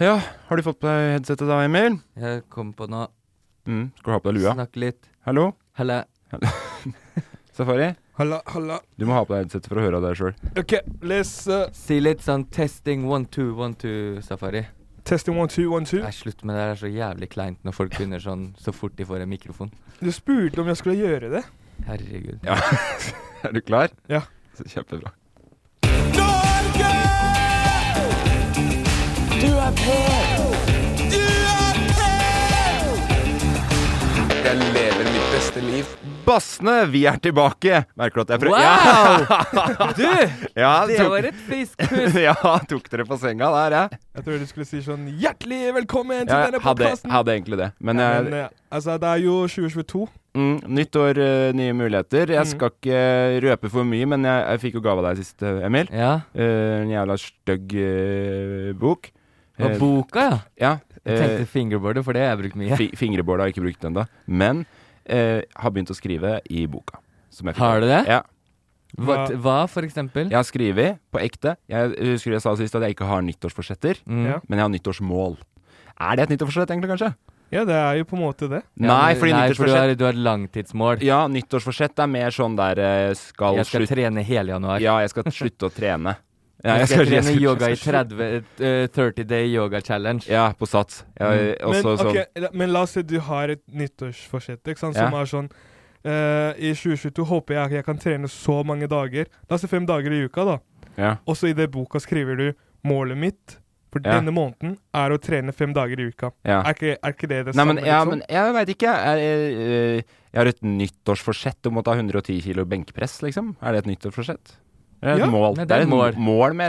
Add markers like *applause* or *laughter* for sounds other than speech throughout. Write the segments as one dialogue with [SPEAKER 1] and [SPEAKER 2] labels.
[SPEAKER 1] Ja, har du fått på deg headsetet da, Emil?
[SPEAKER 2] Jeg kom på noe.
[SPEAKER 1] Mm, skal du ha på deg lua?
[SPEAKER 2] Snakk litt.
[SPEAKER 1] Hallo?
[SPEAKER 2] Helle.
[SPEAKER 1] Safari?
[SPEAKER 3] Halla, halla.
[SPEAKER 1] Du må ha på deg headsetet for å høre deg sjøl.
[SPEAKER 3] OK, les uh,
[SPEAKER 2] Si litt sånn testing one two one two safari.
[SPEAKER 3] testing one, two, one, two.
[SPEAKER 2] Nei, slutt med det. Det er så jævlig kleint når folk begynner sånn så fort de får en mikrofon.
[SPEAKER 3] Du spurte om jeg skulle gjøre det.
[SPEAKER 2] Herregud.
[SPEAKER 1] Ja. *laughs* er du klar?
[SPEAKER 3] Ja.
[SPEAKER 1] Så Kjempebra.
[SPEAKER 4] Jeg lever mitt beste liv.
[SPEAKER 1] Bassene, vi er tilbake! Merker du at jeg prøver?
[SPEAKER 2] Wow! Du!
[SPEAKER 1] *laughs* Ja,
[SPEAKER 2] Det
[SPEAKER 1] tok-
[SPEAKER 2] var et fiskpust.
[SPEAKER 1] ja, tok dere på senga der, jeg.
[SPEAKER 3] Jeg tror du skulle si sånn hjertelig velkommen til
[SPEAKER 1] Ja,
[SPEAKER 3] denne
[SPEAKER 1] hadde,
[SPEAKER 3] podkasten.
[SPEAKER 1] hadde egentlig det. Men jeg,
[SPEAKER 3] Men, uh, altså, det er jo 2022.
[SPEAKER 1] mm, nytt år, eh, nye muligheter.
[SPEAKER 3] Mhm.
[SPEAKER 1] Jeg skal ikke eh, røpe for mye, men jeg, jeg fikk jo gave av deg sist, eh, Emil.
[SPEAKER 2] Ja.
[SPEAKER 1] Eh, en jævla stygg eh, bok.
[SPEAKER 2] Og
[SPEAKER 1] Eh,
[SPEAKER 2] boka, ja.
[SPEAKER 1] ja.
[SPEAKER 2] Jeg
[SPEAKER 1] eh,
[SPEAKER 2] tenkte fingerboardet, for det har jeg brukt mye.
[SPEAKER 1] fi fingerbord har jeg ikke brukt den da Men eh, har begynt å skrive i boka. som jeg fikk.
[SPEAKER 2] Har du det?
[SPEAKER 1] Ja.
[SPEAKER 2] *laughs* Hva, hva for eksempel?
[SPEAKER 1] Jeg har skrevet på ekte. Jeg husker jeg sa sist at jeg ikke har nyttårsforsetter,
[SPEAKER 2] Mm.
[SPEAKER 3] Ja.
[SPEAKER 1] men jeg har nyttårsmål. Er det et nyttårsforsett, egentlig, kanskje?
[SPEAKER 3] Ja, det er jo på en måte det.
[SPEAKER 2] Ja,
[SPEAKER 1] nei,
[SPEAKER 2] men-
[SPEAKER 1] fordi
[SPEAKER 2] nei, for du
[SPEAKER 1] nyttårsforsett
[SPEAKER 2] har, du har et langtidsmål.
[SPEAKER 1] Ja, nyttårsforsett er mer sånn der eh, skal,
[SPEAKER 2] Jeg skal
[SPEAKER 1] slutte
[SPEAKER 2] trene hele januar.
[SPEAKER 1] Ja, jeg skal slutte å trene. Ja,
[SPEAKER 2] *laughs* Jeg skal trene
[SPEAKER 1] jeg skal-
[SPEAKER 2] yoga i
[SPEAKER 1] jeg skal slutte-
[SPEAKER 2] 30, eh, 30 day yoga challenge.
[SPEAKER 1] Ja, på Sats. Ja,
[SPEAKER 2] Mm.
[SPEAKER 3] Men,
[SPEAKER 1] Også sånn
[SPEAKER 3] ok, la- men la oss si du har et nyttårsforsett ikke sant, som
[SPEAKER 1] Ja.
[SPEAKER 3] er sånn eh, I 2022 håper jeg at jeg kan trene så mange dager. La oss si fem dager i uka, da.
[SPEAKER 1] ja.
[SPEAKER 3] Og så i det boka skriver du målet mitt for
[SPEAKER 1] Ja.
[SPEAKER 3] denne måneden er å trene fem dager i uka.
[SPEAKER 1] Ja.
[SPEAKER 3] Er, ikke, er ikke det det
[SPEAKER 1] Nei,
[SPEAKER 3] samme?
[SPEAKER 1] men, ja,
[SPEAKER 3] liksom?
[SPEAKER 1] men jeg veit ikke. Jeg, jeg, jeg, jeg har et nyttårsforsett om å ta 110 kilo benkpress, liksom. Er det et nyttårsforsett? Det er et
[SPEAKER 3] Ja.
[SPEAKER 1] mål.
[SPEAKER 2] Nei,
[SPEAKER 1] det er et mål, mål mer.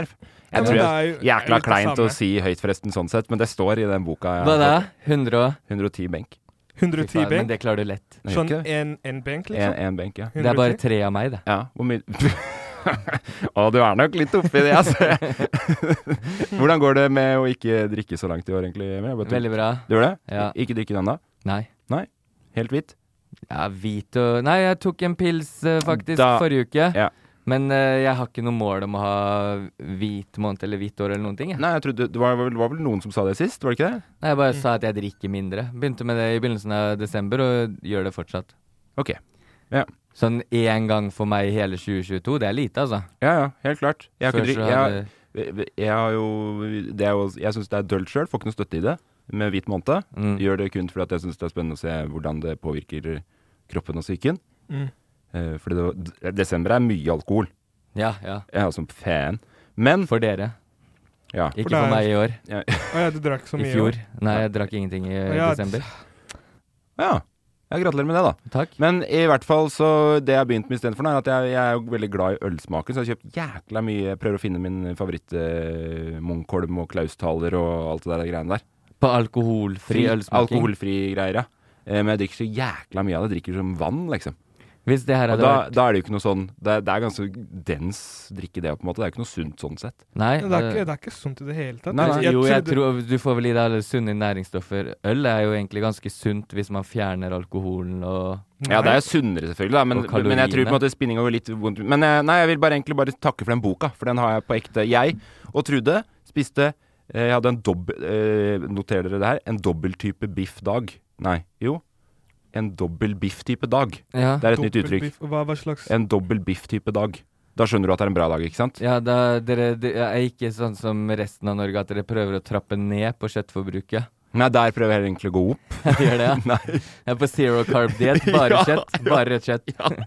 [SPEAKER 1] Jeg
[SPEAKER 3] Ja, men
[SPEAKER 1] tror jeg,
[SPEAKER 3] det er jo- det er jo
[SPEAKER 1] Jækla
[SPEAKER 3] litt det
[SPEAKER 1] kleint å
[SPEAKER 3] samme.
[SPEAKER 1] si høyt, forresten, sånn sett, men det står i den boka. jeg
[SPEAKER 2] Hva da?
[SPEAKER 1] har fått.
[SPEAKER 2] 100 og
[SPEAKER 1] 110 benk.
[SPEAKER 3] 110
[SPEAKER 2] Men
[SPEAKER 3] benk?
[SPEAKER 2] det klarer du lett.
[SPEAKER 1] Nei,
[SPEAKER 3] Sånn
[SPEAKER 1] ikke det.
[SPEAKER 3] en, en benk,
[SPEAKER 1] En,
[SPEAKER 3] liksom?
[SPEAKER 1] en benk, ja.
[SPEAKER 2] Det er bare
[SPEAKER 3] 110?
[SPEAKER 2] tre av meg, det.
[SPEAKER 1] Ja, hvor mye *laughs* Å, du er nok litt oppi det, altså. *laughs* Hvordan går det med å ikke drikke så langt i år, egentlig? Emil? Jeg bare tok-
[SPEAKER 2] Veldig bra.
[SPEAKER 1] Du gjør det?
[SPEAKER 2] Ja.
[SPEAKER 1] Ik- Ikke drikke den da?
[SPEAKER 2] Nei.
[SPEAKER 1] Helt hvitt?
[SPEAKER 2] Ja, hvit og Nei, jeg tok en pils eh, faktisk
[SPEAKER 1] Da-
[SPEAKER 2] forrige uke.
[SPEAKER 1] Ja.
[SPEAKER 2] Men eh, jeg har ikke noe mål om å ha hvit måned eller hvit år eller noen ting. Jeg.
[SPEAKER 1] Nei, jeg trodde, det var, vel- var vel noen som sa det sist, var det ikke det?
[SPEAKER 2] Nei, jeg bare sa at jeg drikker mindre. Begynte med det i begynnelsen av desember, og gjør det fortsatt.
[SPEAKER 1] Ok.
[SPEAKER 2] Sånn én gang for meg i hele 2022, det er lite, altså.
[SPEAKER 1] Ja ja, helt klart. Jeg har ikke
[SPEAKER 2] Før
[SPEAKER 1] drikk...
[SPEAKER 2] så
[SPEAKER 1] Jeg,
[SPEAKER 2] hadde-
[SPEAKER 1] jeg, har jo Det er jo Jeg syns det er dølt sjøl, får ikke noe støtte i det med hvit måned.
[SPEAKER 2] Mm.
[SPEAKER 1] Gjør det kun fordi at jeg syns det er spennende å se hvordan det påvirker kroppen og psyken.
[SPEAKER 3] Mm.
[SPEAKER 1] Eh, fordi det, var- d- desember er mye alkohol.
[SPEAKER 2] Ja, ja.
[SPEAKER 1] Jeg er som fan. Men
[SPEAKER 2] For dere.
[SPEAKER 1] ja.
[SPEAKER 2] Ikke
[SPEAKER 3] deg.
[SPEAKER 2] for meg i år.
[SPEAKER 3] Å ja, du drakk så
[SPEAKER 2] I
[SPEAKER 3] mye.
[SPEAKER 2] fjor. Nei, jeg drakk ingenting i eh,
[SPEAKER 3] Ja,
[SPEAKER 2] desember.
[SPEAKER 1] ja. Ja, gratulerer med det, da.
[SPEAKER 2] Takk.
[SPEAKER 1] Men i hvert fall så Det jeg har begynt med istedenfor, nå, er at jeg, jeg er jo veldig glad i ølsmaken, så jeg har kjøpt jækla mye Jeg prøver å finne min favoritt eh, Munkholm og Klaustaler og alt det der greiene der.
[SPEAKER 2] På alkoholfri ølsmaking.
[SPEAKER 1] Alkoholfri greier, ja. Eh, Men jeg drikker så jækla mye av det. Jeg drikker som vann, liksom.
[SPEAKER 2] Hvis det her
[SPEAKER 1] Og
[SPEAKER 2] hadde
[SPEAKER 1] da,
[SPEAKER 2] vært
[SPEAKER 1] da er det jo ikke noe sånn Det, er- det er ganske dens drikke, det, på en måte. Det er jo ikke noe sunt sånn sett.
[SPEAKER 2] Nei.
[SPEAKER 3] Det er, ikke, det er ikke sunt i det hele tatt.
[SPEAKER 1] Nei, nei.
[SPEAKER 2] jo, jeg
[SPEAKER 3] trodde-
[SPEAKER 2] tror du får vel i deg alle sunne næringsstoffer. Øl er jo egentlig ganske sunt hvis man fjerner alkoholen og
[SPEAKER 1] Ja, det er
[SPEAKER 3] Nei.
[SPEAKER 1] jo sunnere, selvfølgelig, da, men,
[SPEAKER 2] Og kaloriene.
[SPEAKER 1] men jeg tror på en måte spinninga går litt vondt Men eh, nei, jeg vil bare egentlig bare takke for den boka, for den har jeg på ekte. Jeg og Trude spiste eh, Jeg hadde en dobbel eh, Noter dere det her? En dobbeltype biff-dag. Nei, jo. En dobbel biff-type dag.
[SPEAKER 2] Ja,
[SPEAKER 1] Det er et nytt uttrykk.
[SPEAKER 3] Dobbeltbiff, Hva, hva slags
[SPEAKER 1] En dobbel biff-type dag. Da skjønner du at det er en bra dag, ikke sant?
[SPEAKER 2] ja da, dere det er ikke sånn som resten av Norge at dere prøver å trappe ned på kjøttforbruket. *laughs*
[SPEAKER 1] Nei, der prøver jeg egentlig å gå opp.
[SPEAKER 2] Gjør det? ja?
[SPEAKER 1] Nei.
[SPEAKER 2] Jeg er på zero carb diet. Bare
[SPEAKER 1] Ja,
[SPEAKER 2] kjøtt. Bare rødt kjøtt.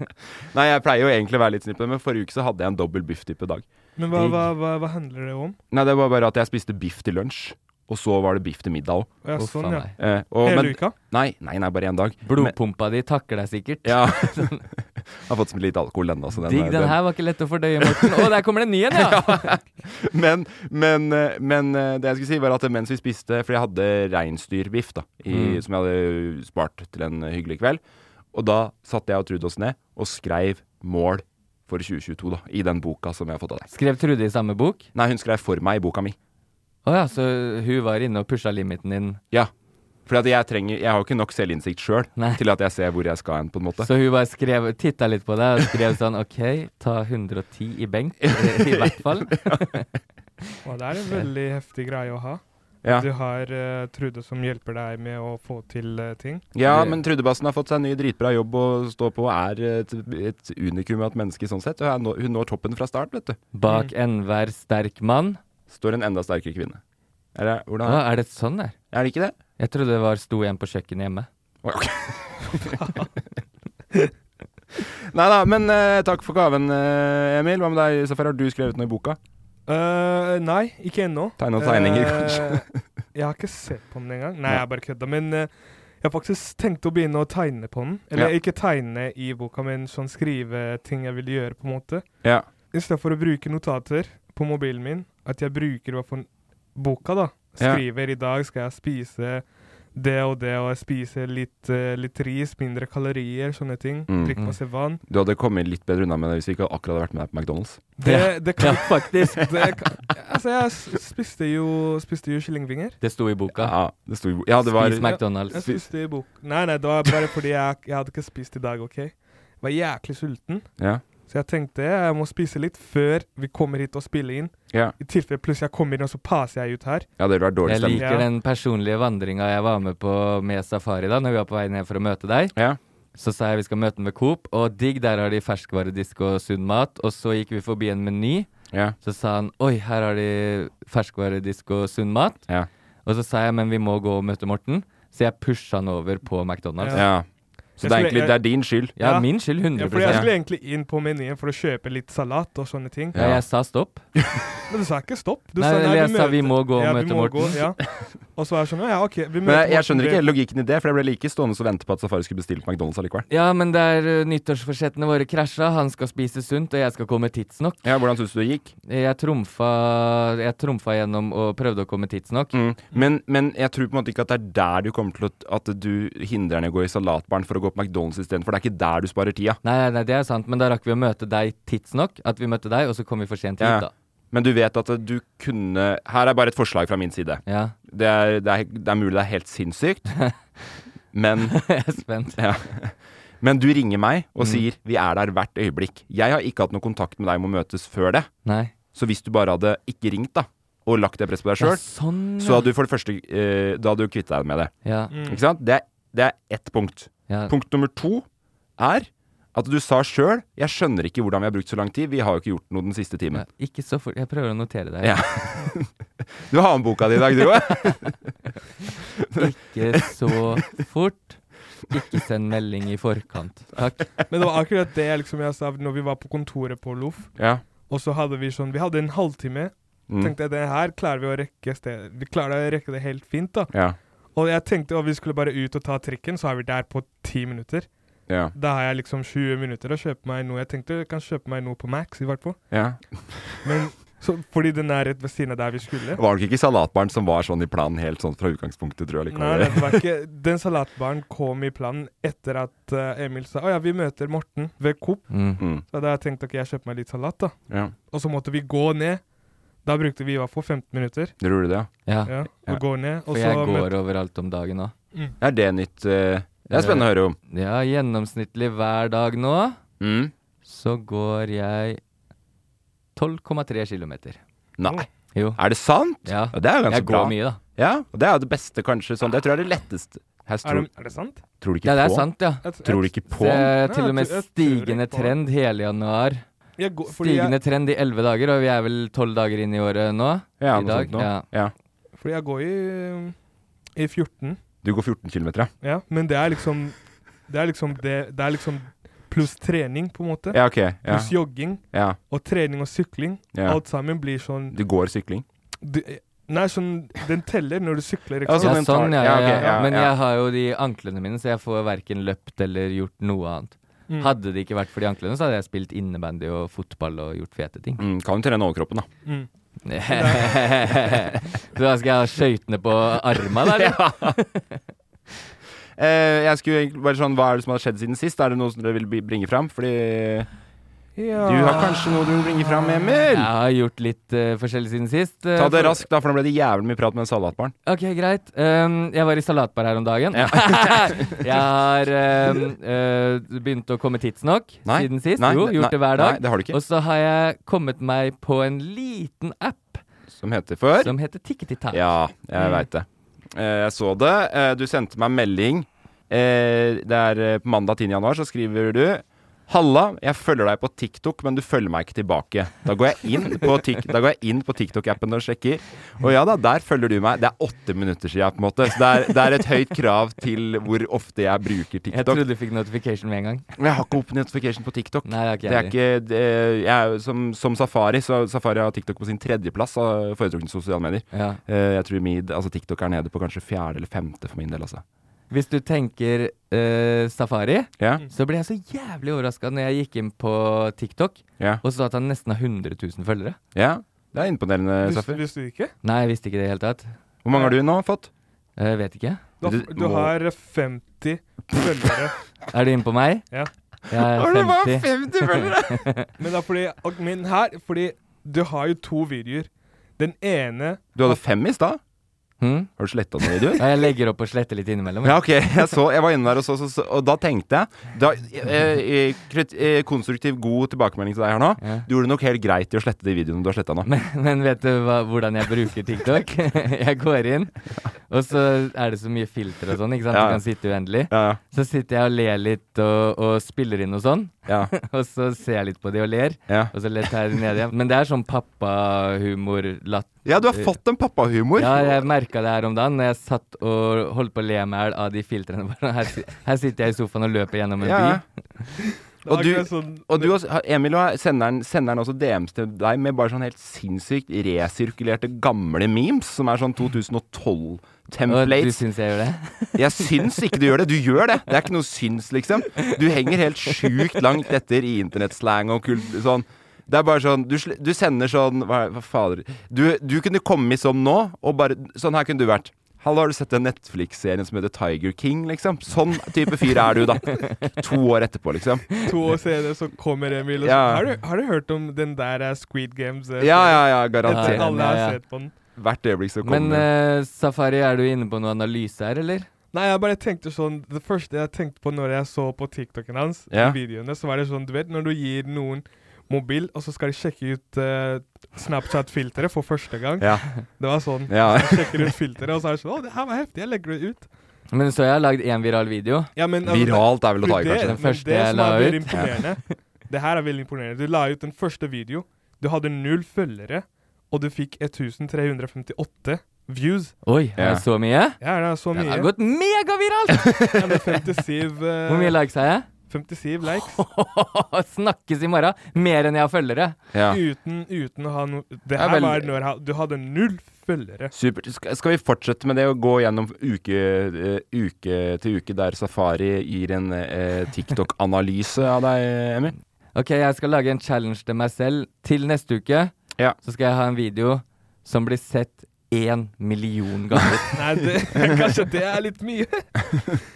[SPEAKER 1] Nei, jeg pleier jo egentlig å være litt snipp, men forrige uke så hadde jeg en dobbel biff-type dag.
[SPEAKER 3] Men hva, hva, hva, hva handler det om?
[SPEAKER 1] Nei, det var bare at jeg spiste biff til lunsj, og så var det biff til middag òg.
[SPEAKER 3] Ja,
[SPEAKER 2] Uff a
[SPEAKER 3] sånn, ja.
[SPEAKER 2] meg.
[SPEAKER 1] Eh, og-
[SPEAKER 3] Hele
[SPEAKER 1] men-
[SPEAKER 3] uka?
[SPEAKER 1] Nei, nei, nei, bare én dag. Men-
[SPEAKER 2] Blodpumpa di takker deg sikkert. *laughs*
[SPEAKER 1] Ja. Har fått litt alkohol ennå, så den,
[SPEAKER 2] Digg,
[SPEAKER 1] *laughs*
[SPEAKER 2] den her var ikke lett å fordøye, Morten. Å, der kommer det en ny en, ja!
[SPEAKER 1] Men, men, eh, men eh, det jeg skulle si, var at mens vi spiste For jeg hadde reinsdyrbiff, da, i,
[SPEAKER 2] Mm.
[SPEAKER 1] som jeg hadde spart til en hyggelig kveld. Og da satte jeg og Trude oss ned og skreiv mål for 2022, da, i den boka som jeg har fått av deg.
[SPEAKER 2] Skrev Trude i samme bok?
[SPEAKER 1] Nei, hun skrev for meg i boka mi.
[SPEAKER 2] Å ja, så hun var inne og pusha limiten din.
[SPEAKER 1] Ja. Fordi at jeg trenger Jeg har jo ikke nok selvinnsikt sjøl
[SPEAKER 2] Nei.
[SPEAKER 1] til at jeg ser hvor jeg skal hen, på en måte.
[SPEAKER 2] Så hun bare skrev, titta litt på deg og skrev sånn OK, ta 110 i benk,
[SPEAKER 1] *laughs*
[SPEAKER 2] i hvert fall.
[SPEAKER 3] Å, det er en veldig heftig greie å ha.
[SPEAKER 1] Ja.
[SPEAKER 3] Du har eh, Trude som hjelper deg med å få til eh, ting.
[SPEAKER 1] Ja,
[SPEAKER 2] Det-
[SPEAKER 1] men Trudebassen har fått seg en ny dritbra jobb å stå på og er et, et unikum av et menneske sånn sett. Og er nå- hun når toppen fra start, vet du.
[SPEAKER 2] Bak enhver sterk mann.
[SPEAKER 1] Står en enda sterkere kvinne. Er det,
[SPEAKER 2] Å,
[SPEAKER 1] hvordan,
[SPEAKER 2] er det sånn der?
[SPEAKER 1] er det ikke det?
[SPEAKER 2] Jeg trodde det var sto en på kjøkkenet hjemme.
[SPEAKER 1] Oi, ok. Nei da, men eh, takk for gaven, eh, Emil. Hva med deg, Safar? Har du skrevet noe i boka?
[SPEAKER 3] Eh, nei, ikke ennå.
[SPEAKER 1] Tegn og tegninger,
[SPEAKER 3] Eh, *laughs* jeg har ikke sett på den engang. Nei,
[SPEAKER 1] Nei.
[SPEAKER 3] jeg bare kødda. Men eh, jeg har faktisk tenkt å begynne å tegne på den. Eller ikke tegne i boka, men sånn skrive ting jeg vil gjøre, på en måte.
[SPEAKER 1] Ja.
[SPEAKER 3] I stedet for å bruke notater på mobilen min, at jeg bruker i hvert fall boka, da.
[SPEAKER 1] Ja.
[SPEAKER 3] Skriver i dag skal jeg spise det og det, og jeg spiser litt, eh, litt ris, mindre kalorier, sånne ting.
[SPEAKER 1] Mm.
[SPEAKER 3] Drikke masse vann.
[SPEAKER 1] Du hadde kommet litt bedre unna med det hvis vi ikke akkurat hadde vært med deg på McDonald's.
[SPEAKER 3] Det, det kan
[SPEAKER 2] faktisk. *laughs*
[SPEAKER 3] det kan, altså, jeg s- spiste jo, spiste jo kyllingvinger.
[SPEAKER 2] Det sto i boka.
[SPEAKER 1] Ja, det sto i bo- Ja, det var
[SPEAKER 2] Spis
[SPEAKER 3] Jeg
[SPEAKER 2] McDonald's.
[SPEAKER 3] spiste i bok. Nei, nei, det var bare fordi jeg, jeg hadde ikke spist i dag, OK? Jeg var jæklig sulten,
[SPEAKER 1] Ja.
[SPEAKER 3] så jeg tenkte jeg må spise litt før vi kommer hit og spiller inn.
[SPEAKER 1] Ja.
[SPEAKER 3] I tilfelle plutselig jeg kommer inn, og så passer jeg ut her.
[SPEAKER 1] ja, det ville vært dårlig
[SPEAKER 2] Jeg
[SPEAKER 1] stemning.
[SPEAKER 2] liker
[SPEAKER 3] Ja.
[SPEAKER 2] den personlige vandringa jeg var med på med safari da Når vi var på vei ned for å møte deg.
[SPEAKER 1] Ja.
[SPEAKER 2] Så sa jeg vi skal møte den ved Coop, og digg, der har de ferskvaredisk og sunn mat. Og så gikk vi forbi en meny,
[SPEAKER 1] Ja.
[SPEAKER 2] så sa han oi, her har de ferskvaredisk og sunn mat.
[SPEAKER 1] Ja.
[SPEAKER 2] Og så sa jeg men vi må gå og møte Morten, så jeg pusha han over på McDonald's. Ja,
[SPEAKER 1] ja. Så det er
[SPEAKER 3] Jeg skulle-
[SPEAKER 1] egentlig det er din skyld.
[SPEAKER 3] Ja.
[SPEAKER 2] min skyld,
[SPEAKER 3] Ja,
[SPEAKER 2] 100
[SPEAKER 3] fordi jeg skulle egentlig inn på menyen for å kjøpe litt salat og sånne ting.
[SPEAKER 2] Ja, jeg sa stopp.
[SPEAKER 3] Men du sa ikke stopp. Du
[SPEAKER 2] Nei,
[SPEAKER 3] sa
[SPEAKER 2] eller jeg sa vi
[SPEAKER 3] møter-
[SPEAKER 2] må gå og
[SPEAKER 3] ja, vi
[SPEAKER 2] møte
[SPEAKER 3] må
[SPEAKER 2] Morten.
[SPEAKER 3] gå, ja. Og så er jeg sånn Ja, OK, vi møter
[SPEAKER 1] Men jeg, jeg
[SPEAKER 3] Morten
[SPEAKER 1] skjønner ikke
[SPEAKER 3] ved-
[SPEAKER 1] helt logikken i det, for jeg ble like stående og vente på at Safari skulle bestille på McDonald's allikevel.
[SPEAKER 2] Ja, men der eh, nyttårsforsettene våre krasja. Han skal spise sunt, og jeg skal komme tidsnok.
[SPEAKER 1] Ja, hvordan syns du det gikk?
[SPEAKER 2] Jeg trumfa, jeg trumfa gjennom og prøvde å komme tidsnok.
[SPEAKER 3] Mm.
[SPEAKER 1] Mm. Men, men jeg tror på en måte ikke at det er der du kommer til å At du hindrer henne i å gå i salatbaren for å gå på McDonald's istedenfor. Det er ikke der du sparer tida.
[SPEAKER 2] Nei, nei, nei, det er sant, men da rakk vi å møte deg tidsnok. At vi møtte deg, og så kom vi for sent
[SPEAKER 1] Ja.
[SPEAKER 2] hit, da.
[SPEAKER 1] Men du vet at du kunne Her er bare et forslag fra min side.
[SPEAKER 2] Ja,
[SPEAKER 1] Det er, det er, det er mulig det er helt sinnssykt, men,
[SPEAKER 2] jeg er spent.
[SPEAKER 1] ja. men du ringer meg og sier 'vi er der hvert øyeblikk'. Jeg har ikke hatt noe kontakt med deg om å møtes før det.
[SPEAKER 2] Nei.
[SPEAKER 1] Så hvis du bare hadde ikke ringt, da, og lagt det presset på deg
[SPEAKER 2] Ja,
[SPEAKER 1] sjøl,
[SPEAKER 2] sånn,
[SPEAKER 1] så hadde du for det første eh, Da hadde du kvittet deg med det.
[SPEAKER 2] ja.
[SPEAKER 3] Mm.
[SPEAKER 1] Ikke sant? Det er, det er ett punkt.
[SPEAKER 2] Ja.
[SPEAKER 1] Punkt nummer to er at du sa sjøl 'jeg skjønner ikke hvordan vi har brukt så lang tid', vi har jo ikke gjort noe den siste
[SPEAKER 2] ja.
[SPEAKER 1] timen.
[SPEAKER 2] Ikke så fort. Jeg prøver å notere deg.
[SPEAKER 1] Ja. *laughs* Du har med boka di i dag, du òg.
[SPEAKER 2] Ikke så fort. Ikke send melding i forkant. Takk.
[SPEAKER 3] Men det var akkurat det liksom, jeg sa når vi var på kontoret på Loff.
[SPEAKER 1] Ja.
[SPEAKER 3] Og så hadde vi sånn Vi hadde en halvtime.
[SPEAKER 1] Mm.
[SPEAKER 3] Tenkte jeg, det her klarer vi å rekke sted. Vi klarer å rekke det helt fint, da.
[SPEAKER 1] ja.
[SPEAKER 3] Og jeg tenkte at vi skulle bare ut og ta trikken, så er vi der på ti minutter.
[SPEAKER 1] Ja.
[SPEAKER 3] Da har jeg liksom 20 minutter å kjøpe meg noe. Jeg tenkte jeg kan kjøpe meg noe på Max, i hvert fall.
[SPEAKER 1] ja.
[SPEAKER 3] Men, *laughs* så, fordi den er rett ved siden av der vi skulle.
[SPEAKER 1] Var det ikke salatbaren som var sånn i planen helt sånn fra utgangspunktet, tror jeg
[SPEAKER 3] Nei,
[SPEAKER 1] likevel?
[SPEAKER 3] det var ikke Den salatbaren kom i planen etter at eh, Emil sa Å ja, vi møter Morten ved Coop.
[SPEAKER 1] Mm.
[SPEAKER 3] Så da tenkte jeg ok, jeg kjøper meg litt salat, da.
[SPEAKER 1] Ja.
[SPEAKER 3] Og så måtte vi gå ned. Da brukte vi i hvert fall 15 minutter.
[SPEAKER 1] Dere gjorde det, ja?
[SPEAKER 2] Ja,
[SPEAKER 3] Ja,
[SPEAKER 1] Ja.
[SPEAKER 3] og gå ned. Og
[SPEAKER 2] for
[SPEAKER 3] så
[SPEAKER 2] jeg
[SPEAKER 3] møtte
[SPEAKER 2] går overalt om dagen nå.
[SPEAKER 1] Er det nytt eh, Det er spennende å høre om.
[SPEAKER 2] Ja, gjennomsnittlig hver dag nå
[SPEAKER 1] Mm.
[SPEAKER 2] så går jeg 12,3 kilometer.
[SPEAKER 1] Nei,
[SPEAKER 2] Jo.
[SPEAKER 1] er det sant?
[SPEAKER 2] Ja.
[SPEAKER 1] Det er jo ganske
[SPEAKER 2] Jeg
[SPEAKER 1] bra.
[SPEAKER 2] går mye, da.
[SPEAKER 1] Ja, og det er jo det beste, kanskje. Sånn. Det tror jeg er det letteste. Her
[SPEAKER 3] er
[SPEAKER 1] tror,
[SPEAKER 3] det, er det sant?
[SPEAKER 1] tror du ikke
[SPEAKER 2] Ja, det
[SPEAKER 1] på?
[SPEAKER 2] er sant, ja.
[SPEAKER 3] Jeg,
[SPEAKER 1] Tror du
[SPEAKER 3] jeg,
[SPEAKER 1] ikke på?
[SPEAKER 2] Det er
[SPEAKER 3] Nei,
[SPEAKER 2] til og med
[SPEAKER 3] jeg tror- jeg tror
[SPEAKER 2] stigende
[SPEAKER 3] ikke på-
[SPEAKER 2] trend hele januar.
[SPEAKER 3] jeg går, fordi,
[SPEAKER 2] Stigende
[SPEAKER 3] jeg,
[SPEAKER 2] trend i elleve dager, og vi er vel tolv dager inn i året nå.
[SPEAKER 1] Ja,
[SPEAKER 2] I
[SPEAKER 1] noe
[SPEAKER 2] dag,
[SPEAKER 1] sånt nå.
[SPEAKER 2] ja.
[SPEAKER 1] Ja.
[SPEAKER 3] fordi jeg går i, i 14,
[SPEAKER 1] Du går 14 km, ja?
[SPEAKER 3] ja. Men det er liksom Det er liksom det Det er liksom pluss trening, på en måte.
[SPEAKER 1] Ja, ok. Ja.
[SPEAKER 3] Pluss jogging.
[SPEAKER 1] ja.
[SPEAKER 3] Og trening og sykling.
[SPEAKER 1] Ja.
[SPEAKER 3] Alt sammen blir sånn
[SPEAKER 1] Du går sykling?
[SPEAKER 3] du, Nei, sånn Den teller når du sykler. Ikke
[SPEAKER 1] Altså,
[SPEAKER 2] Ja,
[SPEAKER 1] den
[SPEAKER 3] sant?
[SPEAKER 1] tar-
[SPEAKER 2] sånn, ja, ja,
[SPEAKER 1] ja, ok,
[SPEAKER 2] ja.
[SPEAKER 1] ja,
[SPEAKER 2] Men
[SPEAKER 1] ja.
[SPEAKER 2] jeg har jo de anklene mine, så jeg får verken løpt eller gjort noe annet.
[SPEAKER 3] Mm.
[SPEAKER 2] Hadde det ikke vært for de anklene, så hadde jeg spilt innebandy og fotball og gjort fete ting.
[SPEAKER 1] Mm, kan jo trene overkroppen, da.
[SPEAKER 3] Mm.
[SPEAKER 2] *laughs* så da skal jeg ha skøytene på arma, da?
[SPEAKER 1] *laughs*
[SPEAKER 2] eller?
[SPEAKER 1] Eh, jeg skulle egentlig bare sånn, Hva er det som har skjedd siden sist? Er det noe som dere vil bli- bringe fram? Fordi
[SPEAKER 3] Ja.
[SPEAKER 1] du har kanskje noe du vil bringe fram, Emil?
[SPEAKER 2] Jeg har gjort litt eh, forskjellig siden sist. eh,
[SPEAKER 1] Ta det
[SPEAKER 2] for-
[SPEAKER 1] raskt, da, for nå ble det jævlig mye prat med den salatbaren.
[SPEAKER 2] Ok, greit. Um, jeg var i salatbar her om dagen. *laughs* jeg har um, eh, begynt å komme tidsnok
[SPEAKER 1] Nei,
[SPEAKER 2] siden sist.
[SPEAKER 1] nei,
[SPEAKER 2] jo,
[SPEAKER 1] nei,
[SPEAKER 2] gjort det hver dag.
[SPEAKER 1] nei, det har du ikke.
[SPEAKER 2] Og så har jeg kommet meg på en liten app
[SPEAKER 1] Som heter før
[SPEAKER 2] som heter Tikketitak.
[SPEAKER 1] Ja,
[SPEAKER 2] Mm.
[SPEAKER 1] jeg veit det. Eh, Jeg så det. Eh, Du sendte meg en melding. Eh, Det er eh, på mandag 10. januar, så skriver du Halla, jeg følger deg på TikTok, men du følger meg ikke tilbake. Da går jeg inn på, Tik- da går jeg inn på TikTok-appen og sjekker. Og ja da, der følger du meg. Det er åtte minutter siden, på en måte. Så det er, det er et høyt krav til hvor ofte jeg bruker
[SPEAKER 2] Jeg
[SPEAKER 1] TikTok.
[SPEAKER 2] trodde du fikk notification med en gang.
[SPEAKER 1] Men jeg har ikke opp notification på TikTok.
[SPEAKER 2] Nei, det
[SPEAKER 1] Det er
[SPEAKER 2] har ikke jeg.
[SPEAKER 1] ikke det, jeg er, jo som, som Safari, så Safari har TikTok på sin tredjeplass av foretrukne sosiale medier.
[SPEAKER 2] Ja.
[SPEAKER 1] Eh, jeg tror mid, altså TikTok er nede på kanskje fjerde eller femte for min del, altså.
[SPEAKER 2] Hvis du tenker eh, safari,
[SPEAKER 1] Ja,
[SPEAKER 2] så ble jeg så jævlig overraska når jeg gikk inn på TikTok
[SPEAKER 1] ja,
[SPEAKER 2] og så at han nesten har 100 000 følgere.
[SPEAKER 1] ja. Det er imponerende,
[SPEAKER 3] Visste,
[SPEAKER 1] Safi.
[SPEAKER 3] visste du ikke?
[SPEAKER 2] Nei, jeg visste ikke det i det hele tatt.
[SPEAKER 1] Hvor mange har du nå fått?
[SPEAKER 2] Eh, vet ikke.
[SPEAKER 3] Du, har-
[SPEAKER 1] Du
[SPEAKER 3] du
[SPEAKER 1] må-
[SPEAKER 3] har 50 følgere.
[SPEAKER 2] Er du inne på meg?
[SPEAKER 3] Ja.
[SPEAKER 2] Jeg er 50.
[SPEAKER 1] 50 følgere!
[SPEAKER 3] Men, da fordi, og, men her Fordi du har jo to videoer. Den ene
[SPEAKER 1] *laughs* Du hadde fem i stad.
[SPEAKER 2] Hm?
[SPEAKER 1] Har du sletta noen videoer?
[SPEAKER 2] Ja, jeg legger opp og sletter litt innimellom.
[SPEAKER 1] Ja, ok. Jeg, så, jeg var inne der og så, så, så og da tenkte jeg da, eh, eh, krit- eh, Konstruktiv, god tilbakemelding til deg her nå.
[SPEAKER 2] Ja.
[SPEAKER 1] Du gjorde det nok helt greit i å slette de videoene du har sletta nå.
[SPEAKER 2] Men, *laughs* men vet du hva, hvordan jeg bruker TikTok? *laughs* jeg går inn, og så er det så mye filter og sånn, ikke sant?
[SPEAKER 1] Ja.
[SPEAKER 2] Du kan sitte uendelig.
[SPEAKER 1] Ja,
[SPEAKER 2] Så sitter jeg og ler litt og, og spiller inn og sånn,
[SPEAKER 1] ja,
[SPEAKER 2] og så ser jeg litt på de og ler.
[SPEAKER 1] ja.
[SPEAKER 2] Og så litt her nede igjen. Men det er sånn pappahumor-latt.
[SPEAKER 1] ja,
[SPEAKER 2] *laughs*
[SPEAKER 1] du har fått en pappahumor.
[SPEAKER 2] Ja, jeg merka det her om dagen når jeg satt og holdt på å le meg i hjel av de filtrene. *laughs* Bare, Her, si- her sitter jeg i sofaen og løper gjennom en
[SPEAKER 1] Ja.
[SPEAKER 2] by.
[SPEAKER 3] det er
[SPEAKER 1] Og du-
[SPEAKER 3] akkurat sånn,
[SPEAKER 1] Og du, også- Emil og jeg sender den- sender den også DMs til deg med bare sånn helt sinnssykt resirkulerte gamle memes, som er sånn
[SPEAKER 2] Og du
[SPEAKER 1] 2012-templates.
[SPEAKER 2] syns jeg gjør det?
[SPEAKER 1] Jeg syns ikke du gjør det. Du gjør det. Det er ikke noe syns, liksom. Du henger helt sjukt langt etter i internettslang og kult sånn. Det er bare sånn Du, sl- du sender sånn Hva, er- hva fader du, du kunne kommet som nå, og bare Sånn her kunne du vært. Hallo, har du sett den Netflix-serien som heter Tiger King, liksom? Sånn type fyr er du, da. To år etterpå, liksom.
[SPEAKER 3] to år senere så kommer Emil. Og så,
[SPEAKER 1] Ja.
[SPEAKER 3] har, du, har du hørt om den der eh, Squid Games? eh,
[SPEAKER 1] Ja, ja, ja,
[SPEAKER 3] serien?
[SPEAKER 1] garantert.
[SPEAKER 3] Etter alle
[SPEAKER 2] Ja,
[SPEAKER 3] har
[SPEAKER 2] ja.
[SPEAKER 3] sett på den.
[SPEAKER 1] Hvert øyeblikk så kommer
[SPEAKER 2] Men eh, Safari, er du inne på noe analyse her, eller?
[SPEAKER 3] Nei, jeg bare tenkte sånn Det første jeg tenkte på når jeg så på TikToken hans,
[SPEAKER 1] Ja.
[SPEAKER 3] de videoene, så var det sånn Du vet når du gir noen mobil, og så skal de sjekke ut eh, Snapchat-filteret for første gang.
[SPEAKER 1] Ja.
[SPEAKER 3] Det var sånn.
[SPEAKER 1] Ja.
[SPEAKER 3] Sjekker ut filteret, og så er det sånn Å, det her var heftig. Jeg legger det ut.
[SPEAKER 2] Men så jeg har lagd én viral video.
[SPEAKER 3] Ja, men,
[SPEAKER 1] *laughs*
[SPEAKER 3] altså, det-
[SPEAKER 1] Viralt er vel å ta i,
[SPEAKER 3] For
[SPEAKER 1] kanskje.
[SPEAKER 2] Den første
[SPEAKER 3] men det
[SPEAKER 2] jeg
[SPEAKER 3] som
[SPEAKER 2] la
[SPEAKER 3] er veldig
[SPEAKER 2] ut.
[SPEAKER 3] Imponerende, det her er veldig imponerende. Du la ut den første video. Du hadde null følgere, og du fikk 1358 views.
[SPEAKER 2] Oi, har
[SPEAKER 1] Ja.
[SPEAKER 2] jeg så mye?
[SPEAKER 3] Ja, det er så
[SPEAKER 2] Det
[SPEAKER 1] *laughs*
[SPEAKER 3] mye.
[SPEAKER 2] har gått megaviralt!
[SPEAKER 3] Ja, men 57 eh,
[SPEAKER 2] Hvor mye likes har jeg? *laughs*
[SPEAKER 3] 57 likes
[SPEAKER 2] Snakkes i morgen. Mer enn jeg har følgere.
[SPEAKER 1] Ja.
[SPEAKER 3] uten, uten å ha noe Det
[SPEAKER 1] er
[SPEAKER 3] her
[SPEAKER 1] veldig-
[SPEAKER 3] var når han- du hadde null følgere.
[SPEAKER 1] Supert. Skal, skal vi fortsette med det å gå gjennom uke, eh, uke til uke der Safari gir en eh, TikTok-analyse av deg, Emil?
[SPEAKER 2] Ok, jeg skal lage en challenge til meg selv til neste uke.
[SPEAKER 1] Ja.
[SPEAKER 2] Så skal jeg ha en video som blir sett én million ganger.
[SPEAKER 1] *laughs*
[SPEAKER 3] Nei, det, *laughs* kanskje det er litt mye.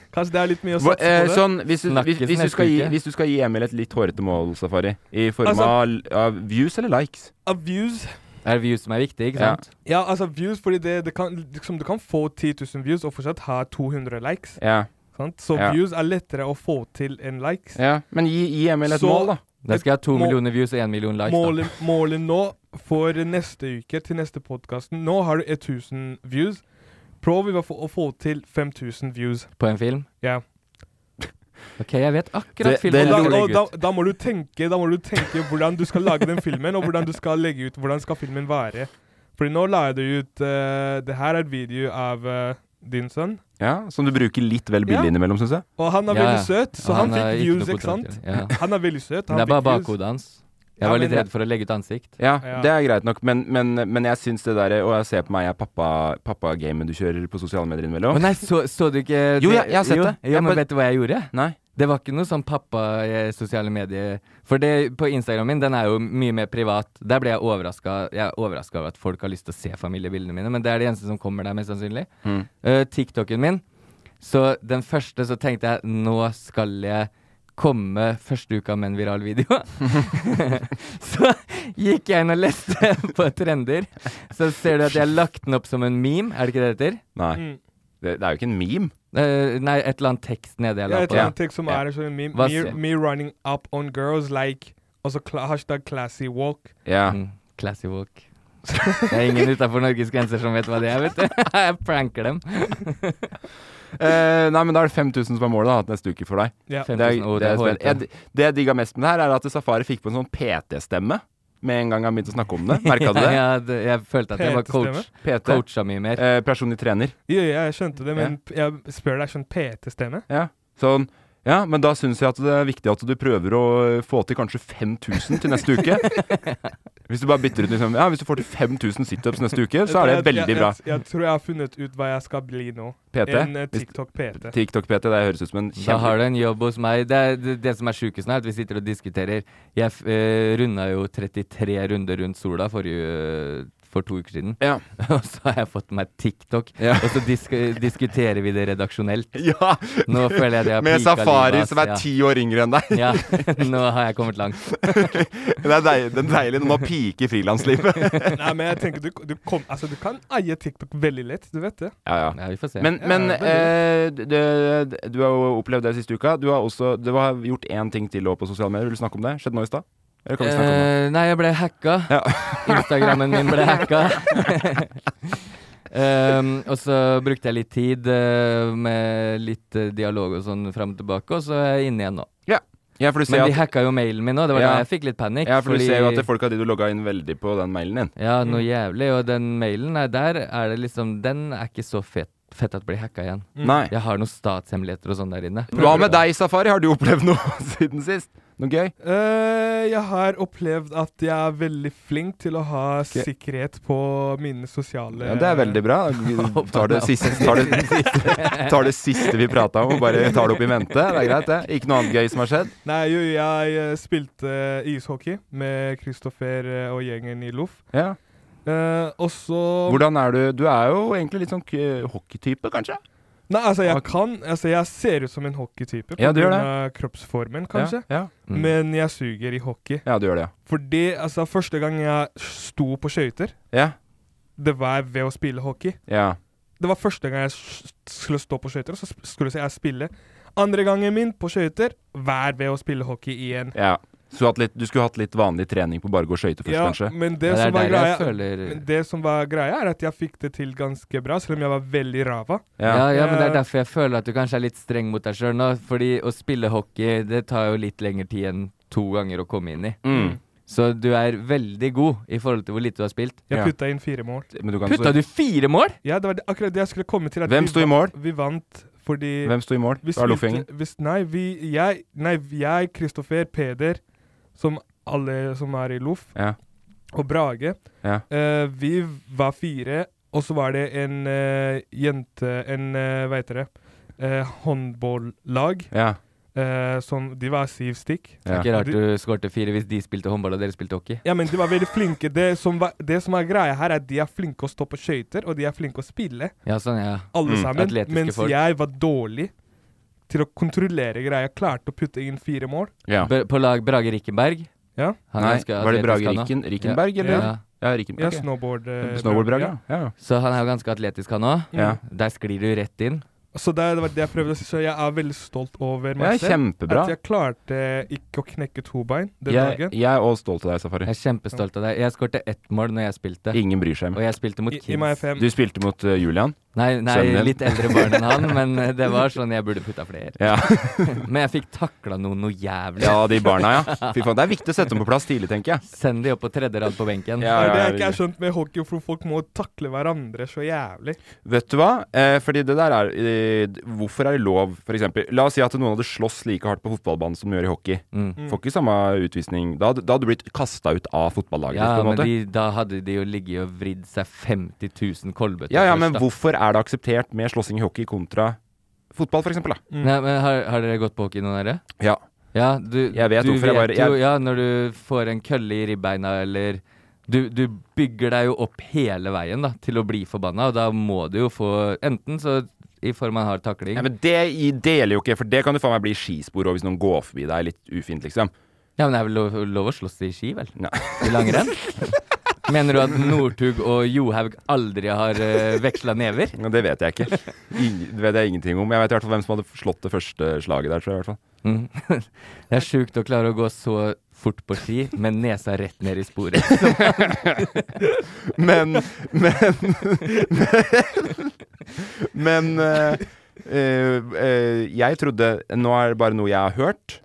[SPEAKER 3] Kanskje det er litt mye å
[SPEAKER 1] Hva,
[SPEAKER 3] satse
[SPEAKER 1] eh,
[SPEAKER 3] på det.
[SPEAKER 1] sånn, hvis, du, hvis,
[SPEAKER 2] Snakkes
[SPEAKER 1] hvis, du
[SPEAKER 2] neste
[SPEAKER 1] skal gi,
[SPEAKER 2] uke.
[SPEAKER 1] hvis du skal gi Emil et litt hårete mål, Safari, i form
[SPEAKER 3] Altså-
[SPEAKER 1] av, av views eller likes
[SPEAKER 3] Abuse.
[SPEAKER 2] Det er views som er viktig, ikke sant?
[SPEAKER 3] Ja, altså views, fordi det, det kan, liksom, du kan få 10 000 views og fortsatt ha 200 likes.
[SPEAKER 1] Ja.
[SPEAKER 3] Sant? Så
[SPEAKER 1] Ja.
[SPEAKER 3] views er lettere å få til enn likes.
[SPEAKER 1] ja. Men gi, gi Emil et
[SPEAKER 3] Så-
[SPEAKER 1] mål, da.
[SPEAKER 2] Da skal jeg ha to
[SPEAKER 3] Må-
[SPEAKER 2] millioner views og én million likes. da.
[SPEAKER 3] Målet, målet nå for neste uke til neste podkast Nå har du 1000 views. Prøv å få, å få til 5000 views.
[SPEAKER 2] På en film?
[SPEAKER 3] Ja.
[SPEAKER 2] *laughs* Ok, jeg vet akkurat
[SPEAKER 1] Det-
[SPEAKER 2] filmen
[SPEAKER 1] det
[SPEAKER 3] Da,
[SPEAKER 2] jeg skal
[SPEAKER 3] og
[SPEAKER 2] legge
[SPEAKER 3] da,
[SPEAKER 2] ut.
[SPEAKER 3] da, må du tenke, da må du tenke hvordan du skal lage den filmen, og hvordan du skal legge ut hvordan skal filmen være. Fordi nå la jeg det ut eh, Det her er et video av eh, din sønn.
[SPEAKER 1] Ja, Som du bruker litt vel billig
[SPEAKER 3] Ja.
[SPEAKER 1] innimellom, syns jeg.
[SPEAKER 3] Og han er
[SPEAKER 2] Ja, ja.
[SPEAKER 3] veldig søt, så
[SPEAKER 2] Og
[SPEAKER 3] han,
[SPEAKER 2] er ikke
[SPEAKER 3] fikk views,
[SPEAKER 2] noe
[SPEAKER 3] ikke sant?
[SPEAKER 2] potensial. Ja.
[SPEAKER 3] Han er veldig søt.
[SPEAKER 2] Men det
[SPEAKER 3] Han
[SPEAKER 2] er bare
[SPEAKER 3] fikk views.
[SPEAKER 2] bakhodet hans.
[SPEAKER 3] Ja,
[SPEAKER 2] Jeg var
[SPEAKER 3] men
[SPEAKER 2] litt
[SPEAKER 3] det-
[SPEAKER 2] redd for å legge ut ansikt.
[SPEAKER 1] Ja,
[SPEAKER 3] *laughs* Ja.
[SPEAKER 1] Det er greit nok, men, men, men jeg syns det der Og jeg ser på meg, jeg er pappa, pappa-gamet du kjører på sosiale medier
[SPEAKER 2] Å
[SPEAKER 1] innimellom.
[SPEAKER 2] nei, så, så du ikke
[SPEAKER 1] Jo, jeg- jeg har sett
[SPEAKER 2] jo,
[SPEAKER 1] det.
[SPEAKER 2] Jo,
[SPEAKER 1] Jeg
[SPEAKER 2] men
[SPEAKER 1] bare-
[SPEAKER 2] vet du hva jeg gjorde?
[SPEAKER 1] Nei.
[SPEAKER 2] Det var ikke noe sånn pappa eh, sosiale medier For det på Instagram min, den er jo mye mer privat. Der ble jeg overraska Jeg er overraska over at folk har lyst til å se familiebildene mine, men det er det eneste som kommer der, mest sannsynlig.
[SPEAKER 1] Mm.
[SPEAKER 2] Eh, TikToken min, så den første så tenkte jeg nå skal jeg komme første uka med en viral video. *laughs* så gikk jeg inn og leste *laughs* på trender, så ser du at jeg har lagt den opp som en meme, er det ikke det det heter?
[SPEAKER 1] Nei.
[SPEAKER 3] Mm.
[SPEAKER 1] Det, det er jo ikke en meme.
[SPEAKER 2] Eh, nei, et eller annet tekst nede jeg
[SPEAKER 3] Ja,
[SPEAKER 2] la
[SPEAKER 3] et
[SPEAKER 2] på.
[SPEAKER 3] eller
[SPEAKER 2] Ja.
[SPEAKER 3] annet tekst som
[SPEAKER 1] Ja.
[SPEAKER 3] er sånn me,
[SPEAKER 2] Hva
[SPEAKER 3] me,
[SPEAKER 2] sier-
[SPEAKER 3] me running up on girls like Og så kla- hashtag classy walk.
[SPEAKER 1] Ja.
[SPEAKER 2] Mm, classy *laughs* walk. Det er ingen utafor Norges grenser som vet hva det er, vet du. *laughs* Jeg pranker dem.
[SPEAKER 1] Eh, nei, men da er det 5000 som er målet da, at neste uke for deg.
[SPEAKER 3] Ja.
[SPEAKER 1] Det, er,
[SPEAKER 2] 5000 og
[SPEAKER 1] det, er
[SPEAKER 2] det er
[SPEAKER 1] spennende. jeg, det jeg digga mest med det her, er at Safari fikk på en sånn PT-stemme med en gang han begynte å snakke om det. Merka
[SPEAKER 2] *laughs*
[SPEAKER 1] du det?
[SPEAKER 2] Ja, det- jeg følte at jeg var coach.
[SPEAKER 1] PT.
[SPEAKER 2] Coacha mye mer.
[SPEAKER 1] Eh, personlig trener.
[SPEAKER 3] Ja, ja, jeg skjønte det, men jeg spør deg sånn PT-stemme.
[SPEAKER 1] Ja. Sånn. Ja, men da syns jeg at det er viktig at du prøver å eh, få til kanskje 5000 til neste *laughs* uke. Hvis du bare bytter ut liksom Ja, hvis du får til 5000 situps neste uke, så er det
[SPEAKER 3] Jeg-
[SPEAKER 1] veldig bra.
[SPEAKER 3] Jeg, jeg, jeg tror jeg har funnet ut hva jeg skal bli nå. En eh,
[SPEAKER 1] PT. Hvis-
[SPEAKER 3] TikTok-PT.
[SPEAKER 1] TikTok-PT, det høres ut som en
[SPEAKER 2] Da har
[SPEAKER 1] kjempe...
[SPEAKER 2] du en jobb hos meg. Det, er, det, det som er sjukest nå, er at vi sitter og diskuterer. Jeg f- eh, runda jo 33 runder rundt sola forrige, for to uker siden.
[SPEAKER 1] Ja.
[SPEAKER 2] *laughs* Og så har jeg fått meg TikTok,
[SPEAKER 1] Ja.
[SPEAKER 2] og så disk diskuterer vi det redaksjonelt.
[SPEAKER 1] ja.
[SPEAKER 2] Nå føler *laughs* jeg det har
[SPEAKER 1] Med
[SPEAKER 2] pika livet,
[SPEAKER 1] Safari
[SPEAKER 2] ass.
[SPEAKER 1] som er
[SPEAKER 2] Ja.
[SPEAKER 1] ti år yngre enn deg. *laughs*
[SPEAKER 2] Ja, *laughs* nå har jeg kommet langt.
[SPEAKER 1] Det er deilig, det er deilig når man piker frilanslivet.
[SPEAKER 3] *laughs* Nei, men jeg tenker du, du, kom, altså, du kan eie TikTok veldig lett, du vet det.
[SPEAKER 1] *laughs* Ja, ja.
[SPEAKER 2] Ja, vi får se.
[SPEAKER 1] Men,
[SPEAKER 3] Ja,
[SPEAKER 1] men
[SPEAKER 3] det er
[SPEAKER 1] eh, du, du- du har jo opplevd det siste uka. Du har også du har gjort én ting til også på sosiale medier. Vil du snakke om det? Skjedde nå i stad? Eller kan vi snakke om det?
[SPEAKER 2] Eh, nei, jeg ble hacka.
[SPEAKER 1] Ja.
[SPEAKER 2] *laughs* Instagrammen min ble hacka.
[SPEAKER 1] *laughs*
[SPEAKER 2] Ehm, og så brukte jeg litt tid eh, med litt eh, dialog og sånn fram og tilbake, og så er jeg inne igjen nå.
[SPEAKER 1] Ja, for du ser
[SPEAKER 2] Men de
[SPEAKER 1] at,
[SPEAKER 2] hacka jo mailen min nå, det var
[SPEAKER 1] Ja.
[SPEAKER 2] da jeg fikk litt panikk.
[SPEAKER 1] ja, for du ser jo at det Mm. folk av de du logga inn veldig på den mailen din.
[SPEAKER 2] Ja, noe jævlig. Og den mailen er der er det liksom Den er ikke så fet, fett at blir hacka igjen.
[SPEAKER 3] Mm.
[SPEAKER 1] Nei.
[SPEAKER 2] Jeg har noen statshemmeligheter og sånn der inne.
[SPEAKER 1] Hva med deg, Safari? Har du opplevd noe *laughs* siden sist? Noe gøy?
[SPEAKER 3] Eh, jeg har opplevd at jeg er veldig flink til å ha sikkerhet på mine sosiale
[SPEAKER 1] Ja, det er veldig
[SPEAKER 3] *laughs*
[SPEAKER 1] bra. Vi Tar det siste, tar det, tar det siste vi prata om, og bare tar det opp i mente. Det er greit, det. Ikke noe annet gøy som har skjedd?
[SPEAKER 3] Nei, jo, jeg eh, spilte ishockey med Kristoffer eh, og gjengen i Loff.
[SPEAKER 1] Ja.
[SPEAKER 3] Eh, og så
[SPEAKER 1] Hvordan er du? Du er jo egentlig litt sånn k- hockeytype, kanskje?
[SPEAKER 3] Nei, altså, jeg
[SPEAKER 1] Ok.
[SPEAKER 3] kan Altså, jeg ser ut som en hockeytype
[SPEAKER 1] Ja, du gjør
[SPEAKER 3] av kroppsformen, kanskje.
[SPEAKER 1] Ja,
[SPEAKER 2] Mm.
[SPEAKER 3] Men jeg suger i hockey.
[SPEAKER 1] ja. ja du gjør det, ja.
[SPEAKER 3] Fordi altså, første gang jeg sto på skøyter,
[SPEAKER 1] Ja.
[SPEAKER 3] det var ved å spille hockey.
[SPEAKER 1] ja.
[SPEAKER 3] Det var første gang jeg s- skulle stå på skøyter, og så sp- skulle jeg spille. Andre gangen min på skøyter, vær ved å spille hockey igjen.
[SPEAKER 1] Ja. Så du, hatt litt, du skulle hatt litt vanlig trening på bare å gå skøyter først,
[SPEAKER 3] Ja,
[SPEAKER 1] kanskje?
[SPEAKER 3] men det,
[SPEAKER 2] Det er
[SPEAKER 3] som var
[SPEAKER 2] der jeg
[SPEAKER 3] greia
[SPEAKER 2] føler
[SPEAKER 3] Men det som var greia, er at jeg fikk det til ganske bra, selv om jeg var veldig rava.
[SPEAKER 2] Ja. ja, men det er
[SPEAKER 3] Ja.
[SPEAKER 2] derfor jeg føler at du kanskje er litt streng mot deg sjøl nå. Fordi å spille hockey, det tar jo litt lengre tid enn to ganger å komme inn i.
[SPEAKER 1] Mm.
[SPEAKER 2] Så du er veldig god i forhold til hvor lite du har spilt.
[SPEAKER 3] Jeg
[SPEAKER 1] Ja.
[SPEAKER 3] putta inn fire mål.
[SPEAKER 1] Men du kan
[SPEAKER 2] Putta du fire mål?!
[SPEAKER 3] Ja, det var det, akkurat det jeg skulle komme til. at
[SPEAKER 1] Hvem
[SPEAKER 3] vi
[SPEAKER 1] sto i
[SPEAKER 3] va-
[SPEAKER 1] mål?
[SPEAKER 3] Vi vant Fordi
[SPEAKER 1] Hvem sto i mål?
[SPEAKER 3] vi
[SPEAKER 1] Fra Loffegjengen?
[SPEAKER 3] spilte- hvis- Nei, vi Jeg, nei, jeg Kristoffer, Peder, som alle som er i Loff,
[SPEAKER 1] Ja.
[SPEAKER 3] og Brage.
[SPEAKER 1] Ja.
[SPEAKER 3] Eh, vi var fire, og så var det en eh, jente En, uh, hva heter det uh, Håndballag.
[SPEAKER 1] ja.
[SPEAKER 3] eh, som De var syv stykk.
[SPEAKER 1] ja.
[SPEAKER 2] Ikke rart du skårte fire hvis de spilte håndball og dere spilte hockey.
[SPEAKER 3] Ja, men de var veldig flinke. Det som, var, det som er greia her, er at de er flinke å stå på skøyter, og de er flinke å spille,
[SPEAKER 2] Ja, sånn, ja.
[SPEAKER 3] alle
[SPEAKER 1] Mm,
[SPEAKER 3] sammen.
[SPEAKER 2] atletiske
[SPEAKER 3] Mens
[SPEAKER 2] folk.
[SPEAKER 3] jeg var dårlig til å kontrollere greia. Jeg klarte å putte inn fire mål.
[SPEAKER 1] Ja.
[SPEAKER 2] Bra- På lag Brage Rikkenberg.
[SPEAKER 3] Ja.
[SPEAKER 2] Han
[SPEAKER 1] Nei,
[SPEAKER 2] ønsker
[SPEAKER 1] var det
[SPEAKER 2] atletisk,
[SPEAKER 1] Brage
[SPEAKER 2] han også.
[SPEAKER 1] Rikken, Rikkenberg,
[SPEAKER 2] Ja.
[SPEAKER 1] eller?
[SPEAKER 2] Ja.
[SPEAKER 1] Ja, Rikkenberg.
[SPEAKER 3] Jeg
[SPEAKER 1] ok.
[SPEAKER 3] snowboard... eh,
[SPEAKER 1] Snowboard-Brage,
[SPEAKER 3] ja.
[SPEAKER 1] ja. ja.
[SPEAKER 2] Så han er jo ganske atletisk, han òg.
[SPEAKER 1] ja.
[SPEAKER 2] Der sklir du rett inn.
[SPEAKER 3] Så det, det var det jeg prøvde å si. Så jeg er veldig stolt over
[SPEAKER 1] ja
[SPEAKER 3] meg selv.
[SPEAKER 1] kjempebra.
[SPEAKER 3] At jeg klarte ikke å knekke to bein den
[SPEAKER 1] Jeg,
[SPEAKER 3] dagen.
[SPEAKER 1] jeg er også stolt av deg, Safari.
[SPEAKER 2] Jeg er kjempestolt av deg. Jeg skårte ett mål når jeg spilte,
[SPEAKER 1] Ingen bryr seg.
[SPEAKER 2] og jeg spilte mot
[SPEAKER 3] I,
[SPEAKER 2] kids.
[SPEAKER 3] I meg fem.
[SPEAKER 1] Du spilte mot eh, Julian.
[SPEAKER 2] Nei, nei
[SPEAKER 1] Sønnen din.
[SPEAKER 2] litt eldre barn enn han, men eh, det var sånn jeg burde putta flere.
[SPEAKER 1] Ja. *laughs*
[SPEAKER 2] Men jeg fikk takla noen noe jævlig.
[SPEAKER 1] ja, de barna, ja. Fy faen, Det er viktig å sette dem på plass tidlig, tenker jeg.
[SPEAKER 2] Send de opp på tredje rad på
[SPEAKER 1] Ja,
[SPEAKER 2] benken.
[SPEAKER 3] Det er
[SPEAKER 1] ja,
[SPEAKER 3] det
[SPEAKER 1] ja,
[SPEAKER 3] jeg ikke har skjønt med hockey, for folk må takle hverandre så jævlig.
[SPEAKER 1] Vet du hva? Eh, fordi det der er eh, d- Hvorfor er det lov, for eksempel La oss si at noen hadde slåss like hardt på fotballbanen som de gjør i hockey.
[SPEAKER 2] Mm.
[SPEAKER 1] Får ikke samme utvisning. Da, hadde- da hadde du blitt kasta ut av fotballaget.
[SPEAKER 2] Ja,
[SPEAKER 1] på en
[SPEAKER 2] men
[SPEAKER 1] måte.
[SPEAKER 2] de, da hadde de jo ligget og vridd seg 50 000 kolbøtter
[SPEAKER 1] ja, ja,
[SPEAKER 2] først,
[SPEAKER 1] men
[SPEAKER 2] da.
[SPEAKER 1] hvorfor er det akseptert med slåssing i hockey kontra fotball, for eksempel? Da?
[SPEAKER 2] Nei, men har, har dere gått på hockey, noen av dere?
[SPEAKER 1] Ja.
[SPEAKER 2] Ja, du,
[SPEAKER 1] Jeg vet
[SPEAKER 2] du
[SPEAKER 1] hvorfor jeg bare-
[SPEAKER 2] jo
[SPEAKER 1] jeg-
[SPEAKER 2] Ja, når du får en kølle i ribbeina eller du, du bygger deg jo opp hele veien da, til å bli forbanna, og da må du jo få Enten så i form av en hard takling
[SPEAKER 1] Ja, men det i- det gjelder jo ikke, for det kan du faen meg bli skispor og hvis noen går forbi deg litt ufint, liksom.
[SPEAKER 2] det er vel lov, lov å slåss i ski, vel?
[SPEAKER 1] Nei. *laughs*
[SPEAKER 2] I langrenn? Mener du at Northug og Johaug aldri har uh, veksla never?
[SPEAKER 1] Ja, det vet jeg ikke. Ingen, det vet jeg ingenting om. Jeg vet i hvert fall hvem som hadde slått det første slaget der, tror jeg. i hvert fall
[SPEAKER 2] Mm. Det er sjukt å klare å gå så fort på ski med nesa rett ned i sporet. Som
[SPEAKER 1] Men *laughs* Men, men, men eh, eh, eh, jeg trodde Nå er det bare noe jeg har hørt.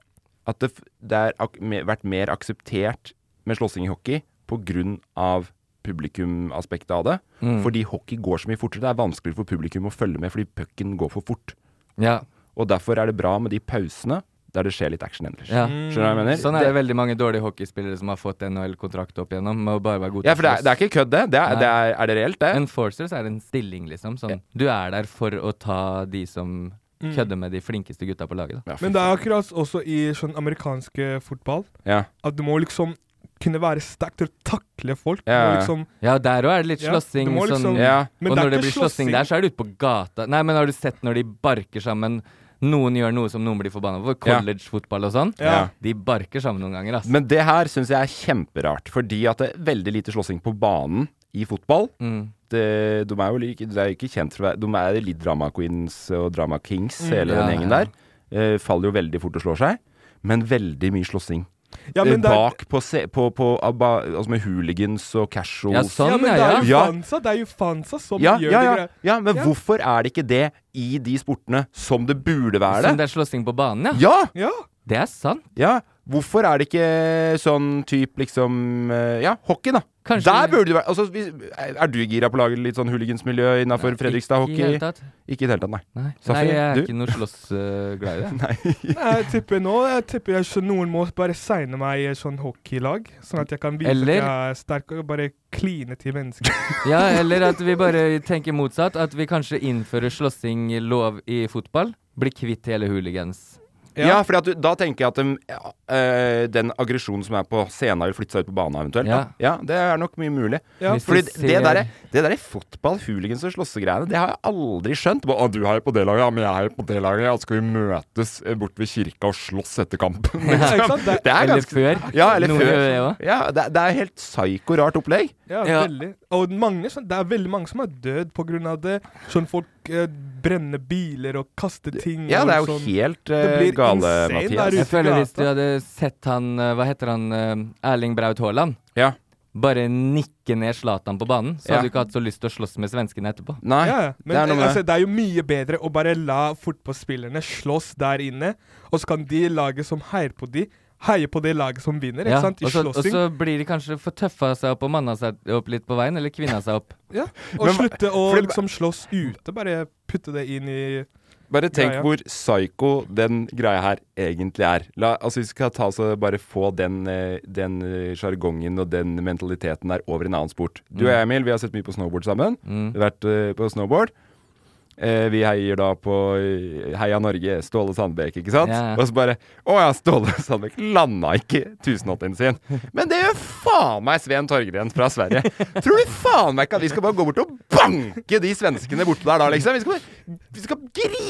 [SPEAKER 1] At det, f- det har ak me- vært mer akseptert med slåssing i hockey pga. publikumaspektet av det.
[SPEAKER 2] Mm.
[SPEAKER 1] Fordi hockey går så mye fortere. Det er vanskelig for publikum å følge med fordi pucken går for fort.
[SPEAKER 2] ja,
[SPEAKER 1] Og derfor er det bra med de pausene der det skjer litt action ellers.
[SPEAKER 2] ja.
[SPEAKER 1] Skjønner du hva jeg mener?
[SPEAKER 2] Sånn er det veldig mange dårlige hockeyspillere som har fått NHL-kontrakt opp igjennom. Med å bare være god
[SPEAKER 1] Ja, for det er, det er ikke kødd, det. det, er,
[SPEAKER 2] Nei.
[SPEAKER 1] det er, er det reelt, det?
[SPEAKER 2] Enforcers er en stilling, liksom. Sånn. Du er der for å ta de som
[SPEAKER 3] Mm.
[SPEAKER 2] kødder med de flinkeste gutta på laget. Da.
[SPEAKER 1] Ja, fy
[SPEAKER 3] Men det er akkurat også i sånn amerikansk eh, fotball
[SPEAKER 1] Ja.
[SPEAKER 3] at du må liksom kunne være sterk til å takle folk. Du
[SPEAKER 1] Ja,
[SPEAKER 3] må
[SPEAKER 1] ja.
[SPEAKER 3] liksom,
[SPEAKER 2] Ja, der òg er det litt
[SPEAKER 3] Ja,
[SPEAKER 2] slåssing.
[SPEAKER 3] du må liksom-
[SPEAKER 2] sånn,
[SPEAKER 1] ja.
[SPEAKER 3] men
[SPEAKER 2] og
[SPEAKER 3] det
[SPEAKER 2] når
[SPEAKER 3] er
[SPEAKER 2] det
[SPEAKER 3] ikke
[SPEAKER 2] blir slåssing der, så er det ute på gata. Nei, men har du sett når de barker sammen? Noen gjør noe som noen blir forbanna over.
[SPEAKER 1] Ja.
[SPEAKER 2] Collegefotball og sånn.
[SPEAKER 3] Ja.
[SPEAKER 2] De barker sammen noen ganger, ass.
[SPEAKER 1] Men det her syns jeg er kjemperart, fordi at det er veldig lite slåssing på banen i fotball.
[SPEAKER 2] Mm.
[SPEAKER 1] Det, de er jo like, de er jo ikke kjent for å være De er litt drama queens og drama kings, hele
[SPEAKER 2] Mm. Ja,
[SPEAKER 1] den gjengen
[SPEAKER 2] ja.
[SPEAKER 1] der. Eh, faller jo veldig fort og slår seg. Men veldig mye slåssing.
[SPEAKER 3] ja,
[SPEAKER 1] Eh,
[SPEAKER 3] men det er,
[SPEAKER 1] Bak på, se, på, på abba, altså med hooligans og casuals.
[SPEAKER 2] Ja,
[SPEAKER 3] ja,
[SPEAKER 2] sånn,
[SPEAKER 3] men det
[SPEAKER 2] ja.
[SPEAKER 3] er jo
[SPEAKER 1] Ja.
[SPEAKER 3] fansa, det er jo fansa som
[SPEAKER 1] ja,
[SPEAKER 3] gjør
[SPEAKER 1] ja,
[SPEAKER 3] det
[SPEAKER 1] ja,
[SPEAKER 3] greia.
[SPEAKER 1] ja, men
[SPEAKER 3] Ja.
[SPEAKER 1] hvorfor er det ikke det i de sportene som det burde
[SPEAKER 2] ja.
[SPEAKER 1] være det?
[SPEAKER 2] Som det er slåssing på banen, ja.
[SPEAKER 1] Ja!
[SPEAKER 3] Ja.
[SPEAKER 2] Det er sant.
[SPEAKER 1] Ja, hvorfor er det ikke sånn type liksom eh, Ja, hockey, da.
[SPEAKER 2] Kanskje-
[SPEAKER 1] Der burde du være altså, hvis- Er du gira på å lage litt sånn hooligansmiljø innafor
[SPEAKER 2] Ikke i det
[SPEAKER 1] Fredrikstad-hockey?
[SPEAKER 2] hele tatt.
[SPEAKER 1] Ikke i det hele tatt, nei.
[SPEAKER 2] Nei. Nei,
[SPEAKER 1] Safri,
[SPEAKER 2] jeg er
[SPEAKER 1] du?
[SPEAKER 2] ikke noe slåssglad
[SPEAKER 1] *laughs*
[SPEAKER 2] i det.
[SPEAKER 3] Nei, jeg tipper nå jeg tipper jeg, så noen må bare signe meg i et sånn hockeylag, sånn at jeg kan vise
[SPEAKER 2] Eller-
[SPEAKER 3] at jeg er sterk og bare kline til
[SPEAKER 1] *laughs*
[SPEAKER 3] mennesker.
[SPEAKER 2] Ja, eller at vi bare tenker motsatt. At vi kanskje innfører slåssing lov i fotball. Blir kvitt hele hooligans.
[SPEAKER 1] Ja, fordi at du, da tenker jeg at um, ja, eh, den aggresjonen som er på scenen, vil flytte seg ut på banen eventuelt.
[SPEAKER 2] Ja.
[SPEAKER 1] da. ja det er nok mye mulig.
[SPEAKER 3] Ja.
[SPEAKER 2] Hvis
[SPEAKER 1] Fordi
[SPEAKER 2] du
[SPEAKER 1] det
[SPEAKER 2] ser-
[SPEAKER 1] derre det der fotball, hooligans og slåssegreiene, det har jeg aldri skjønt. Bare, «Å, du heier på det laget, ja, men jeg heier på det laget. Ja, skal vi møtes eh, bort ved kirka og slåss etter kampen? liksom?
[SPEAKER 3] Ja, ikke sant? Det,
[SPEAKER 1] Det er
[SPEAKER 2] Eller
[SPEAKER 1] ganske
[SPEAKER 2] før.
[SPEAKER 1] Ja, eller
[SPEAKER 2] Noen
[SPEAKER 1] før.
[SPEAKER 2] gjør det også.
[SPEAKER 1] Ja, det, det er helt psyko-rart opplegg.
[SPEAKER 3] ja,
[SPEAKER 2] Ja.
[SPEAKER 3] veldig. Og mange, sånn, det er veldig mange som er død på grunn av det. Sånn folk eh, brenner biler og kaster ting.
[SPEAKER 1] Ja, det er
[SPEAKER 3] og
[SPEAKER 1] jo
[SPEAKER 3] sånn.
[SPEAKER 1] helt
[SPEAKER 3] Det
[SPEAKER 1] eh,
[SPEAKER 3] blir
[SPEAKER 1] gale,
[SPEAKER 3] insane der
[SPEAKER 1] Mathias.
[SPEAKER 3] ute.
[SPEAKER 2] Jeg føler hvis du
[SPEAKER 3] gata.
[SPEAKER 2] hadde sett han eh, Hva heter han? eh, Erling Braut Haaland.
[SPEAKER 1] Ja.
[SPEAKER 2] Bare nikke ned Zlatan på banen, så
[SPEAKER 1] Ja.
[SPEAKER 2] hadde du ikke hatt så lyst til å slåss med svenskene etterpå.
[SPEAKER 1] Nei,
[SPEAKER 3] Ja, ja.
[SPEAKER 1] det
[SPEAKER 3] Men
[SPEAKER 1] er noe
[SPEAKER 3] eh,
[SPEAKER 1] med
[SPEAKER 3] altså, det er jo mye bedre å bare la fotballspillerne slåss der inne, og så kan de laget som heier på de, heie på det laget som vinner, ikke
[SPEAKER 2] Ja,
[SPEAKER 3] sant? I
[SPEAKER 2] og så- og
[SPEAKER 3] slåssing.
[SPEAKER 2] så blir de kanskje for tøffa seg opp og manna seg opp litt på veien, eller kvinna seg opp.
[SPEAKER 3] Ja. Og
[SPEAKER 1] Men hva-
[SPEAKER 3] slutte å
[SPEAKER 1] fordi-
[SPEAKER 3] liksom slåss ute, bare putte det inn i
[SPEAKER 1] Bare tenk
[SPEAKER 3] Greia.
[SPEAKER 1] hvor psycho den greia her egentlig er. La, altså Vi skal ta oss og bare få den, eh, den eh, sjargongen og den mentaliteten der over en annen sport. Du og jeg, Emil, vi har sett mye på snowboard sammen. Vi har vært eh, på snowboard. Eh, vi heier da på eh, Heia Norge, Ståle Sandbekk, ikke sant?
[SPEAKER 2] Ja, ja.
[SPEAKER 1] Og så bare Å ja, Ståle Sandbekk landa ikke 1080-en sin. Men det gjør faen meg Sven Torgren fra Sverige. Tror du faen meg ikke at vi skal bare gå bort og banke de svenskene borte der da, liksom? Vi skal, bare, vi skal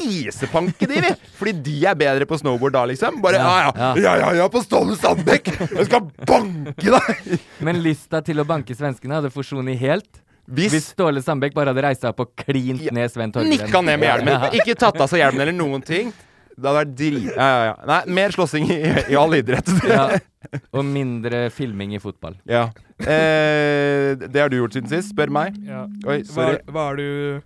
[SPEAKER 1] grisepanke de, vi! Fordi de er bedre på snowboard da, liksom. Bare ja, ja, ja, ja, ja på Ståle Sandbekk! Jeg skal banke deg!
[SPEAKER 2] Men lysta til å banke svenskene hadde forsvunnet helt. Hvis
[SPEAKER 1] Hvis
[SPEAKER 2] Ståle Sandbekk bare hadde reist seg opp og klint
[SPEAKER 1] Ja.
[SPEAKER 2] ned Sven Torgren.
[SPEAKER 1] Nikka ned med hjelmen. Ikke tatt av seg hjelmen eller noen ting. Det hadde vært drit... Ja, ja, ja. Nei, mer slåssing i, i all *laughs* idrett.
[SPEAKER 2] Ja. Og mindre filming i fotball.
[SPEAKER 1] Ja. Eh, det har du gjort siden sist, spør meg.
[SPEAKER 3] Ja.
[SPEAKER 1] Oi,
[SPEAKER 3] Hva,
[SPEAKER 1] sorry.
[SPEAKER 3] hva har du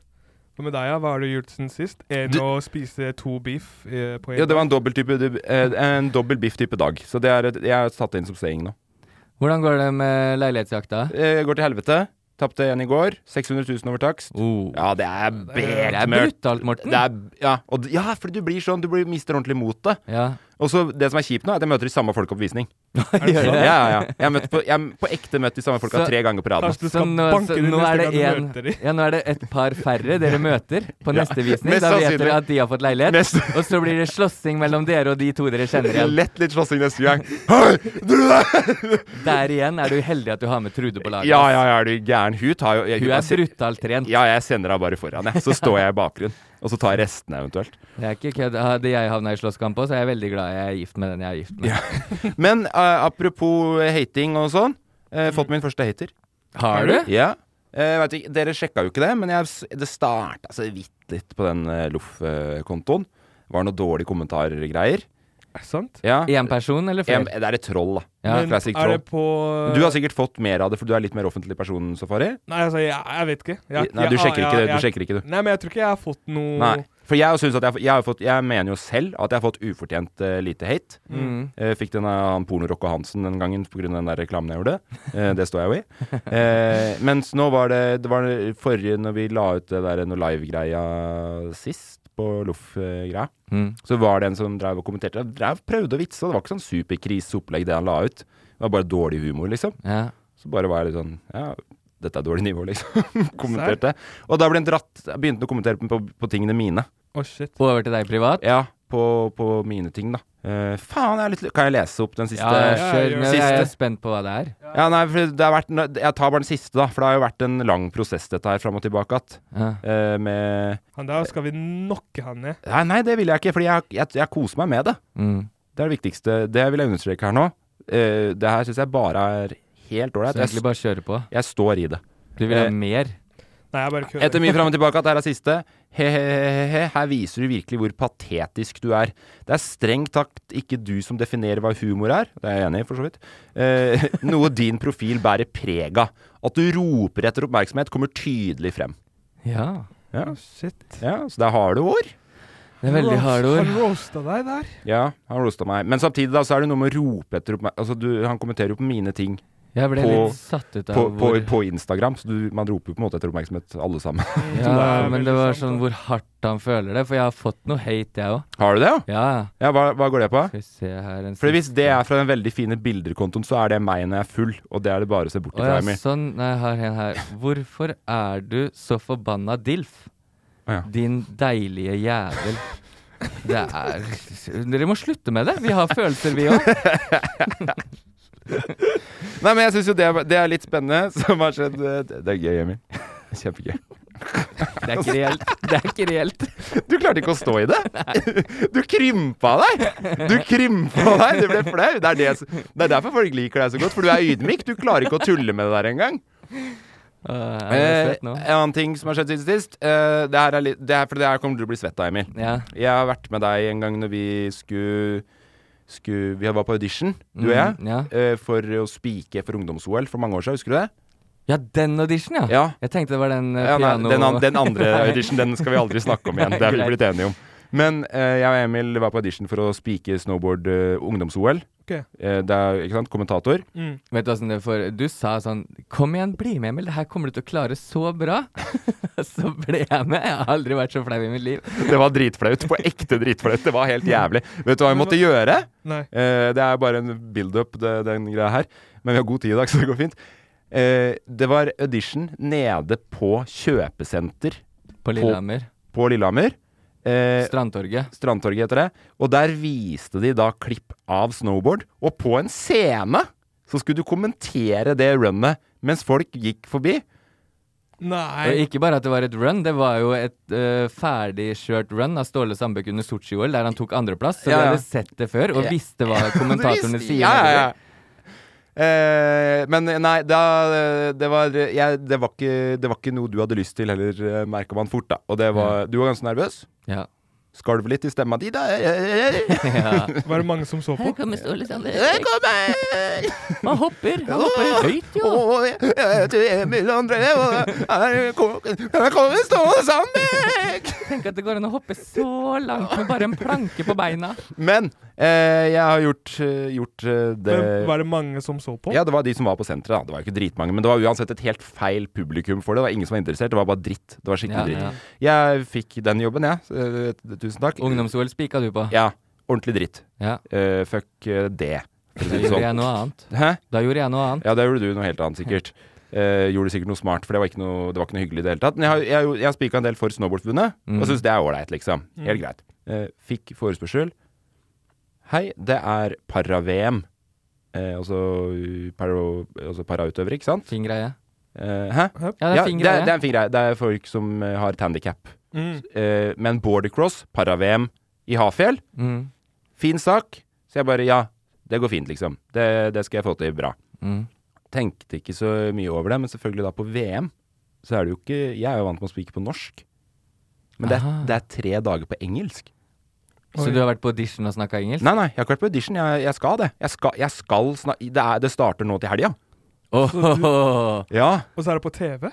[SPEAKER 3] Hva med deg, ja? Hva har du gjort siden sist? Enn
[SPEAKER 1] Du-
[SPEAKER 3] å spise to beef eh, på en
[SPEAKER 1] Ja, det var
[SPEAKER 3] dag?
[SPEAKER 1] en dobbel type eh, En dobbel biff-type dag. Så det er, et- jeg har tatt det inn som saying nå.
[SPEAKER 2] Hvordan går det med leilighetsjakta?
[SPEAKER 1] Eh, går til helvete. Tapte en i går. 600 000 over takst.
[SPEAKER 2] Oh.
[SPEAKER 1] Ja, det er
[SPEAKER 2] Det er
[SPEAKER 1] bekmørkt.
[SPEAKER 2] brutalt, Morten.
[SPEAKER 1] Det er, ja, og, d- ja, fordi du blir sånn, du blir, mister ordentlig motet.
[SPEAKER 2] Ja.
[SPEAKER 1] Og så det som er kjipt nå, er at jeg møter de samme folka på *laughs* visning.
[SPEAKER 2] Gjør
[SPEAKER 1] Ja,
[SPEAKER 2] det?
[SPEAKER 1] ja, ja. Jeg har møtt på, jeg har på ekte møtt de samme folka
[SPEAKER 2] Så-
[SPEAKER 1] tre ganger på raden.
[SPEAKER 3] Kanskje Altså, du
[SPEAKER 2] Så
[SPEAKER 3] skal
[SPEAKER 2] nå,
[SPEAKER 3] banke
[SPEAKER 2] så,
[SPEAKER 3] dem
[SPEAKER 2] nå,
[SPEAKER 3] neste
[SPEAKER 2] er det
[SPEAKER 3] gang du
[SPEAKER 2] en,
[SPEAKER 3] møter dem?
[SPEAKER 2] ja, nå er det et par færre dere møter på neste visning.
[SPEAKER 1] mest
[SPEAKER 2] Da vet
[SPEAKER 1] sannsynlig.
[SPEAKER 2] dere at de har fått leilighet.
[SPEAKER 1] Mest-
[SPEAKER 2] Og så blir det slåssing mellom dere og de to dere kjenner igjen.
[SPEAKER 1] Lett litt slåssing neste *laughs* gang. Hei, du der!
[SPEAKER 2] Der igjen er du heldig at du har med Trude på laget.
[SPEAKER 1] Ja, ja, ja, er du gæren. Hun tar jo jeg,
[SPEAKER 2] Hun er
[SPEAKER 1] jeg-
[SPEAKER 2] brutalt trent.
[SPEAKER 1] Ja, jeg sender henne bare foran, jeg. Så står jeg i bakgrunnen. Og så tar jeg restene eventuelt.
[SPEAKER 2] Det er ikke kødd. Hadde jeg havna i slåsskamp òg, så er jeg veldig glad jeg er gift med den jeg er gift med.
[SPEAKER 1] Men eh, apropos eh, hating og sånn. eh, fått min første hater.
[SPEAKER 2] Har du?
[SPEAKER 1] Ja. Eh, vet ikke, dere sjekka jo ikke det, men jeg, s- det starta så vidt litt på den uh, Loff-kontoen. Var noe dårlige kommentargreier.
[SPEAKER 3] Er det sant?
[SPEAKER 1] Ja.
[SPEAKER 2] Én person eller
[SPEAKER 1] En,
[SPEAKER 2] flere?
[SPEAKER 1] det er et troll, da.
[SPEAKER 2] Ja.
[SPEAKER 3] Men
[SPEAKER 1] Classic
[SPEAKER 3] er
[SPEAKER 1] troll.
[SPEAKER 3] det på
[SPEAKER 1] Du har sikkert fått mer av det, for du er litt mer offentlig person, Safari?
[SPEAKER 3] Nei, altså, jeg, jeg vet ikke. Jeg,
[SPEAKER 1] Nei, du
[SPEAKER 3] jeg-
[SPEAKER 1] sjekker ikke
[SPEAKER 3] jeg-
[SPEAKER 1] det, du
[SPEAKER 3] jeg-
[SPEAKER 1] sjekker ikke, du.
[SPEAKER 3] Nei, men jeg tror ikke jeg har fått noe
[SPEAKER 1] Nei. For jeg, synes at jeg, har fått- jeg, har fått, jeg mener jo selv at jeg har fått ufortjent eh, lite hate.
[SPEAKER 2] Mm.
[SPEAKER 1] Eh, fikk den av han Pornorocco Hansen den gangen pga. den der reklamen jeg gjorde. Eh, det står jeg jo i. Eh, mens nå var det, det var det forrige, når vi la ut det der noe live-greia sist, på Loff-greia,
[SPEAKER 2] Mm.
[SPEAKER 1] så var det en som drev og kommenterte. Han drev, prøvde å vitse, og det var ikke sånn superkriseopplegg det han la ut. Det var bare dårlig humor, liksom.
[SPEAKER 2] Ja.
[SPEAKER 1] Så bare var jeg litt sånn Ja, dette er dårlig nivå, liksom. *laughs* Kommenterte. Og da ble han dratt Begynte han å kommentere på, på tingene mine.
[SPEAKER 3] Å, shit.
[SPEAKER 2] Over til deg privat.
[SPEAKER 1] Ja, på, på mine ting, da. Eh, faen, jeg er litt Kan jeg lese opp den siste?
[SPEAKER 2] Ja,
[SPEAKER 1] Ja,
[SPEAKER 2] kjør. Nå er jeg
[SPEAKER 1] Siste.
[SPEAKER 2] spent på hva det er.
[SPEAKER 1] nei, for det har vært no- Jeg tar bare den siste, da. For det har jo vært en lang prosess, dette her, fram og tilbake att.
[SPEAKER 2] Ja.
[SPEAKER 1] Eh, med
[SPEAKER 3] Han der skal vi nokke han ned.
[SPEAKER 1] Nei, nei, det vil jeg ikke, Fordi jeg, jeg, jeg koser meg med det.
[SPEAKER 2] Mm.
[SPEAKER 1] Det er det viktigste. Det vil jeg understreke her nå. Eh, det her syns jeg bare er helt
[SPEAKER 2] Så
[SPEAKER 1] ålreit. Jeg,
[SPEAKER 2] egentlig bare kjøre på.
[SPEAKER 1] s- jeg står i det.
[SPEAKER 2] Du vil ha
[SPEAKER 1] Eh,
[SPEAKER 2] mer?
[SPEAKER 3] Nei, jeg bare kødder.
[SPEAKER 1] Etter mye fram og tilbake at det her er siste. He-he-he, her viser du virkelig hvor patetisk du er. Det er strengt takt ikke du som definerer hva humor er, det er jeg enig i for så vidt, eh, *laughs* noe din profil bærer preg av. At du roper etter oppmerksomhet kommer tydelig frem.
[SPEAKER 2] Ja.
[SPEAKER 1] Ja,
[SPEAKER 3] Shit.
[SPEAKER 1] ja så det er harde ord.
[SPEAKER 2] Det er veldig
[SPEAKER 3] Roast-
[SPEAKER 2] harde ord.
[SPEAKER 3] Han roasta deg der.
[SPEAKER 1] Ja, han rosta meg. Men samtidig da, så er det noe med å rope etter oppmerksomhet. Altså, du, han kommenterer jo på mine ting
[SPEAKER 2] Jeg ble
[SPEAKER 1] På-
[SPEAKER 2] litt satt ut av
[SPEAKER 1] på, på,
[SPEAKER 2] hvor
[SPEAKER 1] på Instagram, så du, man roper jo på en måte etter oppmerksomhet alle sammen. *laughs*
[SPEAKER 2] Ja,
[SPEAKER 3] er
[SPEAKER 2] men
[SPEAKER 3] veldig
[SPEAKER 2] det var
[SPEAKER 3] sant,
[SPEAKER 2] sånn
[SPEAKER 3] da.
[SPEAKER 2] hvor hardt han føler det. For jeg har fått noe hate, jeg òg.
[SPEAKER 1] Har du det, ja?
[SPEAKER 2] Ja, ja.
[SPEAKER 1] Ja, hva, hva går det på?
[SPEAKER 2] Skal vi se her en
[SPEAKER 1] For hvis
[SPEAKER 2] siste.
[SPEAKER 1] det er fra den veldig fine bilderkontoen, så er det meg når jeg er full, og det er det bare å se bort
[SPEAKER 2] Å
[SPEAKER 1] ifra,
[SPEAKER 2] ja,
[SPEAKER 1] Emil.
[SPEAKER 2] sånn. Nei, jeg har en her. Hvorfor er du så forbanna dilf?
[SPEAKER 1] Å ja.
[SPEAKER 2] Din deilige jævel. Det er Dere må slutte med det. Vi har følelser, vi
[SPEAKER 1] *laughs*
[SPEAKER 2] òg.
[SPEAKER 1] Nei, men jeg syns jo det, det er litt spennende, *laughs* som har skjedd. Eh, Det, det er gøy, Emil. *laughs* Kjempegøy.
[SPEAKER 2] Det er ikke reelt. Det er ikke reelt.
[SPEAKER 1] Du klarte ikke å stå i det! *laughs* Du krympa deg! Du krympa deg, du ble flau. Det er, det, som- det er derfor folk liker deg så godt, for du er ydmyk. Du klarer ikke å tulle med det der engang.
[SPEAKER 2] Å, jeg er
[SPEAKER 1] Eh,
[SPEAKER 2] søt nå.
[SPEAKER 1] en annen ting som har skjedd siden sist, eh, det her er litt det her, For det her kommer du til å bli svett av, Emil.
[SPEAKER 2] Ja.
[SPEAKER 1] Jeg har vært med deg en gang når vi skulle, skulle Vi var på audition, du og jeg.
[SPEAKER 2] Mm, ja.
[SPEAKER 1] eh, for å spike for ungdoms-OL for mange år siden, husker du det?
[SPEAKER 2] ja, den audition, ja.
[SPEAKER 1] Ja.
[SPEAKER 2] Jeg tenkte det var den eh,
[SPEAKER 1] Ja, nei,
[SPEAKER 2] piano...
[SPEAKER 1] den, an den andre
[SPEAKER 2] *laughs*
[SPEAKER 1] audition den skal vi aldri snakke om igjen. Det er vi
[SPEAKER 2] Greit.
[SPEAKER 1] blitt enige om. Men eh, jeg og Emil var på audition for å spike snowboard eh, ungdoms-OL
[SPEAKER 3] Ok.
[SPEAKER 1] Eh, det er, ikke sant, kommentator.
[SPEAKER 3] Mm.
[SPEAKER 2] Vet du hva som det for Du sa sånn Kom igjen, bli med, Emil. Det her kommer du til å klare så bra. *laughs* så ble jeg med. Jeg har aldri vært så flau i mitt liv.
[SPEAKER 1] Det var dritflaut. På ekte dritflaut. Det var helt jævlig. Vet du hva vi måtte gjøre?
[SPEAKER 3] Nei.
[SPEAKER 1] Eh, det er bare en build-up, det- den greia her. Men vi har god tid i dag, *laughs* så det går fint. Eh, det var audition nede på kjøpesenter
[SPEAKER 2] På Lillehammer.
[SPEAKER 1] på Lillehammer. Eh,
[SPEAKER 2] Strandtorget.
[SPEAKER 1] Strandtorget heter det. Og der viste de da klipp av snowboard. Og på en scene så skulle du kommentere det runnet mens folk gikk forbi.
[SPEAKER 3] Nei.
[SPEAKER 2] Og ikke bare at det var et run, det var jo et uh, ferdigkjørt run av Ståle Sandbøk under Sotsji-OL, der han tok andreplass. Så
[SPEAKER 1] Ja,
[SPEAKER 2] vi
[SPEAKER 1] ja.
[SPEAKER 2] hadde sett det før, og
[SPEAKER 1] *laughs*
[SPEAKER 2] visste hva kommentatorene
[SPEAKER 1] Visst,
[SPEAKER 2] sier.
[SPEAKER 1] Ja, ja, ja.
[SPEAKER 2] nedover.
[SPEAKER 1] Eh, men nei, da, eh, det, var, jeg, det, var ikke, det var ikke noe du hadde lyst til heller, eh, merka man fort. da Og det
[SPEAKER 2] Mm.
[SPEAKER 1] var, Du var ganske nervøs.
[SPEAKER 2] ja.
[SPEAKER 1] Skalv litt i stemma di, da. Eh, eh, eh,
[SPEAKER 3] Var det mange som så på?
[SPEAKER 2] kommer Ståle
[SPEAKER 1] eh,
[SPEAKER 2] Sandbøk.
[SPEAKER 1] Kom her!
[SPEAKER 2] Han hopper. Han hopper høyt, jo.
[SPEAKER 1] Å, jeg- jeg heter Emil André, og her kom- her kommer Ståle Sandbekk!
[SPEAKER 2] *laughs* Tenk at det går an å hoppe så langt med bare en planke på beina.
[SPEAKER 1] Men eh, jeg har gjort, eh, gjort eh,
[SPEAKER 3] Men
[SPEAKER 1] det
[SPEAKER 3] Var det mange som så på?
[SPEAKER 1] Ja, det var de som var på senteret. da. Det var jo ikke dritmange, men det var uansett et helt feil publikum for det. Det var ingen som var interessert. Det var bare dritt. Det var
[SPEAKER 2] Ja,
[SPEAKER 1] skikkelig
[SPEAKER 2] ja.
[SPEAKER 1] dritt. Jeg fikk den jobben, jeg. Ja. Tusen takk.
[SPEAKER 2] Ungdoms-OL spika du på.
[SPEAKER 1] Ja. Ordentlig dritt.
[SPEAKER 2] Ja.
[SPEAKER 1] Eh, fuck eh, det. For å
[SPEAKER 2] Da
[SPEAKER 1] si det
[SPEAKER 2] gjorde jeg
[SPEAKER 1] sånn.
[SPEAKER 2] noe annet.
[SPEAKER 1] Hæ?
[SPEAKER 2] Da gjorde jeg noe annet.
[SPEAKER 1] Ja, da gjorde du noe helt annet, sikkert. Eh, gjorde sikkert noe smart, for det var ikke noe, det var ikke noe hyggelig i det hele tatt. Men jeg har, jeg, har jo- jeg har spika en del for Snowboardforbundet, og syns det er ålreit, liksom. Helt greit. Eh, fikk forespørsel. Hei, det er para-VM. Eh, altså para- altså para-utøvere, ikke sant?
[SPEAKER 2] Fin greie.
[SPEAKER 1] Eh, hæ?
[SPEAKER 2] Ja, det er fin greie.
[SPEAKER 1] Det, er en fin greie. Det er folk som eh, har et handikap.
[SPEAKER 3] Mm.
[SPEAKER 1] Eh, men bordercross, para-VM i Hafjell,
[SPEAKER 2] Mm.
[SPEAKER 1] fin sak. Så jeg bare ja, det går fint, liksom. Det, det skal jeg få til bra.
[SPEAKER 2] Mm.
[SPEAKER 1] Tenkte ikke så mye over det, men selvfølgelig da på VM, så er det jo ikke Jeg er jo vant med å spike på norsk. Men det, er-
[SPEAKER 2] Aha.
[SPEAKER 1] det er tre dager på engelsk.
[SPEAKER 2] Så du har vært på audition og snakka engelsk?
[SPEAKER 1] Nei, nei, jeg har ikke vært på audition. Jeg, jeg skal det. Jeg skal, jeg skal snak- det, er, det starter nå til helga.
[SPEAKER 2] Åhåhå.
[SPEAKER 1] Ja.
[SPEAKER 3] Og så er det på TV?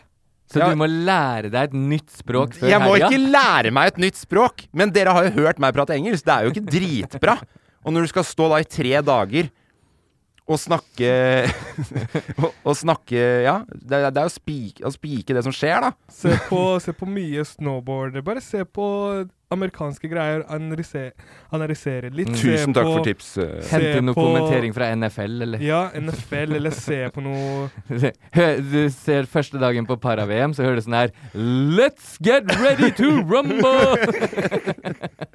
[SPEAKER 2] Så
[SPEAKER 1] Ja.
[SPEAKER 2] du må lære deg et nytt språk før
[SPEAKER 1] Jeg må
[SPEAKER 2] helga?
[SPEAKER 1] ikke lære meg et nytt språk, men dere har jo hørt meg prate engelsk. Det er jo ikke dritbra. Og når du skal stå da i tre dager og snakke *laughs* og, og snakke Ja, det, er- det er jo spik, å spike det som skjer, da.
[SPEAKER 3] Se på, se på mye snowboard. Bare se på amerikanske greier. Analysere, analysere litt. Se
[SPEAKER 1] Mm. Tusen takk
[SPEAKER 3] på,
[SPEAKER 1] for tips. eh.
[SPEAKER 2] Mm. Hente
[SPEAKER 3] Se
[SPEAKER 2] noe
[SPEAKER 3] på-
[SPEAKER 2] kommentering fra NFL, eller
[SPEAKER 3] Ja, NFL, eller se på noe
[SPEAKER 2] Hø, Du ser første dagen på para-VM, så hører du sånn her Let's get ready to rumble! *laughs*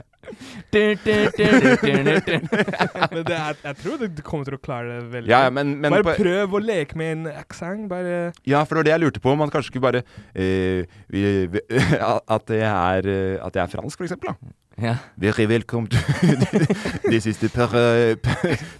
[SPEAKER 2] Du, du, du, du, du, du, du.
[SPEAKER 3] Men det er, jeg tror du kommer til å klare det veldig
[SPEAKER 1] Ja, ja, men, men
[SPEAKER 3] Bare
[SPEAKER 1] på-
[SPEAKER 3] prøv å leke med en aksent. Bare
[SPEAKER 1] Ja, for det var det jeg lurte på. Om man kanskje skulle bare eh, vi- *laughs* vi- At jeg er, eh, at jeg er fransk, for eksempel. Da.
[SPEAKER 2] Ja.
[SPEAKER 1] Very welcome to *laughs* This is the para,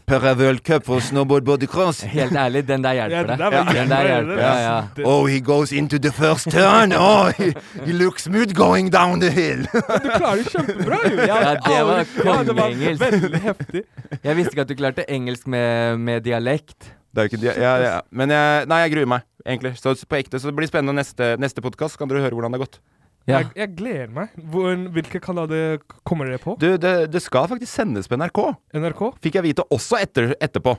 [SPEAKER 1] para World Cup for snowboard bodycross.
[SPEAKER 2] Helt ærlig, den der hjelper
[SPEAKER 3] det
[SPEAKER 2] deg.
[SPEAKER 3] der var
[SPEAKER 2] Den der hjelper deg, ja.
[SPEAKER 3] Det-
[SPEAKER 1] Oh, he goes into the first turn. Oh, he, he looks smooth going down the hill.
[SPEAKER 3] Du klarer det kjempebra, jo! Jeg
[SPEAKER 2] Ja,
[SPEAKER 3] hadde
[SPEAKER 2] det var
[SPEAKER 3] aldri- Ja, det var
[SPEAKER 2] kongeengelsk.
[SPEAKER 3] Veldig heftig.
[SPEAKER 2] Jeg visste ikke at du klarte engelsk med, med dialekt.
[SPEAKER 1] Det er jo ikke de, ja, ja. Men jeg, nei, jeg gruer meg, egentlig. Så på ekte. Så det blir spennende neste, neste podkast. Kan dere høre hvordan det har gått?
[SPEAKER 2] Ja.
[SPEAKER 3] Jeg, jeg gleder meg. Hvor, hvilke kanaler kommer dere på?
[SPEAKER 1] Du, det, det skal faktisk sendes på NRK.
[SPEAKER 3] NRK?
[SPEAKER 1] Fikk jeg vite også etter, etterpå.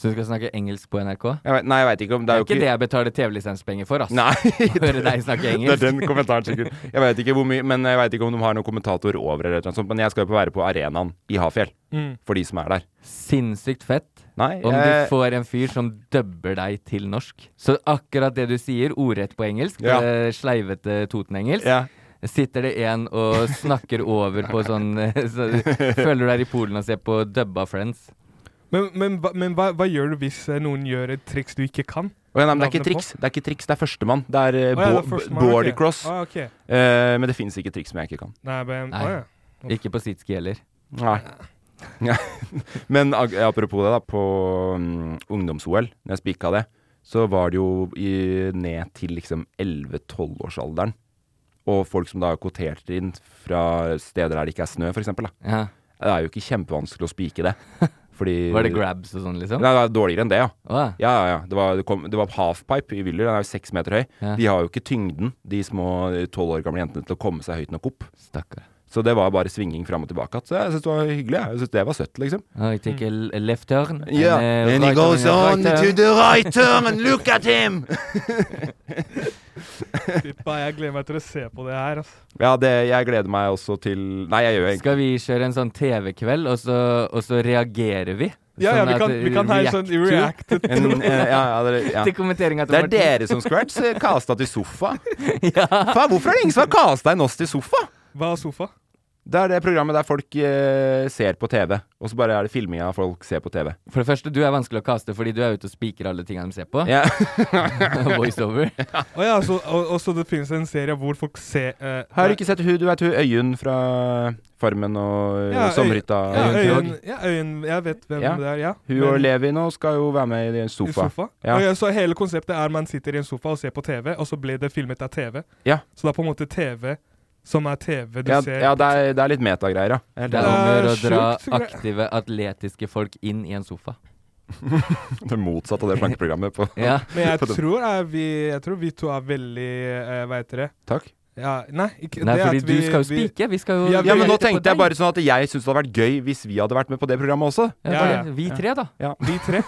[SPEAKER 2] Så du skal snakke engelsk på NRK?
[SPEAKER 1] Jeg, vet- nei, jeg veit ikke om
[SPEAKER 2] Det
[SPEAKER 1] Det
[SPEAKER 2] er
[SPEAKER 1] er jo
[SPEAKER 2] ikke det jeg betaler TV-lisenspenger for, ass.
[SPEAKER 1] Nei.
[SPEAKER 2] *laughs* Høre deg snakke
[SPEAKER 1] *laughs* Det er
[SPEAKER 2] engelsk.
[SPEAKER 1] den kommentaren, sikkert. Jeg vet ikke hvor mye Men jeg vet ikke om de har noen kommentator over, eller noe sånt, men jeg skal jo på være på arenaen i Hafjell.
[SPEAKER 3] Mm.
[SPEAKER 1] For de som er der.
[SPEAKER 2] Sinnssykt fett
[SPEAKER 1] Nei,
[SPEAKER 2] om
[SPEAKER 1] jeg-
[SPEAKER 2] du får en fyr som dubber deg til norsk. Så akkurat det du sier, ordrett på engelsk,
[SPEAKER 1] Ja.
[SPEAKER 2] eh, sleivete Toten-engelsk,
[SPEAKER 1] ja.
[SPEAKER 2] sitter det en og snakker over på sånn *laughs* eh, så, Føler du deg i Polen og ser på dubba Friends.
[SPEAKER 3] Men, men, hva- men hva, hva gjør du hvis eh, noen gjør et triks du ikke kan?
[SPEAKER 1] Å ja, nei, men det er
[SPEAKER 3] Navnet
[SPEAKER 1] ikke triks, det er ikke triks, det er førstemann. Det er eh,
[SPEAKER 3] Å, ja, det er
[SPEAKER 1] bo-
[SPEAKER 3] første mann, ok.
[SPEAKER 1] border cross.
[SPEAKER 3] Ah, ok.
[SPEAKER 1] Eh, men det finnes ikke triks som jeg ikke kan.
[SPEAKER 3] Nei, men,
[SPEAKER 2] Nei.
[SPEAKER 3] Å, ja.
[SPEAKER 2] Ikke på sitski heller.
[SPEAKER 1] Nei. *laughs* Ja. Men ag- apropos det, da. På mm, ungdoms-OL, når jeg spika det, så var det jo i, ned til liksom 11-12-årsalderen. Og folk som da er kvotert inn fra steder der det ikke er snø, f.eks.
[SPEAKER 2] Ja.
[SPEAKER 1] Det er jo ikke kjempevanskelig å spike det. *laughs* Fordi
[SPEAKER 2] Var det grabs og sånn, liksom?
[SPEAKER 1] Nei, det er dårligere enn det, ja.
[SPEAKER 2] Å, ja.
[SPEAKER 1] Ja, ja, ja. Det var, det kom, det var halfpipe i Wyller. Den er jo seks meter høy.
[SPEAKER 2] Ja.
[SPEAKER 1] De har jo ikke tyngden, de små tolv år gamle jentene, til å komme seg høyt nok opp.
[SPEAKER 2] Stakkar.
[SPEAKER 1] Så det var bare svinging fram og tilbake. Så jeg syns det var hyggelig. jeg. Jeg synes det var søtt, liksom.
[SPEAKER 2] I take a
[SPEAKER 3] Mm.
[SPEAKER 2] l- a left turn. and,
[SPEAKER 1] Yeah.
[SPEAKER 2] uh, right turn and right turn.
[SPEAKER 1] the right turn and look at him!
[SPEAKER 3] Fippa, jeg gleder meg til å se på det her. Altså.
[SPEAKER 1] *laughs* Ja, det, jeg gleder meg også til Nei, jeg gjør egentlig
[SPEAKER 2] Skal vi kjøre en sånn TV-kveld, og, så- og så reagerer vi?
[SPEAKER 3] Ja, ja,
[SPEAKER 2] Sånn
[SPEAKER 3] vi
[SPEAKER 2] at
[SPEAKER 3] kan, vi kan ha en sånn
[SPEAKER 2] react to-
[SPEAKER 3] react.
[SPEAKER 1] en, en, ja, ja, det, ja.
[SPEAKER 2] Til kommenteringa til
[SPEAKER 1] Det er
[SPEAKER 2] Martin.
[SPEAKER 1] dere som skulle vært eh, casta til
[SPEAKER 2] *laughs*
[SPEAKER 1] sofa. Faen, hvorfor er det ingen som har casta enn oss til sofa?
[SPEAKER 3] Hva er sofa?
[SPEAKER 1] Det er det programmet der folk eh, ser på TV, og så bare er det filming av folk ser på TV.
[SPEAKER 2] For det første, du er vanskelig å kaste fordi du er ute og spiker alle tingene de ser på. *laughs*
[SPEAKER 1] *laughs* Ja.
[SPEAKER 2] Voiceover.
[SPEAKER 3] Å ja, så, og, og så det finnes en serie hvor folk ser eh,
[SPEAKER 1] Har du ikke sett hun, du vet hun Øyunn fra Farmen og
[SPEAKER 3] Ja,
[SPEAKER 1] og Sommerhytta?
[SPEAKER 3] ja,
[SPEAKER 2] Øyunn
[SPEAKER 3] Øyunn,
[SPEAKER 2] Krog?
[SPEAKER 3] ja, Øyunn- jeg vet hvem
[SPEAKER 1] Ja.
[SPEAKER 3] det er. Ja.
[SPEAKER 1] Hun og Levi nå skal jo være med i
[SPEAKER 3] I
[SPEAKER 1] sofa.
[SPEAKER 3] sofa.
[SPEAKER 1] Ja.
[SPEAKER 3] Og ja, så hele konseptet er man sitter i en sofa og ser på TV, og så blir det filmet av TV.
[SPEAKER 1] Ja.
[SPEAKER 3] Så det er på en måte TV som er TV du
[SPEAKER 1] Ja,
[SPEAKER 3] ser.
[SPEAKER 1] ja det, er, det er litt metagreier, ja. Jeg er helt
[SPEAKER 2] Det er
[SPEAKER 3] Det
[SPEAKER 2] om å
[SPEAKER 3] er
[SPEAKER 2] gjøre å dra
[SPEAKER 3] sjukt gre-
[SPEAKER 2] aktive, atletiske folk inn i en sofa.
[SPEAKER 1] enig. *laughs* Det er motsatt av det slankeprogrammet på *laughs*
[SPEAKER 2] Ja.
[SPEAKER 3] Men jeg tror, er vi, jeg tror vi to er veldig eh, Hva heter det?
[SPEAKER 1] Takk.
[SPEAKER 3] Ja, nei, ikke
[SPEAKER 2] Nei,
[SPEAKER 3] det
[SPEAKER 2] fordi
[SPEAKER 3] at
[SPEAKER 2] du
[SPEAKER 3] vi,
[SPEAKER 2] skal jo
[SPEAKER 3] vi-
[SPEAKER 2] spike. Vi skal jo
[SPEAKER 3] Ja,
[SPEAKER 1] Ja, men nå
[SPEAKER 2] Vi-
[SPEAKER 1] tenkte jeg bare sånn at jeg syns det hadde vært gøy hvis vi hadde vært med på det programmet også.
[SPEAKER 2] ja,
[SPEAKER 3] Ja,
[SPEAKER 2] bare
[SPEAKER 3] ja.
[SPEAKER 2] Vi tre, da.
[SPEAKER 3] Vi tre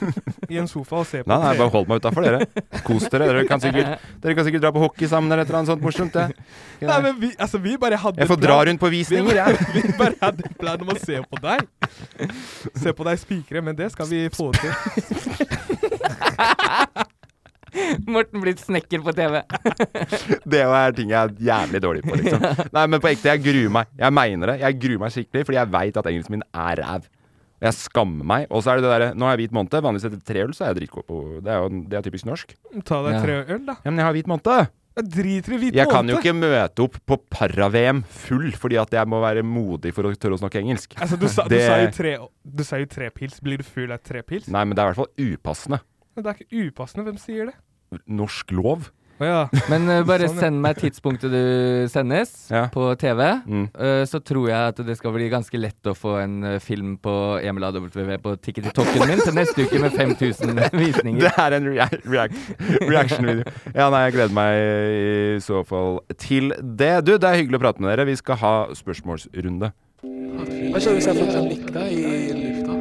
[SPEAKER 3] i en sofa
[SPEAKER 1] *laughs*
[SPEAKER 3] og ser på
[SPEAKER 1] Nei, nei, bare
[SPEAKER 3] TV.
[SPEAKER 1] hold meg utafor, dere. Kos dere. Dere kan *laughs* sikkert, dere kan sikkert dra på hockey sammen eller et eller annet sånt morsomt. Jeg,
[SPEAKER 3] Nei, men vi, altså, vi bare hadde
[SPEAKER 1] jeg får dra rundt på visninger, *laughs* jeg.
[SPEAKER 3] Vi *laughs* bare hadde en plan om å se på deg. Se på deg spikre, men det skal vi få til.
[SPEAKER 2] *laughs* Morten blitt snekker på TV.
[SPEAKER 1] Det er ting jeg er jævlig dårlig på, liksom.
[SPEAKER 3] *laughs*
[SPEAKER 1] Nei, men på ekte, jeg gruer meg. Jeg mener det. Jeg gruer meg skikkelig, fordi jeg veit at engelsken min er ræv. Og Jeg skammer meg. Og så er det det derre Nå har jeg hvit måned. Vanligvis etter tre øl så er jeg dritgod på Det er jo det er typisk norsk.
[SPEAKER 3] Ta deg
[SPEAKER 2] Ja.
[SPEAKER 3] tre øl, da.
[SPEAKER 1] Ja, men jeg har hvit måned.
[SPEAKER 3] Jeg driter i hvit
[SPEAKER 1] Jeg kan jo
[SPEAKER 3] måned.
[SPEAKER 1] ikke møte opp på para-VM full fordi at jeg må være modig for å tørre å snakke engelsk.
[SPEAKER 3] Altså, du, sa, du,
[SPEAKER 1] Det-
[SPEAKER 3] sa jo tre, du sa jo tre pils. Blir du full av tre pils?
[SPEAKER 1] Nei, men det er i hvert fall upassende.
[SPEAKER 3] Men det er ikke upassende. Hvem sier det?
[SPEAKER 1] Norsk lov.
[SPEAKER 3] Å ja.
[SPEAKER 2] Men eh, bare
[SPEAKER 3] Sånn, ja.
[SPEAKER 2] send meg tidspunktet du sendes
[SPEAKER 1] Ja.
[SPEAKER 2] på TV,
[SPEAKER 1] Mm.
[SPEAKER 2] eh, så tror jeg at det skal bli ganske lett å få en eh, film på Emil AWV på tikketitokken min til neste uke med 5000 *laughs* visninger.
[SPEAKER 1] Det er en rea react reaction-video. Ja, nei, jeg gleder meg i så fall til det. Du, det er hyggelig å prate med dere. Vi skal ha spørsmålsrunde.
[SPEAKER 5] Hva skjer hvis jeg får panikk da i lufta?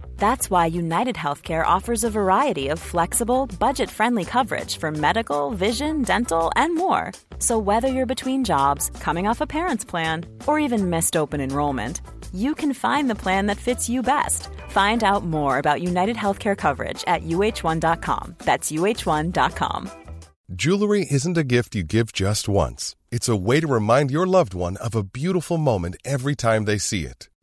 [SPEAKER 6] That's why United Healthcare offers a variety of flexible, budget friendly coverage for medical, vision, dental, and more. So, whether you're between jobs, coming off a parent's plan, or even missed open enrollment, you can find the plan that fits you best. Find out more about United Healthcare coverage at uh1.com. That's uh1.com.
[SPEAKER 7] Jewelry isn't a gift you give just once. It's a way to remind your loved one of a beautiful moment every time they see it.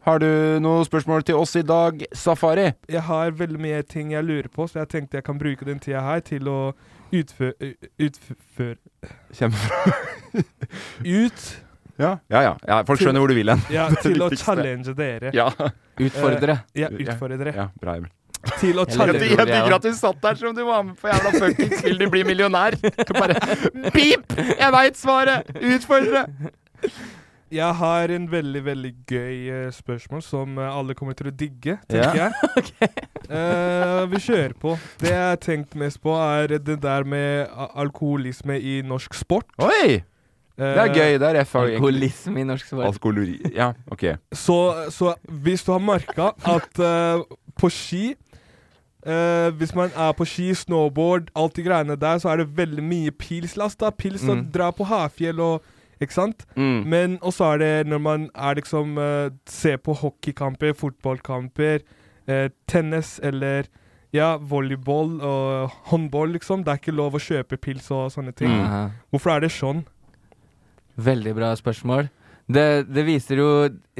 [SPEAKER 1] Har du noen spørsmål til oss i dag, Safari?
[SPEAKER 3] Jeg har veldig mye ting jeg lurer på, så jeg tenkte jeg kan bruke den tida her til å utføre Utføre Ut
[SPEAKER 1] *laughs* Ja, ja. ja. ja folk skjønner hvor du vil hen.
[SPEAKER 3] Ja,
[SPEAKER 1] *laughs* Det er
[SPEAKER 3] til å
[SPEAKER 1] viktigste.
[SPEAKER 3] challenge dere.
[SPEAKER 1] Ja.
[SPEAKER 3] Utfordre. Eh, ja, utfordre.
[SPEAKER 1] Ja, bra, Emil.
[SPEAKER 3] Til å challenge
[SPEAKER 1] Jeg digger at du satt der som du var med på jævla fuckings Vil du bli millionær? Bare pip! Jeg veit svaret! Utfordre!
[SPEAKER 3] Jeg har en veldig, veldig gøy eh, spørsmål som eh, alle kommer til å digge, tenker
[SPEAKER 1] *laughs* Ja.
[SPEAKER 3] jeg. Eh, vi kjører på. Det jeg har tenkt mest på, er det der med a- alkoholisme i norsk sport. Eh,
[SPEAKER 1] Oi! Det er gøy. Det er F.
[SPEAKER 2] Alkoholisme i norsk sport.
[SPEAKER 1] Alkoholori Eh, Ja, OK.
[SPEAKER 3] Så, så hvis du har merka at eh, på ski eh, Hvis man er på ski, snowboard, alt de greiene der, så er det veldig mye pilslast. da Pils som
[SPEAKER 1] Mm.
[SPEAKER 3] drar på havfjell og Ikke sant?
[SPEAKER 1] Mm.
[SPEAKER 3] Men også er det når man er liksom eh, ser på hockeykamper, fotballkamper, eh, tennis eller ja, volleyball og håndball, liksom. Det er ikke lov å kjøpe pils og sånne ting.
[SPEAKER 1] Mm.
[SPEAKER 2] Mhm.
[SPEAKER 3] Hvorfor er det sånn?
[SPEAKER 2] Veldig bra spørsmål. Det, det viser jo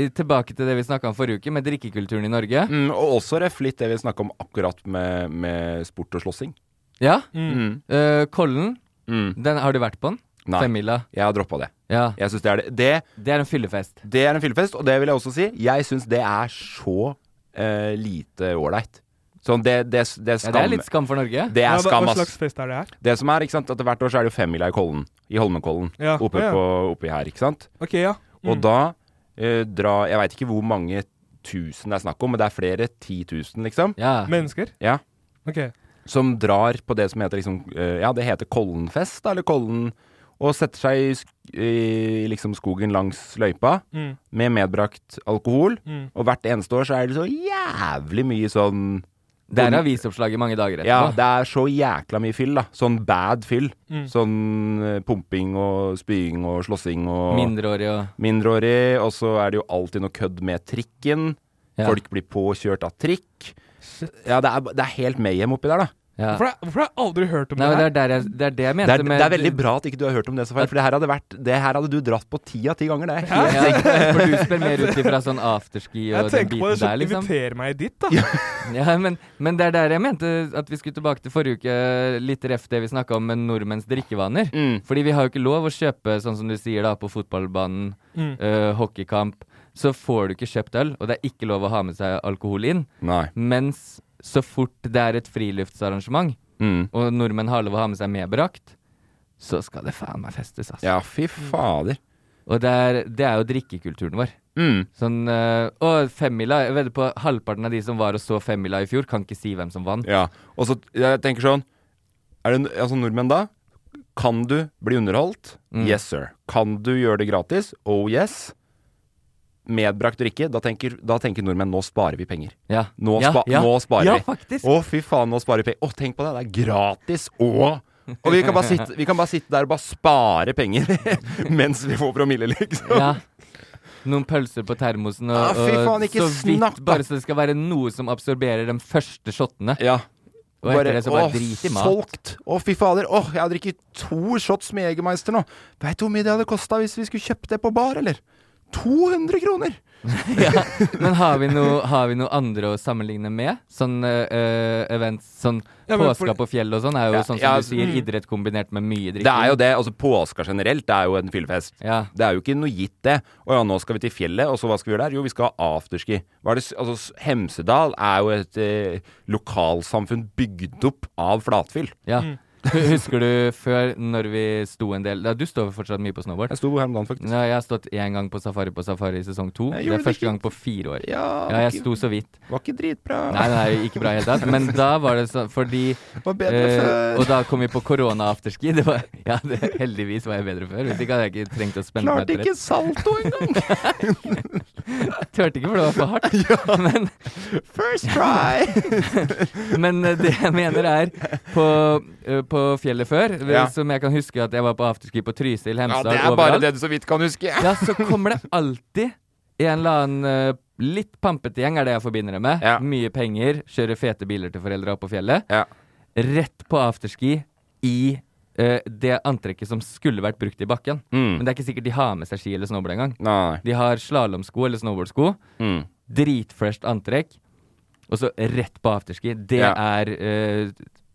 [SPEAKER 2] i- tilbake til det vi snakka om forrige uke, med drikkekulturen i Norge.
[SPEAKER 1] Mm, og også ref litt det vi snakka om akkurat med, med sport og slåssing.
[SPEAKER 2] Ja.
[SPEAKER 1] Mm.
[SPEAKER 2] Eh, Kollen,
[SPEAKER 1] Mm.
[SPEAKER 2] den, har du vært på den?
[SPEAKER 1] Nei.
[SPEAKER 2] Femmila?
[SPEAKER 1] Jeg har droppa det.
[SPEAKER 2] Ja.
[SPEAKER 1] Jeg synes det, er det. Det,
[SPEAKER 2] det er en fyllefest.
[SPEAKER 1] Det er en fyllefest, og det vil jeg også si. Jeg syns det er så eh, lite ålreit. Sånn, det, det, det er
[SPEAKER 2] Ja,
[SPEAKER 1] skam.
[SPEAKER 2] det er litt skam for Norge.
[SPEAKER 1] Det
[SPEAKER 3] Ja,
[SPEAKER 1] er
[SPEAKER 3] hva-
[SPEAKER 1] skam,
[SPEAKER 3] hva
[SPEAKER 1] ass.
[SPEAKER 3] slags fest er det her?
[SPEAKER 1] Det som er, ikke sant, at hvert år så er det jo femmila i Kollen. I Holmenkollen.
[SPEAKER 3] Ja,
[SPEAKER 1] Oppe,
[SPEAKER 3] å ja. Mm.
[SPEAKER 1] På, oppi her, ikke sant.
[SPEAKER 3] OK, ja.
[SPEAKER 1] Og da eh, dra Jeg veit ikke hvor mange tusen det er snakk om, men det er flere ti tusen, liksom.
[SPEAKER 3] Mennesker?
[SPEAKER 1] Ja.
[SPEAKER 3] OK.
[SPEAKER 1] Som drar på det som heter liksom eh, Ja, det heter Kollenfest, da, eller Kollen Og setter seg i, sk i liksom skogen langs løypa
[SPEAKER 8] Mm.
[SPEAKER 1] med medbrakt alkohol.
[SPEAKER 8] Mm.
[SPEAKER 1] Og hvert eneste år så er det så jævlig mye sånn
[SPEAKER 2] Det er avisoppslag i mange dager etterpå.
[SPEAKER 1] ja, det er så jækla mye fyll, da. Sånn bad fyll.
[SPEAKER 2] Mm.
[SPEAKER 1] Sånn eh, pumping og spying og slåssing og
[SPEAKER 2] Mindreårig og
[SPEAKER 1] Mindreårig. Og så er det jo alltid noe kødd med trikken.
[SPEAKER 2] Ja.
[SPEAKER 1] Folk blir påkjørt av trikk. Ja, det er, det er helt mayhem oppi der, da.
[SPEAKER 3] Hvorfor, har- hvorfor har jeg aldri hørt om
[SPEAKER 2] Nei,
[SPEAKER 3] det
[SPEAKER 2] men det
[SPEAKER 3] her?
[SPEAKER 2] er, der jeg, det er det jeg
[SPEAKER 1] Det
[SPEAKER 2] mente
[SPEAKER 1] er,
[SPEAKER 2] med
[SPEAKER 1] det er veldig bra at ikke du har hørt om det, Safari, for det her hadde, vært, det her hadde du dratt på ti av ti ganger. Det er helt
[SPEAKER 2] Ja,
[SPEAKER 1] sikkert.
[SPEAKER 2] for du spør mer ut ifra sånn afterski og
[SPEAKER 3] Jeg
[SPEAKER 2] den
[SPEAKER 3] tenker på det
[SPEAKER 2] biten
[SPEAKER 3] som
[SPEAKER 2] der, liksom.
[SPEAKER 3] inviterer meg dit, da.
[SPEAKER 2] *laughs* Ja, men, men det er der jeg mente at vi skulle tilbake til forrige uke, litt ref det vi snakka om med nordmenns drikkevaner. Fordi vi har jo ikke lov å kjøpe, sånn som du sier, da, på fotballbanen,
[SPEAKER 3] Mm.
[SPEAKER 2] eh, hockeykamp. Så får du ikke kjøpt øl, og det er ikke lov å ha med seg alkohol inn.
[SPEAKER 1] Nei.
[SPEAKER 2] Mens så fort det er et friluftsarrangement,
[SPEAKER 1] Mm.
[SPEAKER 2] og nordmenn har lov å ha med seg medbrakt, så skal det faen meg festes, altså.
[SPEAKER 1] Ja, fy fader.
[SPEAKER 2] Og det er, det er jo drikkekulturen vår.
[SPEAKER 1] Mm.
[SPEAKER 2] Sånn, øh, og femmila Jeg vedder på halvparten av de som var og så femmila i fjor, kan ikke si hvem som vant.
[SPEAKER 1] Ja, og så jeg tenker sånn er det, Altså nordmenn da Kan du bli underholdt?
[SPEAKER 2] Mm.
[SPEAKER 1] Yes sir Kan du gjøre det gratis? Oh yes Medbrakt drikke da tenker, da tenker nordmenn Nå sparer vi penger
[SPEAKER 2] Ja.
[SPEAKER 1] Nå,
[SPEAKER 2] Ja,
[SPEAKER 1] spa
[SPEAKER 2] ja.
[SPEAKER 1] nå sparer
[SPEAKER 2] Ja,
[SPEAKER 1] vi
[SPEAKER 2] faktisk.
[SPEAKER 1] Å fy faen, nå sparer vi penger Å tenk på det, det er gratis Og og vi kan, bare sitte, vi kan bare sitte der og bare spare penger *laughs* Mens vi får promille liksom
[SPEAKER 2] Ja. Noen pølser på termosen, og,
[SPEAKER 1] Ah, fy faen,
[SPEAKER 2] og
[SPEAKER 1] ikke
[SPEAKER 2] så vidt
[SPEAKER 1] snakk, da.
[SPEAKER 2] bare så det skal være noe som absorberer de første shottene.
[SPEAKER 1] Ja.
[SPEAKER 2] Og etter det så bare
[SPEAKER 1] åh,
[SPEAKER 2] drit i mat.
[SPEAKER 1] Solgt! Å, fy fader. Åh, jeg har drukket to shots med Jegermeister nå. Veit du hvor mye det hadde kosta hvis vi skulle kjøpt det på bar, eller? 200 kroner!
[SPEAKER 2] *laughs* Men har vi, noe, har vi noe andre å sammenligne med? Sånn øh, events, sånn
[SPEAKER 1] Ja, men for-
[SPEAKER 2] påska på fjell og sånn, er jo
[SPEAKER 1] Ja,
[SPEAKER 2] sånn som
[SPEAKER 1] ja,
[SPEAKER 2] du sier,
[SPEAKER 1] mm.
[SPEAKER 2] idrett kombinert med mye drikking.
[SPEAKER 1] Det er jo det. Altså, påska generelt det er jo en fyllefest.
[SPEAKER 2] Ja.
[SPEAKER 1] Det er jo ikke noe gitt, det. Å ja, nå skal vi til fjellet, og så hva skal vi gjøre der? Jo, vi skal ha afterski. Hva er det, s- altså, s- Hemsedal er jo et eh, lokalsamfunn bygd opp av flatfyll.
[SPEAKER 2] Ja. Husker du før, når vi sto en del da, Du står fortsatt mye på snowboard?
[SPEAKER 1] Jeg sto her om dagen, faktisk.
[SPEAKER 2] Ja, jeg har stått én gang på safari på safari i sesong to.
[SPEAKER 1] Jeg
[SPEAKER 2] Det
[SPEAKER 1] gjorde
[SPEAKER 2] er
[SPEAKER 1] det
[SPEAKER 2] første
[SPEAKER 1] ikke-
[SPEAKER 2] gang på fire år.
[SPEAKER 1] Ja,
[SPEAKER 2] jeg
[SPEAKER 1] ikke-
[SPEAKER 2] sto så vidt.
[SPEAKER 1] Var ikke dritbra.
[SPEAKER 2] Nei, nei, ikke bra i det hele tatt. Men da var det sånn fordi eh,
[SPEAKER 1] Var bedre før.
[SPEAKER 2] Og da kom vi på korona-afterski. Det var- Ja, det, heldigvis var jeg bedre før. Hvis ikke hadde jeg ikke trengt å spenne meg
[SPEAKER 1] Klarte
[SPEAKER 2] etter.
[SPEAKER 1] ikke
[SPEAKER 2] et-
[SPEAKER 1] salto engang!
[SPEAKER 2] Turte ikke, for det var for
[SPEAKER 1] *laughs*
[SPEAKER 2] hardt. Men,
[SPEAKER 1] First try!
[SPEAKER 2] men eh, det jeg mener er på, eh, på fjellet før, eh,
[SPEAKER 1] Ja.
[SPEAKER 2] som jeg kan huske at jeg var på afterski på Trysil,
[SPEAKER 1] Ja,
[SPEAKER 2] Hemsedal,
[SPEAKER 1] det er bare det du så vidt kan huske.
[SPEAKER 2] ja, så kommer det alltid en eller annen eh, litt pampete gjeng, er det jeg forbinder det med. Mye penger, kjører fete biler til foreldra opp på fjellet. Rett på afterski i eh, det antrekket som skulle vært brukt i bakken.
[SPEAKER 1] Mm.
[SPEAKER 2] Men det er ikke sikkert de har med seg ski eller snowboard engang.
[SPEAKER 1] Nei.
[SPEAKER 2] De har slalåmsko eller snowboardsko.
[SPEAKER 1] Mm.
[SPEAKER 2] dritfresh antrekk, og så rett på afterski. Det
[SPEAKER 1] Ja.
[SPEAKER 2] er eh,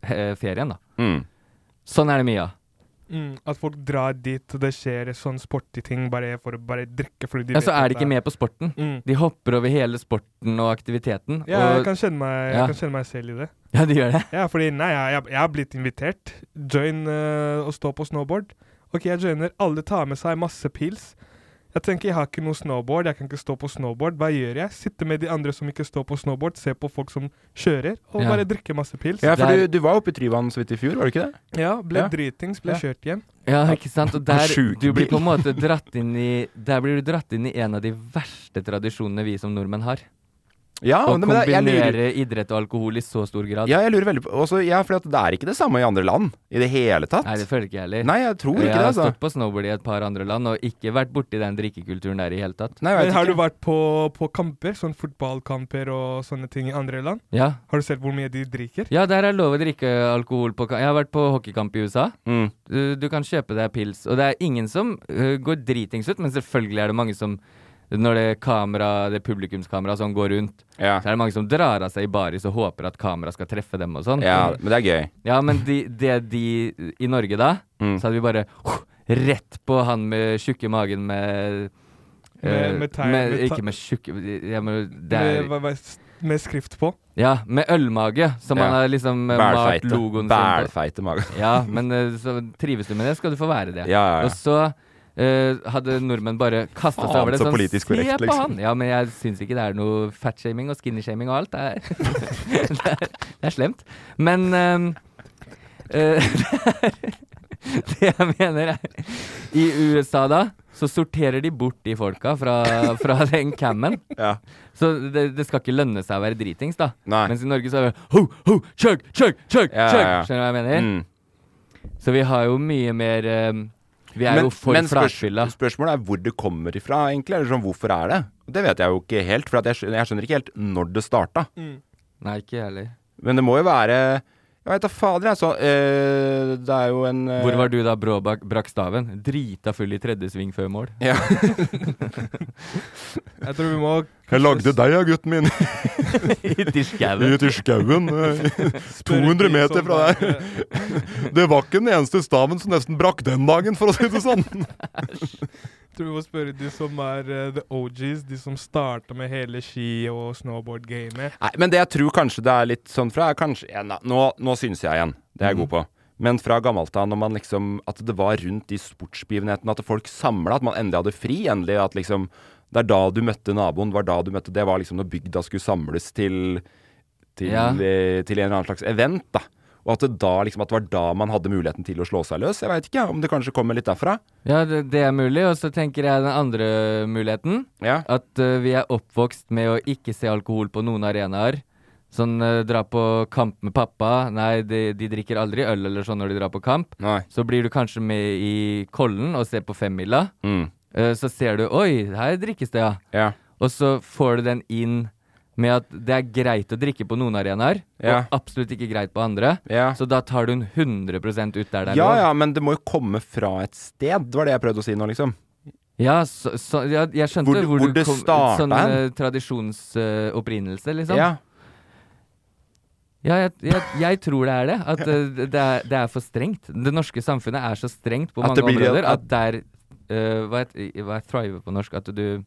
[SPEAKER 2] he- ferien, da.
[SPEAKER 1] Mm.
[SPEAKER 2] Sånn er det mye av.
[SPEAKER 3] Mm, at folk drar dit, og det skjer sånn sporty ting bare for å bare drikke fordi de
[SPEAKER 2] Ja, så
[SPEAKER 3] vet at
[SPEAKER 2] er de ikke med på sporten.
[SPEAKER 3] Mm.
[SPEAKER 2] De hopper over hele sporten og aktiviteten.
[SPEAKER 3] Ja,
[SPEAKER 2] og,
[SPEAKER 3] jeg kan kjenne meg,
[SPEAKER 2] Ja.
[SPEAKER 3] jeg kan kjenne meg selv i det.
[SPEAKER 2] *laughs* Ja, du gjør det?
[SPEAKER 3] Ja, fordi nei, jeg, jeg, jeg har blitt invitert. Join eh, og stå på snowboard. Ok, jeg joiner. Alle tar med seg masse pils. Jeg tenker jeg har ikke noe snowboard, jeg kan ikke stå på snowboard. Hva gjør jeg? Sitte med de andre som ikke står på snowboard, se på folk som kjører, og
[SPEAKER 1] Ja.
[SPEAKER 3] bare drikke masse pils.
[SPEAKER 1] Ja, for du, du var oppe i Tryvann så vidt i fjor, var du ikke det?
[SPEAKER 3] Ja, ble
[SPEAKER 1] Ja.
[SPEAKER 3] dritings, ble
[SPEAKER 1] Ja.
[SPEAKER 3] kjørt hjem.
[SPEAKER 2] Ja, ikke sant? Og der,
[SPEAKER 1] Sjuk
[SPEAKER 2] du blir
[SPEAKER 1] bil.
[SPEAKER 2] på en måte dratt inn i Der blir du dratt inn i en av de verste tradisjonene vi som nordmenn har.
[SPEAKER 1] Ja,
[SPEAKER 2] Å
[SPEAKER 1] men det- jeg lurer-
[SPEAKER 2] kombinere idrett og alkohol i så stor grad.
[SPEAKER 1] Ja, jeg lurer veldig på også, Ja, for det er ikke det samme i andre land i det hele tatt.
[SPEAKER 2] Nei, det føler ikke jeg heller.
[SPEAKER 1] Nei, jeg tror ikke
[SPEAKER 2] jeg
[SPEAKER 1] det,
[SPEAKER 2] har
[SPEAKER 1] altså.
[SPEAKER 2] stått på snowboard i et par andre land og ikke vært borti den drikkekulturen der i hele tatt.
[SPEAKER 3] Men Eh, har du vært på, på kamper, sånn fotballkamper og sånne ting i andre land?
[SPEAKER 2] Ja.
[SPEAKER 3] Har du sett hvor mye de drikker?
[SPEAKER 2] Ja, der er lov å drikke alkohol på ka- Jeg har vært på hockeykamp i USA.
[SPEAKER 1] Mm.
[SPEAKER 2] Du, du kan kjøpe deg pils. Og det er ingen som øh, går dritings ut, men selvfølgelig er det mange som når det kamera, det publikumskameraet som går rundt, så er det mange som drar av seg i baris og håper at kameraet skal treffe dem og sånn.
[SPEAKER 1] Ja, men det er gøy.
[SPEAKER 2] Ja, men de, det de I Norge da,
[SPEAKER 1] Mm.
[SPEAKER 2] så hadde vi bare oh, rett på han med tjukke magen med
[SPEAKER 3] Med-
[SPEAKER 2] eh,
[SPEAKER 3] med tegn- med ta-
[SPEAKER 2] Ikke med tjukke ja, men det er,
[SPEAKER 3] Med, hva- hva- med skrift på?
[SPEAKER 2] ja, med ølmage, som
[SPEAKER 1] Ja.
[SPEAKER 2] man har liksom eh, malt
[SPEAKER 1] Bælfeite.
[SPEAKER 2] logoen sin på.
[SPEAKER 1] Bælfeite mage. *laughs*
[SPEAKER 2] ja, men eh, så trives du med det, skal du få være det.
[SPEAKER 1] Ja, ja, ja.
[SPEAKER 2] Og så eh, hadde nordmenn bare kasta seg
[SPEAKER 1] Faen,
[SPEAKER 2] over det.
[SPEAKER 1] så
[SPEAKER 2] Sånn,
[SPEAKER 1] politisk korrekt,
[SPEAKER 2] Se på
[SPEAKER 1] liksom."
[SPEAKER 2] han! Ja, men jeg syns ikke det er noe fatshaming og skinny-shaming og alt. Det er, *laughs* det er, det er slemt. Men ehm, eh, *laughs* det jeg mener er I USA da så sorterer de bort de folka fra, fra *laughs* den cammen. Så det, det skal ikke lønne seg å være dritings, da.
[SPEAKER 1] Nei.
[SPEAKER 2] Mens i Norge så er det ho, ho, chug, chug, chug,
[SPEAKER 1] Ja, ja,
[SPEAKER 2] chug.
[SPEAKER 1] ja.
[SPEAKER 2] Skjønner du hva jeg mener?
[SPEAKER 1] Mm.
[SPEAKER 2] Så vi har jo mye mer ehm, Vi er
[SPEAKER 1] men,
[SPEAKER 2] jo for
[SPEAKER 1] men spørs-
[SPEAKER 2] flatfylla.
[SPEAKER 1] spørsmålet er hvor det kommer ifra, egentlig. Eller sånn, hvorfor er det? Det vet jeg jo ikke helt, for at jeg, skjønner, jeg skjønner ikke helt når det starta.
[SPEAKER 2] Nei, ikke jeg heller.
[SPEAKER 1] Men det må jo være Jeg veit da fader, jeg. Så eh, det er jo en eh,
[SPEAKER 2] Hvor var du da Bråbakk brakk staven? Drita full i tredje sving før mål.
[SPEAKER 1] Ja.
[SPEAKER 3] Jeg tror vi må
[SPEAKER 1] Jeg lagde deg, ja, gutten min.
[SPEAKER 2] Ut i skauen.
[SPEAKER 1] Ut *laughs* i skauen. eh,
[SPEAKER 3] *laughs*
[SPEAKER 1] *laughs*
[SPEAKER 3] Spør ikke sånn
[SPEAKER 1] 200 meter
[SPEAKER 3] som
[SPEAKER 1] fra der. *laughs* Det var ikke den eneste staven som nesten brakk den dagen, for å si det sånn.
[SPEAKER 3] Jeg tror vi må spørre de som er eh, the OGs, de som starta med hele ski- og snowboard-gamet.
[SPEAKER 1] Nei, men det jeg tror kanskje det er litt sånn fra er kanskje, ja, na- nå, nå synes jeg igjen, det er jeg god
[SPEAKER 2] Mm.
[SPEAKER 1] på. Men fra gammelt av, når man liksom At det var rundt de sportsbegivenhetene, at folk samla, at man endelig hadde fri. Endelig at liksom Det er da du møtte naboen, det var da du møtte Det var liksom når bygda skulle samles til til,
[SPEAKER 2] Ja.
[SPEAKER 1] eh, til en eller annen slags event, da. Og at det da liksom At det var da man hadde muligheten til å slå seg løs. Jeg veit ikke ja, om det kanskje kommer litt derfra.
[SPEAKER 2] Ja, det, det er mulig. Og så tenker jeg den andre muligheten. At eh, vi er oppvokst med å ikke se alkohol på noen arenaer. Sånn eh, dra på kamp med pappa. Nei, de, de drikker aldri øl eller sånn når de drar på kamp. Så blir du kanskje med i Kollen og ser på femmila.
[SPEAKER 1] Mm.
[SPEAKER 2] Eh, så ser du Oi, her drikkes det, ja.
[SPEAKER 1] Ja.
[SPEAKER 2] Og så får du den inn med at det er greit å drikke på noen arenaer,
[SPEAKER 1] Ja.
[SPEAKER 2] og absolutt ikke greit på andre. Så da tar du den 100 ut der det er
[SPEAKER 1] Ja
[SPEAKER 2] lov.
[SPEAKER 1] ja, men det må jo komme fra et sted, var det jeg prøvde å si nå, liksom.
[SPEAKER 2] Ja, så, så, ja, jeg skjønte
[SPEAKER 1] Hvor-
[SPEAKER 2] hvor,
[SPEAKER 1] hvor
[SPEAKER 2] du
[SPEAKER 1] det
[SPEAKER 2] kom
[SPEAKER 1] starta
[SPEAKER 2] Sånn
[SPEAKER 1] hen.
[SPEAKER 2] tradisjonsopprinnelse, liksom.
[SPEAKER 1] Ja.
[SPEAKER 2] Ja, jeg, jeg, jeg tror det er det. At eh, det, er, det er for strengt. Det norske samfunnet er så strengt på
[SPEAKER 1] At
[SPEAKER 2] mange
[SPEAKER 1] det blir-
[SPEAKER 2] områder
[SPEAKER 1] at-
[SPEAKER 2] at der eh, hva, het, hva er thrive på norsk? At du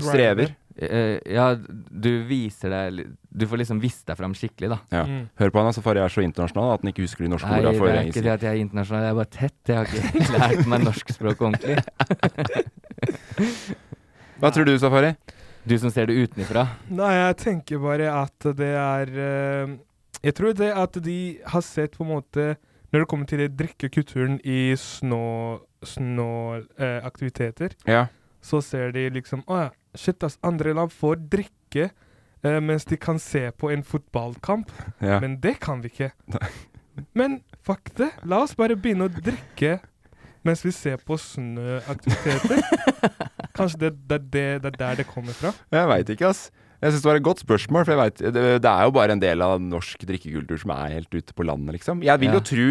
[SPEAKER 1] Strever.
[SPEAKER 2] Eh, ja, du viser deg li- Du får liksom vist deg fram skikkelig, da.
[SPEAKER 1] Ja.
[SPEAKER 3] Mm.
[SPEAKER 1] Hør på han, altså, for jeg er så internasjonal at han ikke husker de norske
[SPEAKER 2] Nei, det
[SPEAKER 1] ordene for
[SPEAKER 2] er
[SPEAKER 1] lenge
[SPEAKER 2] ikke det
[SPEAKER 1] siden.
[SPEAKER 2] at jeg er internasjonal, jeg er bare tett. Jeg har ikke lært meg norsk språk ordentlig.
[SPEAKER 1] Hva tror du, Safari?
[SPEAKER 2] Du som ser det utenifra.
[SPEAKER 3] Nei, jeg tenker bare at det er eh, Jeg tror det at de har sett på en måte Når det kommer til det drikkekulturen i snå-aktiviteter,
[SPEAKER 1] Ja.
[SPEAKER 3] så ser de liksom Å ja, shit, ass. Andre land får drikke eh, mens de kan se på en fotballkamp.
[SPEAKER 1] Ja.
[SPEAKER 3] Men det kan vi ikke. Men fuck det. La oss bare begynne å drikke mens vi ser på snøaktiviteter.
[SPEAKER 1] *laughs*
[SPEAKER 3] Kanskje det, det, det, det er der det kommer fra.
[SPEAKER 1] Jeg veit ikke, ass. Jeg syns det var et godt spørsmål, for jeg vet, det, det er jo bare en del av norsk drikkekultur som er helt ute på landet, liksom. Jeg vil
[SPEAKER 2] Ja.
[SPEAKER 1] jo tro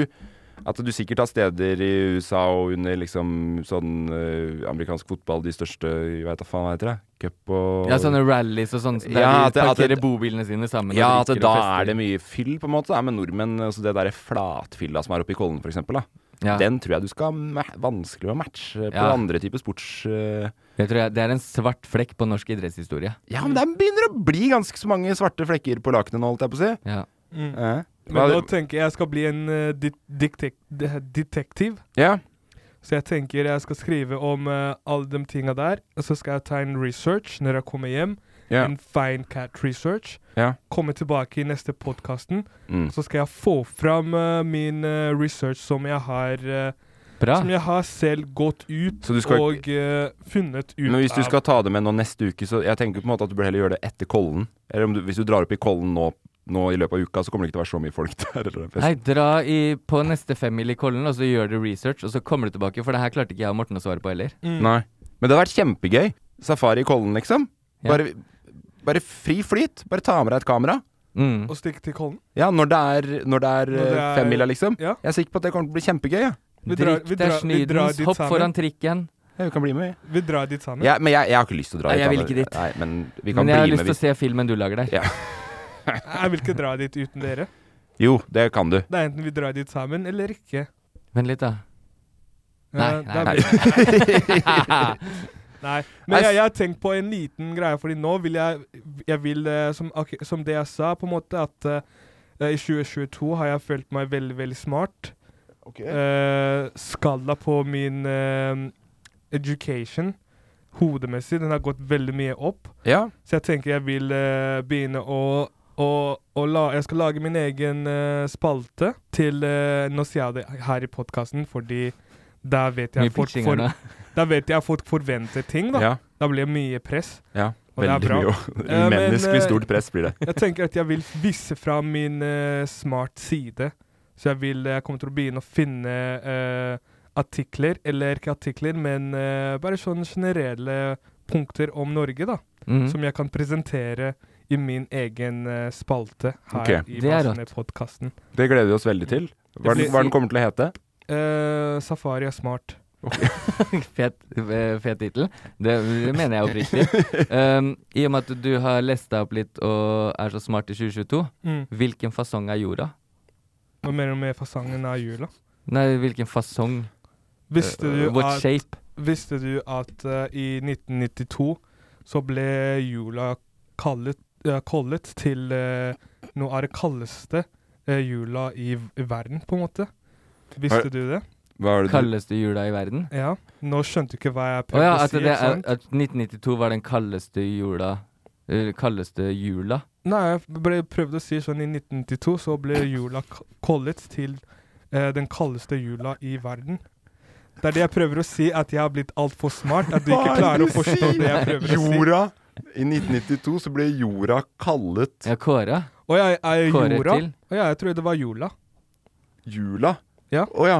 [SPEAKER 1] At du sikkert har steder i USA og under liksom sånn eh, amerikansk fotball, de største Jeg veit da faen hva heter det? Cup og
[SPEAKER 2] Ja, sånne rallies og sånn. Der
[SPEAKER 1] Ja, at
[SPEAKER 2] de
[SPEAKER 1] det- at
[SPEAKER 2] parkerer
[SPEAKER 1] det-
[SPEAKER 2] bobilene sine sammen. og
[SPEAKER 1] Ja, at
[SPEAKER 2] drikker
[SPEAKER 1] da
[SPEAKER 2] og
[SPEAKER 1] er
[SPEAKER 2] fester.
[SPEAKER 1] det mye fyll, på en måte. Da. Men nordmenn, altså det derre flatfylla som er oppe i Kollen, for eksempel, da.
[SPEAKER 2] Ja.
[SPEAKER 1] Den tror jeg du skal ma vanskelig å matche på
[SPEAKER 2] Ja.
[SPEAKER 1] andre typer sports... eh,
[SPEAKER 2] Det tror jeg det er en svart flekk på norsk idrettshistorie.
[SPEAKER 1] Ja, men det begynner å bli ganske så mange svarte flekker på lakenet nå, holdt jeg på å si.
[SPEAKER 2] Ja.
[SPEAKER 3] Mm.
[SPEAKER 1] Eh,
[SPEAKER 3] Men nå
[SPEAKER 1] hva-
[SPEAKER 3] tenker jeg jeg skal bli en eh, dit- diktek- de- detektiv.
[SPEAKER 1] Ja.
[SPEAKER 3] Så jeg tenker jeg skal skrive om eh, alle de tinga der. Og så skal jeg ta en research når jeg kommer hjem.
[SPEAKER 1] Ja.
[SPEAKER 3] En fine cat research.
[SPEAKER 1] Ja.
[SPEAKER 3] Komme tilbake i neste podkasten.
[SPEAKER 1] Mm.
[SPEAKER 3] Så skal jeg få fram eh, min eh, research som jeg har eh,
[SPEAKER 2] Bra.
[SPEAKER 3] Som jeg har selv gått ut
[SPEAKER 1] Så du skal-
[SPEAKER 3] og eh, funnet ut
[SPEAKER 1] Men hvis du
[SPEAKER 3] av.
[SPEAKER 1] skal ta det med nå neste uke, så jeg tenker på en måte at du bør heller gjøre det etter Kollen. Eller om du, hvis du drar opp i Kollen nå, nå i løpet av uka, så kommer det ikke til å være så mye folk *laughs* der. Eller den festen.
[SPEAKER 2] Nei, dra i, på neste Family Collen, og så gjør du research, og så kommer du tilbake, for det her klarte ikke jeg og Morten å svare på heller.
[SPEAKER 1] Nei. Men det hadde vært kjempegøy. Safari i Kollen, liksom.
[SPEAKER 2] Ja.
[SPEAKER 1] Bare, bare fri flyt. Bare ta med deg et kamera.
[SPEAKER 2] Mm.
[SPEAKER 3] Og stikke til Kollen.
[SPEAKER 1] Ja, når det er, når det er,
[SPEAKER 3] Når det
[SPEAKER 1] eh,
[SPEAKER 3] er-
[SPEAKER 1] femmila, liksom.
[SPEAKER 3] Ja.
[SPEAKER 1] Jeg er sikker på at det kommer til å bli kjempegøy. Ja.
[SPEAKER 3] Vi drar-
[SPEAKER 2] Drikk deg snydens, hopp foran trikken.
[SPEAKER 1] Ja, vi kan bli med.
[SPEAKER 3] Vi drar dit sammen.
[SPEAKER 1] Ja, men jeg, jeg har ikke lyst til å dra
[SPEAKER 2] Nei,
[SPEAKER 1] dit,
[SPEAKER 2] jeg vil
[SPEAKER 1] Anne.
[SPEAKER 2] ikke dit.
[SPEAKER 1] Nei, men vi kan
[SPEAKER 2] Men jeg har
[SPEAKER 1] bli
[SPEAKER 2] lyst
[SPEAKER 1] med.
[SPEAKER 2] til å
[SPEAKER 1] hvis-
[SPEAKER 2] se filmen du lager der.
[SPEAKER 1] Ja.
[SPEAKER 3] Jeg vil ikke dra dit uten dere.
[SPEAKER 1] Jo, det kan du.
[SPEAKER 3] Det er enten vi drar dit sammen eller ikke.
[SPEAKER 2] Vent
[SPEAKER 1] *laughs*
[SPEAKER 2] litt, da. Nei,
[SPEAKER 3] Eh,
[SPEAKER 2] nei,
[SPEAKER 3] da
[SPEAKER 2] nei.
[SPEAKER 3] blir- Nei,
[SPEAKER 2] Nei,
[SPEAKER 3] men jeg, jeg har tenkt på en liten greie, fordi nå vil jeg, jeg vil, eh, som, ok, som det jeg sa, på en måte, at eh, i 2022 har jeg følt meg veldig, veldig smart. Eh, skalla på min eh, education, hodemessig, den har gått veldig mye opp.
[SPEAKER 1] Ja.
[SPEAKER 3] Så jeg tenker jeg vil eh, begynne å, å, å la, Jeg skal lage min egen eh, spalte til eh, Nå sier jeg det her i podkasten, fordi da vet jeg
[SPEAKER 2] Mye pitching her nå. *laughs*
[SPEAKER 3] da vet jeg folk forventer ting, da.
[SPEAKER 1] Ja.
[SPEAKER 3] Da blir det mye press.
[SPEAKER 1] Ja,
[SPEAKER 3] Og det er
[SPEAKER 1] veldig
[SPEAKER 3] bra.
[SPEAKER 1] mye å- *laughs*
[SPEAKER 3] Eh, men,
[SPEAKER 1] menneskelig
[SPEAKER 3] eh,
[SPEAKER 1] stort press blir det.
[SPEAKER 3] jeg tenker at jeg vil vise fram min eh, smart side. Så jeg vil eh, Jeg kommer til å begynne å finne eh, artikler, eller ikke artikler, men eh, bare sånne generelle punkter om Norge, da.
[SPEAKER 1] Mm.
[SPEAKER 2] Mhm.
[SPEAKER 3] Som jeg kan presentere i min egen eh, spalte her
[SPEAKER 1] Ok.
[SPEAKER 3] i
[SPEAKER 2] Det er
[SPEAKER 3] Masene-podkasten.
[SPEAKER 1] Det gleder vi oss veldig til. Hva, er den-
[SPEAKER 3] blir-
[SPEAKER 1] hva er den kommer til å hete?
[SPEAKER 3] Eh, Safari er smart.
[SPEAKER 2] fet eh, fet tittel. Det, det mener jeg oppriktig.
[SPEAKER 3] *laughs*
[SPEAKER 2] Um, I og med at du har lest deg opp litt og er så smart i 2022,
[SPEAKER 3] Mm.
[SPEAKER 2] hvilken fasong er jorda?
[SPEAKER 3] Hva mener du med fasangen av jula?
[SPEAKER 2] Nei, hvilken fasong?
[SPEAKER 3] Visste
[SPEAKER 2] Eh,
[SPEAKER 3] du
[SPEAKER 2] What
[SPEAKER 3] at,
[SPEAKER 2] shape?
[SPEAKER 3] Visste du at eh, i 1992 så ble jula kallet, eh, kollet til eh, noe av det kaldeste eh, jula i, v- i verden, på en måte? Visste
[SPEAKER 1] Har-
[SPEAKER 3] du det?
[SPEAKER 1] Hva er det du
[SPEAKER 2] Kaldeste jula i verden?
[SPEAKER 3] Ja. Nå skjønte du ikke hva jeg
[SPEAKER 2] Å
[SPEAKER 3] prøvde
[SPEAKER 2] ja,
[SPEAKER 3] å
[SPEAKER 2] at,
[SPEAKER 3] si.
[SPEAKER 2] det
[SPEAKER 3] ikke
[SPEAKER 2] er,
[SPEAKER 3] sant?
[SPEAKER 2] at 1992 var den kaldeste jula eh, Kaldeste jula?
[SPEAKER 3] Nei, jeg ble prøvde å si sånn i 1992 så ble jula k- kollet til eh, den kaldeste jula i verden. Det er det jeg prøver å si, at jeg har blitt altfor smart. At du
[SPEAKER 1] Hva
[SPEAKER 3] ikke
[SPEAKER 1] er
[SPEAKER 3] klarer å
[SPEAKER 1] det du
[SPEAKER 3] forstå
[SPEAKER 1] sier?
[SPEAKER 3] det jeg prøver å si.
[SPEAKER 1] Jorda I 1992 så ble jorda kallet
[SPEAKER 2] Ja, Kåra?
[SPEAKER 3] Å ja, er
[SPEAKER 2] Kåre
[SPEAKER 3] jorda?
[SPEAKER 2] til.
[SPEAKER 3] Å ja, jeg trodde det var jula.
[SPEAKER 1] jula.
[SPEAKER 3] Ja.
[SPEAKER 1] Å ja.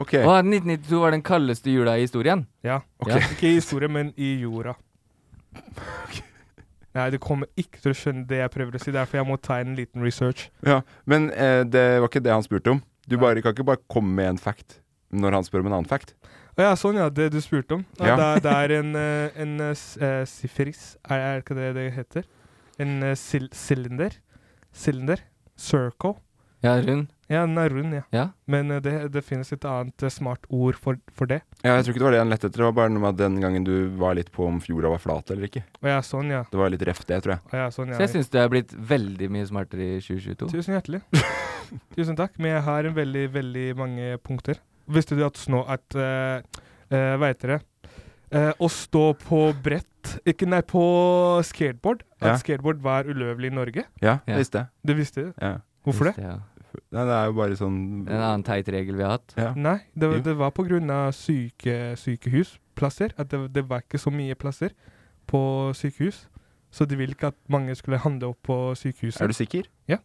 [SPEAKER 1] Ok.
[SPEAKER 2] Å, 1992 var den kaldeste jula i historien?
[SPEAKER 3] Ja.
[SPEAKER 1] Ok.
[SPEAKER 2] Ja.
[SPEAKER 3] Ikke i historie, men i
[SPEAKER 1] *laughs*
[SPEAKER 3] jorda. Nei, du kommer ikke til å skjønne det jeg prøver å si. Derfor jeg må ta en liten research.
[SPEAKER 1] Ja, Men eh, det var ikke det han spurte om. Du bare, kan ikke bare komme med en fact når han spør om en annen fact.
[SPEAKER 3] Å ja, sånn ja. Det du spurte om. Ja,
[SPEAKER 1] Ja.
[SPEAKER 3] Det, er, det er en, eh, en eh, s- eh, sifiris er, er ikke det det heter? En eh, sil sylinder. Sylinder. Circle.
[SPEAKER 2] Ja, rund?
[SPEAKER 3] Ja, den er rund, ja.
[SPEAKER 2] Ja.
[SPEAKER 3] Men eh, det, det finnes et annet eh, smart ord for, for det.
[SPEAKER 1] Ja, jeg tror ikke det var det han lette etter. Det var bare noe med at den gangen du var litt på om jorda var flat eller ikke.
[SPEAKER 3] Å ja, sånn ja.
[SPEAKER 1] Det var litt reft det, tror jeg.
[SPEAKER 3] Å ja, sånn, ja.
[SPEAKER 2] Så jeg syns du er blitt veldig mye smartere i 2022.
[SPEAKER 3] Tusen hjertelig. *laughs* Tusen takk. Men jeg har en veldig, veldig mange punkter. Visste du at snå at eh, eh, Hva heter det? Eh, å stå på brett Ikke, nei, på skateboard. At
[SPEAKER 1] Ja.
[SPEAKER 3] skateboard var ulovlig i Norge.
[SPEAKER 1] Ja,
[SPEAKER 2] Ja.
[SPEAKER 1] visst det.
[SPEAKER 3] Det visste du.
[SPEAKER 1] Ja.
[SPEAKER 3] Hvorfor det?
[SPEAKER 2] Ja.
[SPEAKER 1] Nei, det er jo bare sånn
[SPEAKER 2] En annen teit regel vi har hatt.
[SPEAKER 1] ja.
[SPEAKER 3] Nei, det,
[SPEAKER 1] Jo.
[SPEAKER 3] det var pga. Syke, sykehusplasser. At det, det var ikke så mye plasser på sykehus. Så de ville ikke at mange skulle handle opp på sykehuset.
[SPEAKER 1] Er du sikker?
[SPEAKER 3] Ja.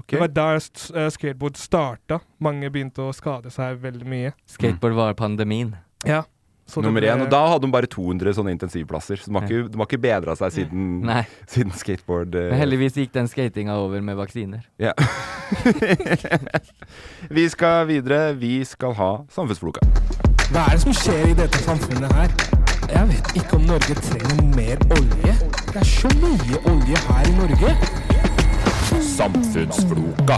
[SPEAKER 1] Ok.
[SPEAKER 3] Det var der st- eh, skateboard starta. Mange begynte å skade seg veldig mye.
[SPEAKER 2] Skateboard var pandemien.
[SPEAKER 3] Ja. Så det
[SPEAKER 1] Nummer
[SPEAKER 3] ble-
[SPEAKER 1] én. Og da hadde de bare 200 sånne intensivplasser. Så de har
[SPEAKER 2] Ja.
[SPEAKER 1] ikke, de har ikke bedra seg
[SPEAKER 3] Mm.
[SPEAKER 1] siden,
[SPEAKER 2] *laughs* Nei.
[SPEAKER 1] siden skateboard eh,
[SPEAKER 2] Men heldigvis gikk den skatinga over med vaksiner.
[SPEAKER 1] Ja. *laughs* vi skal videre. Vi skal ha Samfunnsfloka.
[SPEAKER 8] Hva er det som skjer i dette samfunnet her? Jeg vet ikke om Norge trenger mer olje. Det er så mye olje her i Norge.
[SPEAKER 1] Samfunnsfloka.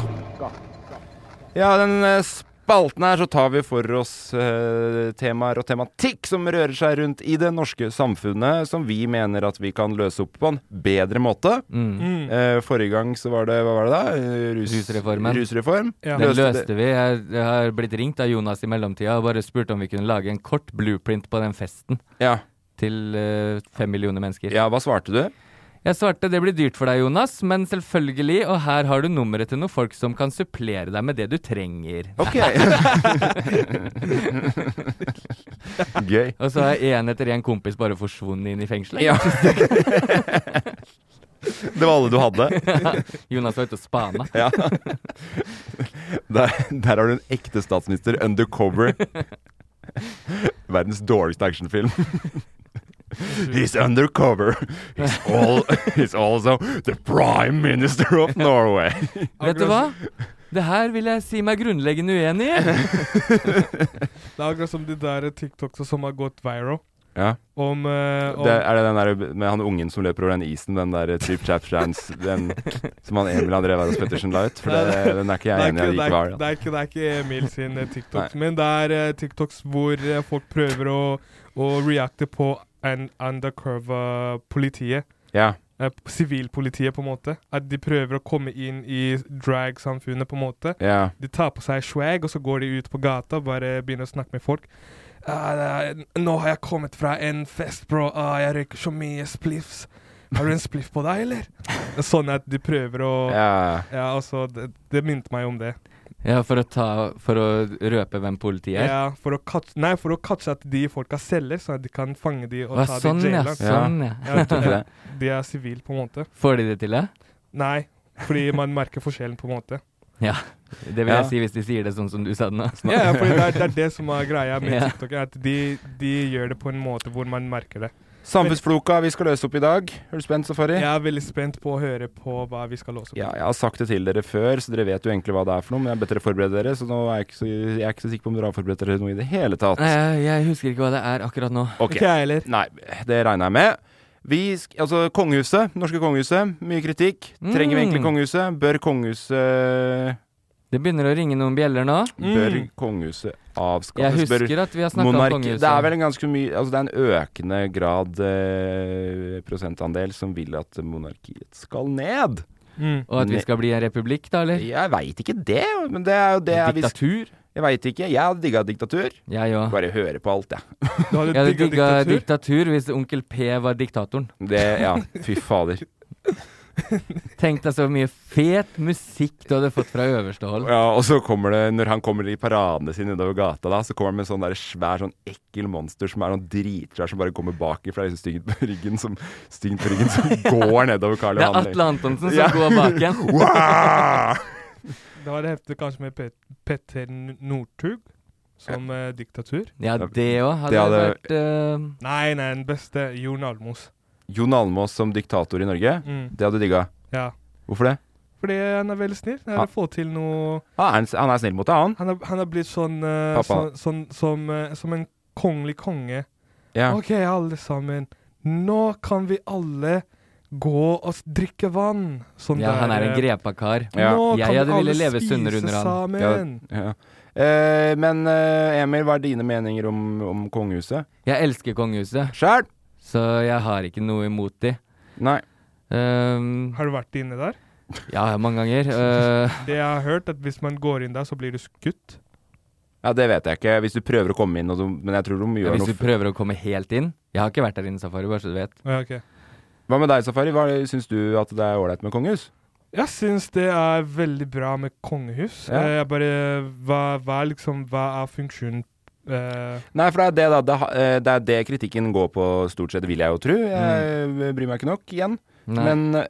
[SPEAKER 1] Ja, den eh, spalten her så tar vi for oss eh, temaer og tematikk som rører seg rundt i det norske samfunnet, som vi mener at vi kan løse opp på en bedre måte.
[SPEAKER 2] Mm.
[SPEAKER 1] Eh, forrige gang så var det Hva var det da? Eh, Rus,
[SPEAKER 2] Rusreformen.
[SPEAKER 1] rusreform.
[SPEAKER 2] Den
[SPEAKER 1] Løste
[SPEAKER 2] løste vi. Jeg, jeg har blitt ringt av Jonas i mellomtida og bare spurt om vi kunne lage en kort blueprint på den festen
[SPEAKER 1] Ja.
[SPEAKER 2] til eh, fem millioner mennesker.
[SPEAKER 1] Ja, hva svarte du?
[SPEAKER 2] Jeg svarte det blir dyrt for deg, Jonas, men selvfølgelig, og her har du nummeret til noen folk som kan supplere deg med det du trenger. *laughs*
[SPEAKER 1] Ok. *laughs* Gøy.
[SPEAKER 2] Og så har én etter én kompis bare forsvunnet inn i fengselet.
[SPEAKER 1] Ja. Det var alle du hadde?
[SPEAKER 2] *laughs* Jonas var ute og spana.
[SPEAKER 1] *laughs* Ja. Der, der har du en ekte statsminister undercover. Verdens dårligste actionfilm. He's undercover. He's, all, he's also the prime minister of Norway.
[SPEAKER 2] Vet du hva? Det her vil jeg si meg grunnleggende uenig i.
[SPEAKER 3] Det er akkurat som de der TikToksa som har gått viral.
[SPEAKER 1] Ja.
[SPEAKER 3] Om, eh, om
[SPEAKER 1] Det, er det den der med han ungen som løper over den isen, den der Trip Chap Chance, den som han Emil André Wærhus Pettersen la ut? For det, den er ikke jeg enig i
[SPEAKER 3] det er ikke-
[SPEAKER 1] likevel.
[SPEAKER 3] Det er ikke, det er ikke Emil sin eh, TikToks,
[SPEAKER 1] Nei.
[SPEAKER 3] men det er eh, TikToks hvor eh, folk prøver å, å reacte på en undercover-politiet.
[SPEAKER 1] Ja.
[SPEAKER 3] Eh, p- Sivilpolitiet, på en måte. At de prøver å komme inn i drag-samfunnet, på en måte.
[SPEAKER 1] Ja.
[SPEAKER 3] De tar på seg swag, og så går de ut på gata og bare begynner å snakke med folk. Ah, det er- nå har jeg kommet fra en fest, bro. Ah, jeg røyker så mye spliffs. Har du en spliff på
[SPEAKER 1] *laughs*
[SPEAKER 3] deg, eller? Sånn at de prøver å
[SPEAKER 1] Ja.
[SPEAKER 3] ja, altså, det, det minte meg om det.
[SPEAKER 2] Ja, for å, ta, for å røpe hvem politiet er.
[SPEAKER 3] Ja, for å catch, nei, for å catche at de folka selger, sånn at de kan fange de og
[SPEAKER 2] Hva,
[SPEAKER 3] ta
[SPEAKER 2] sånn,
[SPEAKER 3] de i
[SPEAKER 2] ja,
[SPEAKER 3] jaila.
[SPEAKER 2] sånn, ja. *laughs*
[SPEAKER 3] Ja, de-
[SPEAKER 2] Ja.
[SPEAKER 3] de er sivil på en måte.
[SPEAKER 2] Får de det til, det?
[SPEAKER 3] Nei, fordi man merker forskjellen på en måte.
[SPEAKER 2] *laughs* Ja. Det vil
[SPEAKER 3] Ja.
[SPEAKER 2] jeg si hvis de sier det sånn som du sa det nå.
[SPEAKER 3] Ja, ja, fordi det er, det er det som er greia med
[SPEAKER 2] Ja.
[SPEAKER 3] TikTok, at de, de gjør det på en måte hvor man merker det.
[SPEAKER 1] Samfunnsfloka vi skal løse opp i dag. Er du spent, Safari?
[SPEAKER 3] Jeg er veldig spent på å høre på hva vi skal låse opp.
[SPEAKER 1] Ja, jeg har sagt det til dere før, så dere vet jo egentlig hva det er for noe. Men jeg har bedt dere forberede dere, så nå er jeg ikke så, jeg er ikke så sikker på om dere har forberedt dere noe i det hele tatt.
[SPEAKER 2] *laughs* Nei, jeg, jeg husker ikke hva det er akkurat nå.
[SPEAKER 1] Ok. Nei, det regner jeg med. Vi, sk- altså kongehuset, norske kongehuset, mye kritikk. Trenger vi egentlig
[SPEAKER 2] Mm.
[SPEAKER 1] kongehuset? Bør kongehuset
[SPEAKER 2] Det begynner å ringe noen bjeller nå.
[SPEAKER 1] Bør kongehuset
[SPEAKER 2] Mm. Jeg
[SPEAKER 1] avskaffes?
[SPEAKER 2] husker
[SPEAKER 1] Bør
[SPEAKER 2] at vi har snakket om
[SPEAKER 1] monarki-
[SPEAKER 2] kongehuset.
[SPEAKER 1] Det er vel en ganske mye Altså det er en økende grad eh, prosentandel som vil at monarkiet skal ned.
[SPEAKER 2] *laughs*
[SPEAKER 3] Mm.
[SPEAKER 2] Og at vi skal bli en republikk, da, eller?
[SPEAKER 1] Jeg veit ikke det, men det er jo det jeg
[SPEAKER 2] Eh. Diktatur?
[SPEAKER 1] Jeg veit ikke. Jeg hadde digga diktatur.
[SPEAKER 2] Jeg òg.
[SPEAKER 1] Bare høre på alt, jeg.
[SPEAKER 2] Jeg hadde digga diktatur hvis onkel P var diktatoren.
[SPEAKER 1] Det, ja, *laughs* fy fader.
[SPEAKER 2] Tenk deg så mye fet musikk du hadde fått fra øverste hold.
[SPEAKER 1] Ja, og så kommer det, når han kommer i paradene sine nedover gata, da, så kommer han med sånn der svær, sånn ekkel monster som er noen dritsvær som bare kommer bakifra, liksom styggen på ryggen, som, styggen på ryggen, *laughs* som går nedover Karl
[SPEAKER 2] Det er
[SPEAKER 1] Johan.
[SPEAKER 2] Atle Antonsen som
[SPEAKER 1] Ja.
[SPEAKER 2] går bak igjen.
[SPEAKER 1] Wow! *laughs*
[SPEAKER 3] Da var det heftet kanskje med Pet Petter N- Northug som eh, diktatur.
[SPEAKER 2] Ja, det òg hadde,
[SPEAKER 1] Det hadde-
[SPEAKER 2] vært eh,
[SPEAKER 3] Nei, nei, den beste Jon Almos.
[SPEAKER 1] Jon Almaas som diktator i Norge,
[SPEAKER 3] Mm.
[SPEAKER 1] det hadde du digga.
[SPEAKER 3] Ja.
[SPEAKER 1] Hvorfor det?
[SPEAKER 3] Fordi han er veldig snill. Han
[SPEAKER 1] Ja.
[SPEAKER 3] vil få til noe
[SPEAKER 1] Ah, er han, s- han er snill mot deg, han.
[SPEAKER 3] Han er, han er blitt sånn, eh,
[SPEAKER 1] Pappa.
[SPEAKER 3] sånn, sånn som, eh, som en kongelig konge.
[SPEAKER 1] Ja.
[SPEAKER 3] OK, alle sammen. Nå kan vi alle gå og s- drikke vann. Sånn
[SPEAKER 2] Ja,
[SPEAKER 3] der,
[SPEAKER 2] han er en
[SPEAKER 3] eh,
[SPEAKER 2] grepa kar.
[SPEAKER 3] Ja. Nå
[SPEAKER 2] Jeg
[SPEAKER 3] kan
[SPEAKER 2] hadde
[SPEAKER 3] alle
[SPEAKER 2] ville leve
[SPEAKER 3] spise
[SPEAKER 2] sunnere under han.
[SPEAKER 3] sammen. Men-
[SPEAKER 1] Ja, ja. Eh, men eh, Emil, hva er dine meninger om, om kongehuset?
[SPEAKER 2] Jeg elsker kongehuset,
[SPEAKER 1] Sjæl!
[SPEAKER 2] så jeg har ikke noe imot de.
[SPEAKER 1] Nei.
[SPEAKER 2] Ehm,
[SPEAKER 3] Har du vært inne der?
[SPEAKER 2] ja,
[SPEAKER 1] *laughs*
[SPEAKER 2] mange ganger. Eh,
[SPEAKER 3] Det jeg har hørt, at hvis man går inn der, så blir du skutt.
[SPEAKER 1] Ja, det vet jeg ikke. Hvis du prøver å komme inn, og du, men jeg tror de gjør
[SPEAKER 2] hvis
[SPEAKER 1] noe
[SPEAKER 2] du prøver å komme helt inn Jeg har ikke vært der inne, Safari, bare så du vet.
[SPEAKER 3] Ja, ok.
[SPEAKER 1] Hva med deg, Safari? Hva Syns du at det er ålreit med kongehus?
[SPEAKER 3] Jeg syns det er veldig bra med kongehus.
[SPEAKER 1] Ja.
[SPEAKER 3] Eh, Jeg bare hva, hva, er liksom, hva er funksjonen eh,
[SPEAKER 1] Nei, for det er det, da. Det, ha- eh, det er det kritikken går på, stort sett, vil jeg jo tro. Jeg eh, bryr meg ikke nok, igjen.
[SPEAKER 2] Mm. Nei.
[SPEAKER 1] Men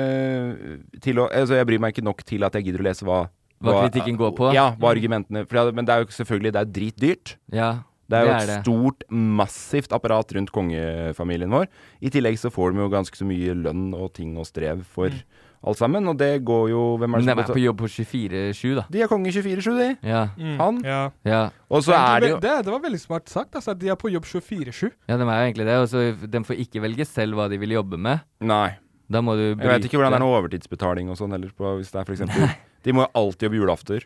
[SPEAKER 1] eh, til å, altså, jeg bryr meg ikke nok til at jeg gidder å lese hva
[SPEAKER 2] Hva kritikken går på?
[SPEAKER 1] Ja, hva argumentene For det, er- Men det er jo selvfølgelig det er dritdyrt.
[SPEAKER 2] Ja.
[SPEAKER 1] Det er jo
[SPEAKER 2] Det er
[SPEAKER 1] et
[SPEAKER 2] det.
[SPEAKER 1] stort, massivt apparat rundt kongefamilien vår. I tillegg så får de jo ganske så mye lønn og ting og strev for alt sammen, og det går jo Hvem er
[SPEAKER 2] Men
[SPEAKER 1] Mm. det
[SPEAKER 2] de
[SPEAKER 1] som
[SPEAKER 2] er på jobb på 24-7, da.
[SPEAKER 1] De er konge 24-7, de.
[SPEAKER 2] Ja.
[SPEAKER 3] Mm,
[SPEAKER 1] Han?
[SPEAKER 3] Ja.
[SPEAKER 2] ja.
[SPEAKER 1] Og så
[SPEAKER 3] Men
[SPEAKER 1] er det
[SPEAKER 3] ve-
[SPEAKER 1] jo
[SPEAKER 3] det, det var veldig smart sagt. Altså, at de er på jobb 24-7.
[SPEAKER 2] Ja, de er jo egentlig det. Og så de får ikke velge selv hva de vil jobbe med.
[SPEAKER 1] Nei.
[SPEAKER 2] Da må du
[SPEAKER 1] Jeg vet ikke hvordan det er
[SPEAKER 2] bryte-
[SPEAKER 1] noe overtidsbetaling og sånn heller, på, hvis *laughs* det er for eksempel De må jo alltid jobbe julafter.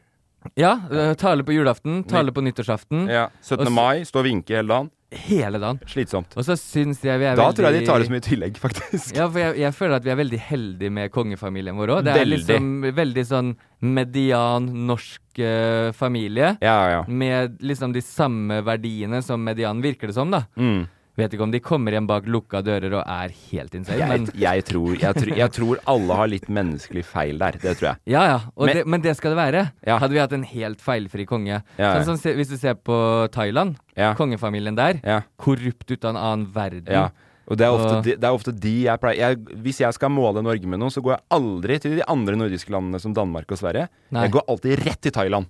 [SPEAKER 2] Ja, eh, tale på julaften, tale
[SPEAKER 1] Ny-
[SPEAKER 2] på nyttårsaften.
[SPEAKER 1] Ja. 17.
[SPEAKER 2] Og så-
[SPEAKER 1] mai, stå og vinke hele dagen.
[SPEAKER 2] Hele dagen.
[SPEAKER 1] Slitsomt.
[SPEAKER 2] Og så syns jeg vi er
[SPEAKER 1] Da
[SPEAKER 2] veldig
[SPEAKER 1] tror jeg de tar det som i tillegg, faktisk.
[SPEAKER 2] Ja, for jeg, jeg føler at vi er veldig heldige med kongefamilien vår òg. Det er
[SPEAKER 1] Veldig.
[SPEAKER 2] liksom veldig sånn median norsk eh, familie.
[SPEAKER 1] Mm,
[SPEAKER 2] Med liksom de samme verdiene som median, virker det som, da.
[SPEAKER 1] Mm.
[SPEAKER 2] Vet ikke om de kommer hjem bak lukka dører og er helt insane,
[SPEAKER 1] Jeg,
[SPEAKER 2] men
[SPEAKER 1] jeg, tror, jeg, tror, jeg tror alle har litt menneskelig feil der. Det tror jeg.
[SPEAKER 2] Ja, ja. Og
[SPEAKER 1] Men-
[SPEAKER 2] men, det, men det skal det være. Hadde vi hatt en helt feilfri konge
[SPEAKER 1] Ja, ja.
[SPEAKER 2] Sånn som se, Hvis du ser på Thailand, kongefamilien der. Korrupt ut av en annen verden.
[SPEAKER 1] Ja. Og det er, ofte
[SPEAKER 2] Mm. Og-
[SPEAKER 1] de, det er ofte de jeg pleier jeg, Hvis jeg skal måle Norge med noe, så går jeg aldri til de andre nordiske landene som Danmark og Sverige.
[SPEAKER 2] Nei.
[SPEAKER 1] Jeg går alltid rett til Thailand.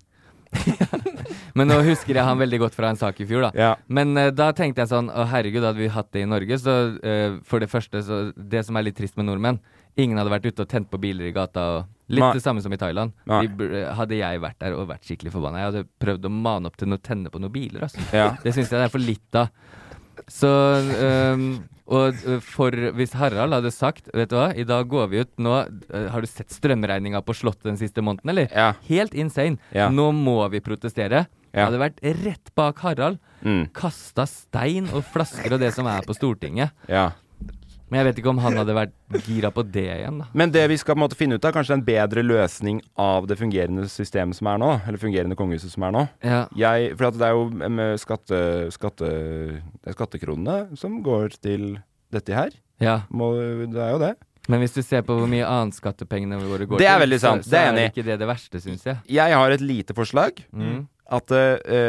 [SPEAKER 2] Men nå husker jeg han veldig godt fra en sak i fjor, da. Men eh, da tenkte jeg sånn Å, herregud, hadde vi hatt det i Norge, så eh, for det første, så Det som er litt trist med nordmenn, ingen hadde vært ute og tent på biler i gata og Litt
[SPEAKER 1] Nei.
[SPEAKER 2] det samme som i Thailand.
[SPEAKER 1] Nei.
[SPEAKER 2] De, bur- hadde jeg vært der og vært skikkelig forbanna, jeg hadde prøvd å mane opp til å tenne på noen biler, altså.
[SPEAKER 1] Ja.
[SPEAKER 2] Det syns jeg det er for litt av. Så ehm, Og eh, for Hvis Harald hadde sagt Vet du hva, i dag går vi ut nå eh, Har du sett strømregninga på Slottet den siste måneden, eller? Helt insane.
[SPEAKER 1] Ja.
[SPEAKER 2] Nå må vi protestere.
[SPEAKER 1] Ja.
[SPEAKER 2] Hadde vært rett bak Harald.
[SPEAKER 1] Mm.
[SPEAKER 2] Kasta stein og flasker og det som er på Stortinget.
[SPEAKER 1] Ja.
[SPEAKER 2] Men jeg vet ikke om han hadde vært gira på det igjen, da.
[SPEAKER 1] Men det vi skal på en måte finne ut av, kanskje en bedre løsning av det fungerende systemet som er nå, eller fungerende kongehuset som er nå.
[SPEAKER 2] Ja.
[SPEAKER 1] Jeg, for at det er jo eh, med skatte, skatte, det er skattekronene som går til dette her.
[SPEAKER 2] Ja.
[SPEAKER 1] Må, det er jo det.
[SPEAKER 2] Men hvis du ser på hvor mye annet skattepengene våre går
[SPEAKER 1] Det er
[SPEAKER 2] til,
[SPEAKER 1] veldig sant.
[SPEAKER 2] så,
[SPEAKER 1] Det
[SPEAKER 2] så
[SPEAKER 1] er
[SPEAKER 2] er
[SPEAKER 1] enig.
[SPEAKER 2] ikke det det verste, syns jeg.
[SPEAKER 1] Jeg har et lite forslag.
[SPEAKER 2] Mm.
[SPEAKER 1] At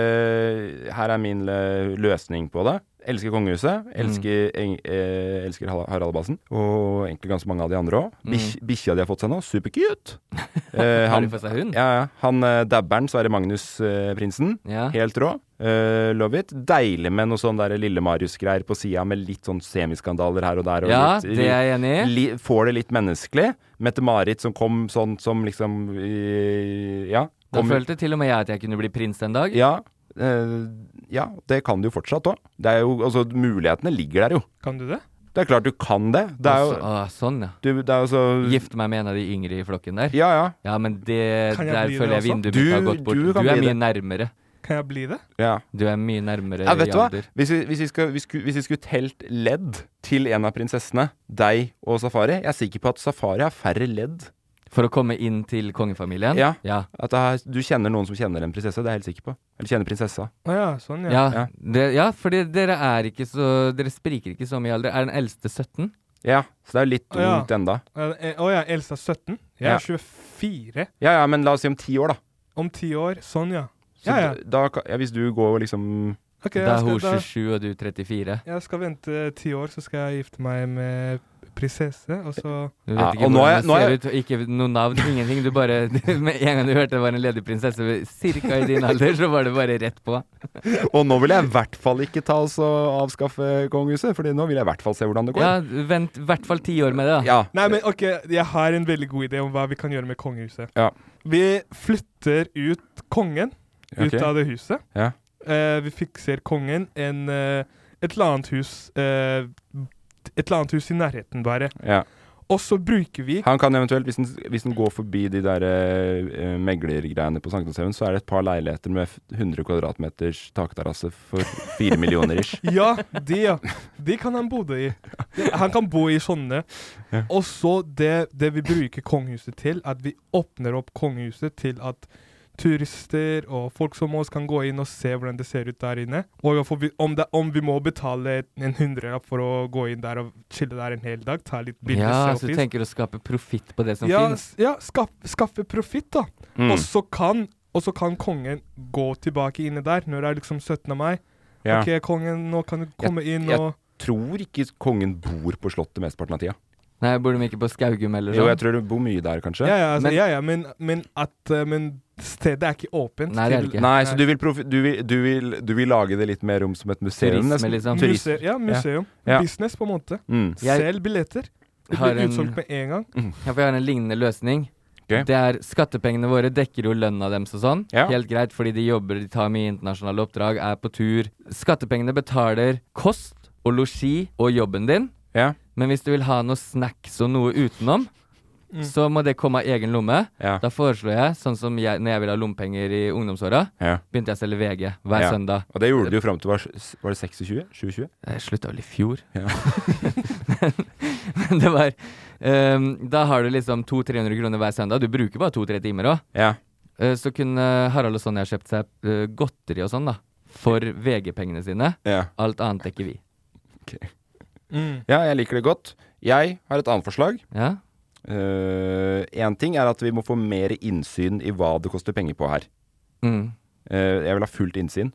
[SPEAKER 1] eh, her er min lø- løsning på det. Elsker kongehuset.
[SPEAKER 2] Mm.
[SPEAKER 1] Elsker, eng, eh, elsker Har- Harald Bassen. Og egentlig ganske mange av de andre òg.
[SPEAKER 2] Mm.
[SPEAKER 1] Bikkja de har fått seg nå,
[SPEAKER 2] *laughs*
[SPEAKER 1] supercute!
[SPEAKER 2] Har
[SPEAKER 1] Eh,
[SPEAKER 2] de
[SPEAKER 1] han-
[SPEAKER 2] fått seg hund?
[SPEAKER 1] Ja, ja. Han eh, dabberen, Sverre Magnus-prinsen.
[SPEAKER 2] Ja.
[SPEAKER 1] Helt rå. Eh, love it. Deilig med noe sånn der Lille-Marius-greier på sida, med litt sånn semiskandaler her og der. Og
[SPEAKER 2] Ja,
[SPEAKER 1] litt,
[SPEAKER 2] det er jeg enig i.
[SPEAKER 1] Li, får det litt menneskelig. Mette-Marit som kom sånn som liksom eh, Ja.
[SPEAKER 2] Da
[SPEAKER 1] kom-
[SPEAKER 2] følte til og med jeg at jeg kunne bli prins en dag.
[SPEAKER 1] ja, eh, ja, det kan du jo fortsatt òg. Altså, mulighetene ligger der jo.
[SPEAKER 3] Kan du det?
[SPEAKER 1] Det er klart du kan det. Det er jo,
[SPEAKER 2] Altså, ah, sånn, ja.
[SPEAKER 1] du, det er jo så
[SPEAKER 2] Gifte meg med en av de yngre i flokken der?
[SPEAKER 1] Ja, ja.
[SPEAKER 2] Ja, men det,
[SPEAKER 3] Kan jeg
[SPEAKER 2] der
[SPEAKER 3] bli
[SPEAKER 2] føler
[SPEAKER 3] det
[SPEAKER 2] jeg vinduet
[SPEAKER 1] også?
[SPEAKER 2] mitt har
[SPEAKER 1] Du-
[SPEAKER 2] gått bort.
[SPEAKER 1] du
[SPEAKER 2] Du,
[SPEAKER 1] kan
[SPEAKER 2] er
[SPEAKER 1] bli
[SPEAKER 2] mye
[SPEAKER 1] det.
[SPEAKER 2] nærmere.
[SPEAKER 3] Kan jeg bli det?
[SPEAKER 1] ja.
[SPEAKER 2] Du er mye nærmere
[SPEAKER 1] ja, vet
[SPEAKER 2] i
[SPEAKER 1] du hva?
[SPEAKER 2] alder.
[SPEAKER 1] Hvis vi, hvis vi, skal, vi, skulle, hvis vi skulle telt ledd til en av prinsessene, deg og Safari Jeg er sikker på at Safari har færre ledd.
[SPEAKER 2] For å komme inn til kongefamilien?
[SPEAKER 1] Ja.
[SPEAKER 2] Ja.
[SPEAKER 1] At det er, du kjenner noen som kjenner en prinsesse, det er jeg helt sikker på. Eller kjenner prinsessa.
[SPEAKER 3] Å ja, sånn, ja.
[SPEAKER 2] Ja, det, ja fordi dere er ikke så Dere spriker ikke så mye i alder. Er den eldste 17?
[SPEAKER 1] Ja, så det er jo litt
[SPEAKER 3] Å ja.
[SPEAKER 1] ungt enda.
[SPEAKER 3] Eh, eh, Å ja, Elsa 17? Jeg
[SPEAKER 1] Ja.
[SPEAKER 3] er 24.
[SPEAKER 1] Ja ja, men la oss si om ti år, da.
[SPEAKER 3] Om ti år. Sånn, ja.
[SPEAKER 1] Så
[SPEAKER 3] Ja, ja.
[SPEAKER 1] d- Da, kan- ja. Hvis du går liksom
[SPEAKER 3] Ok, jeg
[SPEAKER 2] da er
[SPEAKER 3] skal-
[SPEAKER 2] hun
[SPEAKER 3] da-
[SPEAKER 2] 27 og du 34.
[SPEAKER 3] Jeg skal vente ti år, så skal jeg gifte meg med prinsesse, og så
[SPEAKER 2] Du vet
[SPEAKER 1] Ja,
[SPEAKER 2] ikke
[SPEAKER 1] og nå
[SPEAKER 2] hvordan
[SPEAKER 1] er-
[SPEAKER 2] det
[SPEAKER 1] nå er-
[SPEAKER 2] ser ut, og ikke noe navn, ingenting. Du bare *laughs* Med en gang du hørte det var en ledig prinsesse ca. i din alder, så var det bare rett på.
[SPEAKER 1] Og nå vil jeg i hvert fall ikke ta oss og avskaffe kongehuset, Fordi nå vil jeg i hvert fall se hvordan det går.
[SPEAKER 2] Ja, vent i hvert fall ti år med det, da.
[SPEAKER 1] Ja.
[SPEAKER 3] Nei, men ok, jeg har en veldig god idé om hva vi kan gjøre med kongehuset.
[SPEAKER 1] Ja.
[SPEAKER 3] Vi flytter ut kongen ut
[SPEAKER 1] Ok.
[SPEAKER 3] av det huset.
[SPEAKER 1] Ja.
[SPEAKER 3] Eh, vi fikser kongen en, eh, et eller annet hus eh, Et eller annet hus i nærheten, bare.
[SPEAKER 1] Ja.
[SPEAKER 3] Og så bruker vi
[SPEAKER 1] Han kan eventuelt, hvis den, hvis den går forbi de der eh, meglergreiene på Sankthanshaugen, så er det et par leiligheter med f- 100 kvadratmeters takterrasse for *laughs* fire millioner ish.
[SPEAKER 3] Ja, de, ja. De kan han bo i. De- Han kan bo i sånne. Og så det, det vi bruker kongehuset til, at vi åpner opp kongehuset til at turister og folk som oss kan gå inn og se hvordan det ser ut der inne. Og om vi, om det, om vi må betale en hundrelapp for å gå inn der og chille der en hel dag, ta litt bilder,
[SPEAKER 2] Ja, så du
[SPEAKER 3] selfies
[SPEAKER 2] tenker å skape profitt på det som
[SPEAKER 3] ja,
[SPEAKER 2] finnes
[SPEAKER 3] s- ja skaff, skaffe profitt, da.
[SPEAKER 2] Mm.
[SPEAKER 3] Og, så kan, og så kan kongen gå tilbake inne der når det er liksom 17. mai.
[SPEAKER 1] Ja.
[SPEAKER 3] OK, kongen, nå kan du komme inn
[SPEAKER 1] jeg
[SPEAKER 3] og
[SPEAKER 1] tror ikke kongen bor på Slottet mesteparten av tida.
[SPEAKER 2] Nei, bor de ikke på Skaugum eller
[SPEAKER 1] Jo,
[SPEAKER 2] sånn?
[SPEAKER 1] jeg tror du bor mye der, kanskje.
[SPEAKER 3] Ja, ja, altså, men, ja, ja men, men at eh, Men stedet er ikke åpent. til-
[SPEAKER 1] Nei, så du vil, profi du, vil, du, vil, du vil lage det litt mer om som et museum?
[SPEAKER 2] Turisme,
[SPEAKER 1] nesten?
[SPEAKER 2] liksom.
[SPEAKER 1] Turist.
[SPEAKER 3] Muse ja, museum.
[SPEAKER 1] Ja.
[SPEAKER 3] Business, på en måte.
[SPEAKER 1] Mm.
[SPEAKER 3] Selg billetter. Det
[SPEAKER 2] Har
[SPEAKER 3] blir
[SPEAKER 2] en-
[SPEAKER 3] utsolgt med en gang.
[SPEAKER 2] Ja, for jeg har en lignende løsning.
[SPEAKER 1] Ok.
[SPEAKER 2] Det er Skattepengene våre dekker jo lønna deres og sånn.
[SPEAKER 1] Ja.
[SPEAKER 2] Helt greit, fordi de jobber, de tar mye internasjonale oppdrag, er på tur. Skattepengene betaler kost og losji og jobben din. Men hvis du vil ha noe snacks og noe utenom,
[SPEAKER 1] Mm.
[SPEAKER 2] så må det komme av egen lomme.
[SPEAKER 1] Ja.
[SPEAKER 2] Da foreslår jeg, sånn som jeg, når jeg ville ha lompenger i ungdomsåra,
[SPEAKER 1] Ja.
[SPEAKER 2] begynte jeg å selge VG hver
[SPEAKER 1] Ja.
[SPEAKER 2] søndag.
[SPEAKER 1] Og det gjorde du jo fram til var, var det 26? 27?
[SPEAKER 2] Jeg slutta vel i fjor.
[SPEAKER 1] Ja.
[SPEAKER 2] *laughs* Men det var ehm, Da har du liksom 200-300 kroner hver søndag. Du bruker bare to-tre timer òg.
[SPEAKER 1] Ja.
[SPEAKER 2] så kunne Harald og Sonja kjøpt seg eh, godteri og sånn, da. For VG-pengene sine.
[SPEAKER 1] Ja.
[SPEAKER 2] Alt annet dekker vi.
[SPEAKER 1] ja, jeg liker det godt. Jeg har et annet forslag.
[SPEAKER 2] Ja.
[SPEAKER 1] Én Eh, ting er at vi må få mer innsyn i hva det koster penger på her.
[SPEAKER 2] Mm.
[SPEAKER 1] Eh, jeg vil ha fullt innsyn.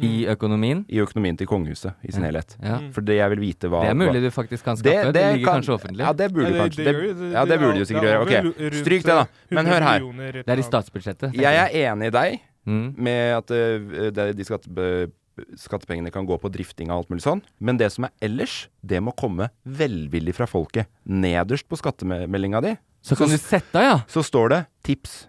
[SPEAKER 2] I økonomien?
[SPEAKER 1] I økonomien til kongehuset i sin
[SPEAKER 2] Ja.
[SPEAKER 1] helhet.
[SPEAKER 2] Ja.
[SPEAKER 1] For det jeg vil vite hva
[SPEAKER 2] Mm. Det er mulig
[SPEAKER 1] hva-
[SPEAKER 2] du faktisk kan skaffe. Det ligger
[SPEAKER 1] kan-
[SPEAKER 2] kanskje offentlig.
[SPEAKER 1] Ja, det burde
[SPEAKER 2] Ja,
[SPEAKER 1] du
[SPEAKER 2] det-
[SPEAKER 1] kanskje.
[SPEAKER 2] det
[SPEAKER 1] Det,
[SPEAKER 2] gjør jo- det-
[SPEAKER 1] ja, det
[SPEAKER 2] det er
[SPEAKER 1] burde
[SPEAKER 2] al-
[SPEAKER 1] du sikkert
[SPEAKER 2] det er
[SPEAKER 1] gjøre.
[SPEAKER 2] over
[SPEAKER 1] Ok,
[SPEAKER 2] rundt
[SPEAKER 1] stryk det, da. Men
[SPEAKER 2] 100
[SPEAKER 1] hør her.
[SPEAKER 2] millioner i Det er i statsbudsjettet, tenker
[SPEAKER 1] Jeg er
[SPEAKER 2] jeg.
[SPEAKER 1] enig i deg
[SPEAKER 2] Mm.
[SPEAKER 1] med at eh, det- de skatte, skattepengene kan gå på drifting og alt mulig sånn, men det som er ellers, det må komme velvillig fra folket. Nederst på skattemeldinga di
[SPEAKER 2] Så kan du sette av, ja.
[SPEAKER 1] Så står det 'tips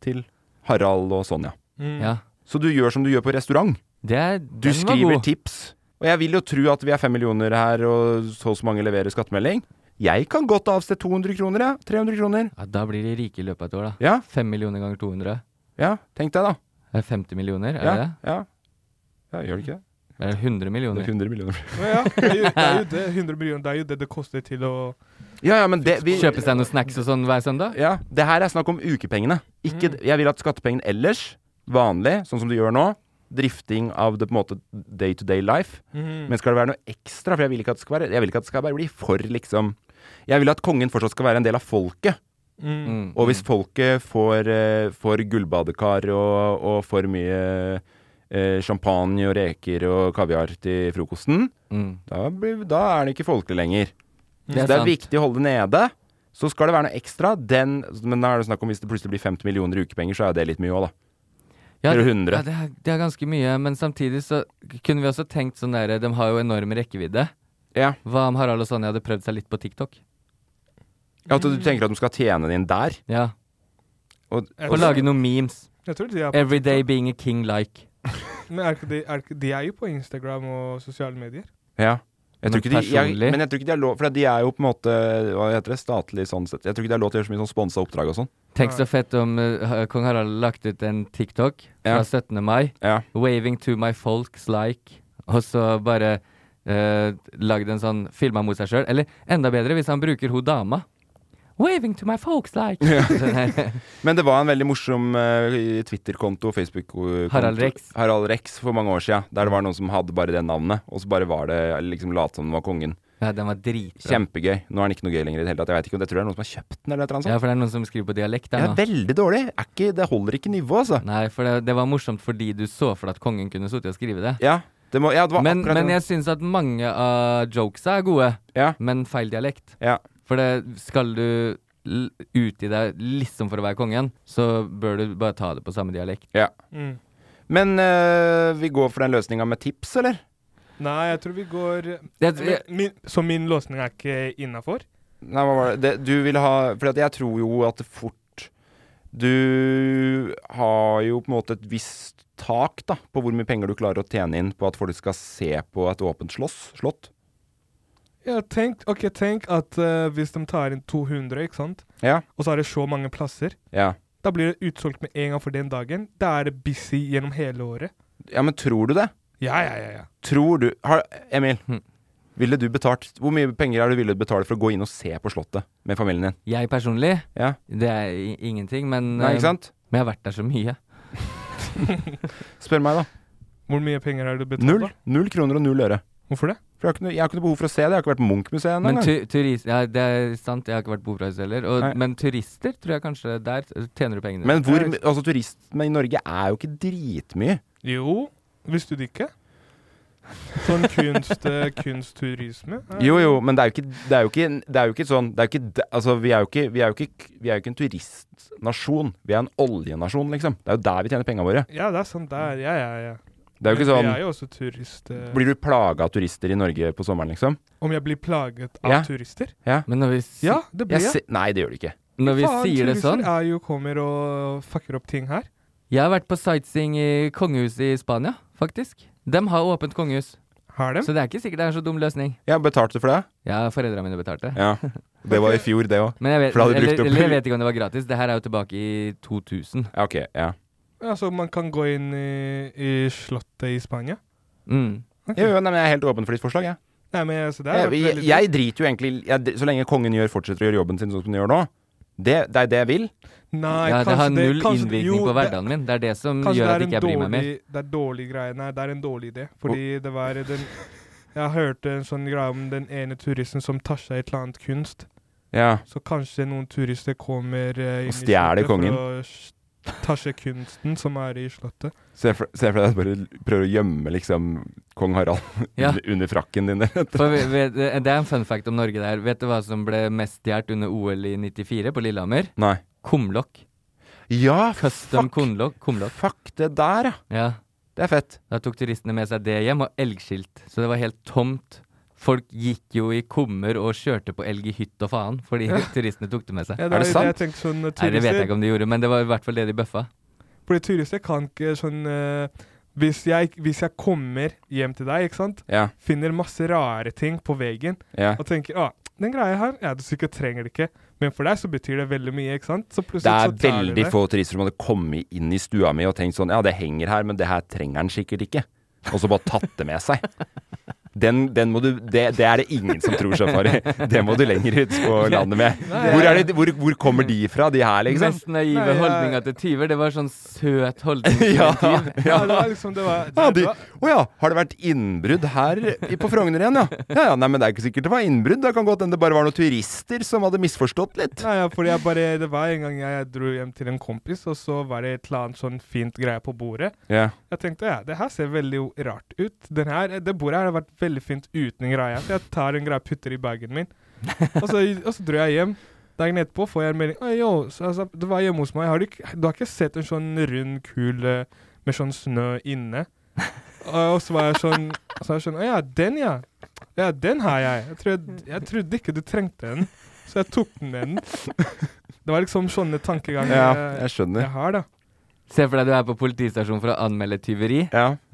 [SPEAKER 1] til Harald og Sonja'.
[SPEAKER 2] Mm. Ja.
[SPEAKER 1] Så du gjør som du gjør på restaurant. du
[SPEAKER 2] den var
[SPEAKER 1] skriver
[SPEAKER 2] god.
[SPEAKER 1] tips. Og jeg vil jo tro at vi er fem millioner her, og så og så mange leverer skattemelding. Jeg kan godt avse 200 kroner, ja. 300 kroner.
[SPEAKER 2] Ja, da blir de rike i løpet av et år, da.
[SPEAKER 1] Ja.
[SPEAKER 2] 5 millioner ganger 200.
[SPEAKER 1] Ja, tenk deg, da.
[SPEAKER 2] Det er 50 millioner, er
[SPEAKER 1] Ja,
[SPEAKER 2] det det?
[SPEAKER 1] ja. ja, gjør det ikke det?
[SPEAKER 2] Det er 100 millioner.
[SPEAKER 1] Det er 100 millioner.
[SPEAKER 3] Ja, ja, det, er jo, det er jo det
[SPEAKER 2] *laughs*
[SPEAKER 3] 100 millioner, det er jo det det koster til å
[SPEAKER 1] Ja, ja, men det, vi,
[SPEAKER 2] Kjøpe seg noen snacks og sånn hver søndag?
[SPEAKER 1] Ja, det her er snakk om ukepengene. Ikke, Jeg vil at skattepengene ellers, vanlig, sånn som du gjør nå, drifting av det på en måte day to day life.
[SPEAKER 2] Mhm.
[SPEAKER 1] Men skal det være noe ekstra? For jeg vil ikke at det skal være Jeg vil ikke at det skal bare bli for, liksom Jeg vil at kongen fortsatt skal være en del av folket.
[SPEAKER 2] Mm.
[SPEAKER 1] Og hvis folket får, eh, får gullbadekar og, og for mye eh, champagne og reker og kaviar til frokosten,
[SPEAKER 2] Mm.
[SPEAKER 1] da, blir, da er det ikke folkelig lenger.
[SPEAKER 2] Det
[SPEAKER 1] så
[SPEAKER 2] er
[SPEAKER 1] det er
[SPEAKER 2] sant.
[SPEAKER 1] viktig å holde det nede. Så skal det være noe ekstra. Den, men da er det snakk om hvis det plutselig blir 50 millioner i ukepenger, så er det litt mye òg, da.
[SPEAKER 2] Ja,
[SPEAKER 1] Eller
[SPEAKER 2] det-
[SPEAKER 1] 100.
[SPEAKER 2] Ja, det, er, det er ganske mye, men samtidig så kunne vi også tenkt sånn der De har jo enorm rekkevidde.
[SPEAKER 1] Ja.
[SPEAKER 2] Hva om Harald og Sonja hadde prøvd seg litt på TikTok?
[SPEAKER 1] Ja, At du tenker at de skal tjene det inn der.
[SPEAKER 2] Ja.
[SPEAKER 1] Og,
[SPEAKER 2] Og lage noen memes.
[SPEAKER 3] Jeg tror de er på
[SPEAKER 2] Everyday being a king like.
[SPEAKER 3] Men er ikke de, er ikke, de er jo på Instagram og sosiale medier.
[SPEAKER 1] Ja. Jeg
[SPEAKER 2] Men
[SPEAKER 1] tror ikke de, jeg,
[SPEAKER 2] personlig?
[SPEAKER 1] men jeg tror ikke de har lov For de er jo på en måte Hva heter det? Statlig sånn sett. Jeg tror ikke de har lov til å gjøre så mye sånn sponsa oppdrag og sånn.
[SPEAKER 2] Tenk så fett om eh, ha- kong Harald lagt ut en TikTok fra
[SPEAKER 1] Ja.
[SPEAKER 2] 17. mai.
[SPEAKER 1] Ja.
[SPEAKER 2] Waving to my folks like. Og så bare eh, lagd en sånn filma mot seg sjøl. Eller enda bedre hvis han bruker hun dama. Waving to my folks like. Sånn her.
[SPEAKER 1] Men det var en veldig morsom eh, Twitter-konto, Facebook-konto
[SPEAKER 2] Harald Rex.
[SPEAKER 1] Harald Rex for mange år siden, der det var noen som hadde bare det navnet, og så bare var det liksom late som den var kongen.
[SPEAKER 2] *laughs* ja, den var dritbra.
[SPEAKER 1] Kjempegøy. Nå er den ikke noe gøy lenger i det hele tatt. Jeg vet ikke om det tror jeg er noen som har kjøpt den, eller et eller annet
[SPEAKER 2] Ja,
[SPEAKER 1] sånt.
[SPEAKER 2] for det er noen som skriver på dialekt
[SPEAKER 1] det
[SPEAKER 2] der
[SPEAKER 1] er
[SPEAKER 2] nå.
[SPEAKER 1] veldig dårlig. Er ikke, det holder ikke nivået, altså.
[SPEAKER 2] Nei, for det, det var morsomt fordi du så for deg at kongen kunne sittet og skrive det.
[SPEAKER 1] Ja, det, må, ja, det var
[SPEAKER 2] Men,
[SPEAKER 1] akkurat
[SPEAKER 2] men
[SPEAKER 1] det.
[SPEAKER 2] jeg syns at mange av jokesa er gode, men feil dialekt. For det skal du l- utgi deg liksom for å være kongen, så bør du bare ta det på samme dialekt.
[SPEAKER 1] Ja.
[SPEAKER 3] Mm.
[SPEAKER 1] Men eh, vi går for den løsninga med tips, eller?
[SPEAKER 3] Nei, jeg tror vi går eh,
[SPEAKER 2] Jeg-
[SPEAKER 3] Men min, Så min låsning er ikke innafor?
[SPEAKER 1] Nei, hva var det? det du vil ha For at jeg tror jo at det fort Du har jo på en måte et visst tak da på hvor mye penger du klarer å tjene inn på at folk skal se på et åpent slåss, slott.
[SPEAKER 3] Ja, tenk, ok, tenk at eh, hvis de tar inn 200, ikke sant?
[SPEAKER 1] Ja.
[SPEAKER 3] og så er det så mange plasser,
[SPEAKER 1] Ja.
[SPEAKER 3] da blir det utsolgt med en gang for den dagen. Da er det busy gjennom hele året.
[SPEAKER 1] ja, men tror du det?
[SPEAKER 3] Ja, ja, ja. ja.
[SPEAKER 1] Tror du har, Emil, ville du betalt Hvor mye penger er du villig til å betale for å gå inn og se på Slottet med familien din?
[SPEAKER 2] Jeg personlig,
[SPEAKER 1] Ja.
[SPEAKER 2] det er i- ingenting, men
[SPEAKER 1] Nei, ikke
[SPEAKER 2] eh,
[SPEAKER 1] sant?
[SPEAKER 2] Men jeg har vært der så mye.
[SPEAKER 1] Spør meg, da.
[SPEAKER 3] Hvor mye penger har du betalt,
[SPEAKER 1] Null,
[SPEAKER 3] da?
[SPEAKER 1] null kroner og null øre.
[SPEAKER 3] Hvorfor det?
[SPEAKER 1] For jeg har ikke, noe- jeg har ikke noe behov for å se det. Jeg har ikke vært på Munch-museet ennå.
[SPEAKER 2] Men
[SPEAKER 1] engang.
[SPEAKER 2] tu turist, ja, det er sant, jeg har ikke vært på Operahuset heller.
[SPEAKER 1] Nei.
[SPEAKER 2] Og, men turister tror jeg kanskje der tjener du pengene.
[SPEAKER 1] Men hvor,
[SPEAKER 2] Ja,
[SPEAKER 1] altså, turistene i Norge er jo ikke dritmye.
[SPEAKER 3] Jo, visste du det ikke? Sånn kunst, *laughs* eh, kunstturisme? er-
[SPEAKER 1] *laughs* Jo, jo, men det er jo ikke, det er jo ikke, det er jo ikke sånn det er jo ikke, d- Altså, vi er jo ikke, vi er jo ikke, vi er jo ikke en turistnasjon. Vi er en oljenasjon, liksom. Det er jo der vi tjener pengene våre.
[SPEAKER 3] Ja, det er sånn der. Ja, ja, ja.
[SPEAKER 1] Det er jo ikke
[SPEAKER 3] Men
[SPEAKER 1] sånn-
[SPEAKER 3] Jeg er jo også turist. eh.
[SPEAKER 1] Blir du plaga av turister i Norge på sommeren, liksom?
[SPEAKER 3] Om jeg blir plaget av
[SPEAKER 1] Ja.
[SPEAKER 3] turister?
[SPEAKER 1] Ja.
[SPEAKER 2] Men når vi si-
[SPEAKER 3] Ja, det blir jeg.
[SPEAKER 1] se- Nei, det gjør du ikke.
[SPEAKER 3] Faen, Turister er jo kommer og fucker opp ting her.
[SPEAKER 2] sånn, Jeg har vært på sightseeing i kongehuset i Spania, faktisk. De har åpent kongehus.
[SPEAKER 3] Har de?
[SPEAKER 2] Så det er ikke sikkert det er en så dum løsning.
[SPEAKER 1] Ja, betalte du for det?
[SPEAKER 2] Ja, foreldrene mine betalte.
[SPEAKER 1] Ja. Det var i fjor, det òg.
[SPEAKER 2] Men jeg vet,
[SPEAKER 1] For da hadde du
[SPEAKER 2] eller,
[SPEAKER 1] brukt opp
[SPEAKER 2] eller jeg vet ikke om det var gratis. Det her er jo tilbake i 2000.
[SPEAKER 1] Ja, ok, ja.
[SPEAKER 3] Altså, man kan gå inn i, i slottet i Spania.
[SPEAKER 2] Mm.
[SPEAKER 3] Ok.
[SPEAKER 1] Jo, jo, nei, men jeg er helt åpen for ditt forslag, jeg.
[SPEAKER 3] Nei, men altså, det er
[SPEAKER 1] Jeg,
[SPEAKER 3] jo
[SPEAKER 1] jeg,
[SPEAKER 3] veldig
[SPEAKER 1] jeg driter jo egentlig jeg, dr- Så lenge kongen gjør, fortsetter å gjøre jobben sin sånn som den gjør nå, det, det er det jeg vil.
[SPEAKER 3] Nei,
[SPEAKER 2] ja, det har
[SPEAKER 3] kanskje det-
[SPEAKER 2] null
[SPEAKER 3] kanskje-
[SPEAKER 2] innvirkning
[SPEAKER 3] jo,
[SPEAKER 2] på
[SPEAKER 3] det-
[SPEAKER 2] hverdagen min. Det er det som
[SPEAKER 3] Kanskje
[SPEAKER 2] gjør
[SPEAKER 3] det
[SPEAKER 2] at
[SPEAKER 3] er
[SPEAKER 2] ikke jeg
[SPEAKER 3] en
[SPEAKER 2] blir meg mer.
[SPEAKER 3] dårlig- Det er dårlig greie. Nei, det er en dårlig idé. Fordi det var den Jeg hørte en sånn greie om den ene turisten som tar seg et eller annet kunst.
[SPEAKER 1] Ja.
[SPEAKER 3] Så kanskje noen turister kommer eh, inn i
[SPEAKER 1] stjeler
[SPEAKER 3] slottet
[SPEAKER 1] kongen.
[SPEAKER 3] for å s- ta seg kunsten som er i slottet.
[SPEAKER 1] Se for, se for deg at du bare l- prøver å gjemme liksom kong Harald *laughs*
[SPEAKER 2] Ja.
[SPEAKER 1] under- under frakken din. *laughs* eller et eller
[SPEAKER 2] For vi- vi- det er en fun fact om Norge der. Vet du hva som ble mest stjålet under OL i 94 på Lillehammer?
[SPEAKER 1] Nei.
[SPEAKER 2] Kumlokk.
[SPEAKER 1] Ja,
[SPEAKER 2] Custom kumlokk. kumlokk.
[SPEAKER 1] Fuck det der, ja.
[SPEAKER 2] ja.
[SPEAKER 1] Det er fett.
[SPEAKER 2] Da tok turistene med seg det hjem, og elgskilt. Så det var helt tomt. Folk gikk jo i kummer og kjørte på elg i hytt og faen, fordi
[SPEAKER 3] Ja.
[SPEAKER 2] turistene tok det med seg.
[SPEAKER 3] Ja, det Er det er jo det sant? jeg tenker, sånn,
[SPEAKER 2] Nei, det vet
[SPEAKER 3] turister-
[SPEAKER 2] jeg ikke om de gjorde, men det var i hvert fall det de bøffa.
[SPEAKER 3] Fordi turister kan ikke sånn eh, hvis, jeg, hvis jeg kommer hjem til deg, ikke sant,
[SPEAKER 1] Ja.
[SPEAKER 3] finner masse rare ting på veggen,
[SPEAKER 1] Ja.
[SPEAKER 3] og tenker ah, den greia her, ja, du sikkert trenger det ikke, men for deg så betyr det veldig mye, ikke sant? Så
[SPEAKER 1] Det er
[SPEAKER 3] plutselig så tar du
[SPEAKER 1] veldig
[SPEAKER 3] det.
[SPEAKER 1] få turister som hadde kommet inn i stua mi og tenkt sånn Ja, det henger her, men det her trenger han sikkert ikke. Og så bare tatt det med seg. Den, den må du det, det er det ingen som tror, Shafari. Det må du lenger ut på landet med. Hvor, er det, hvor, hvor kommer de fra, de her, liksom?
[SPEAKER 2] Mest naive
[SPEAKER 1] Nei, jeg-
[SPEAKER 2] holdninga til tyver, det var sånn søt holdning
[SPEAKER 3] *laughs*
[SPEAKER 2] til
[SPEAKER 1] Ja,
[SPEAKER 2] en
[SPEAKER 1] ja.
[SPEAKER 2] tyv.
[SPEAKER 3] Ja, det var liksom, det var,
[SPEAKER 1] Ja, de, å ja, har det vært innbrudd her i- på Frogner igjen, ja? ja? Ja, Nei, men det er ikke sikkert det var innbrudd. Det kan godt hende det bare var noen turister som hadde misforstått litt.
[SPEAKER 3] Nei, ja, fordi jeg bare, det var en gang jeg dro hjem til en kompis, og så var det et eller annet sånn fint greie på bordet.
[SPEAKER 1] Ja.
[SPEAKER 3] Jeg tenkte ja, det her ser veldig rart ut. Den her, det bordet her har vært veldig fint uten en greie. Så jeg tar en greie og putter i bagen
[SPEAKER 2] *laughs*
[SPEAKER 3] min. Og så, og så dro jeg hjem. Dagen etterpå får jeg en melding. «Oi, jo, så, altså, det var hjemme hos meg. Har du, ikke- du har ikke sett en sånn rund kul eh, med sånn snø
[SPEAKER 2] *laughs*
[SPEAKER 3] inne? Og og så var jeg sånn, så var jeg sånn Å ja, den, ja. Ja, den har jeg. Jeg trodde, jeg trodde ikke du trengte den, så jeg tok den
[SPEAKER 2] *laughs*
[SPEAKER 3] med den. Det var liksom sånne tankeganger
[SPEAKER 2] Ja, jeg skjønner.
[SPEAKER 3] jeg har, da.
[SPEAKER 2] Se for deg du er på politistasjonen for å anmelde tyveri.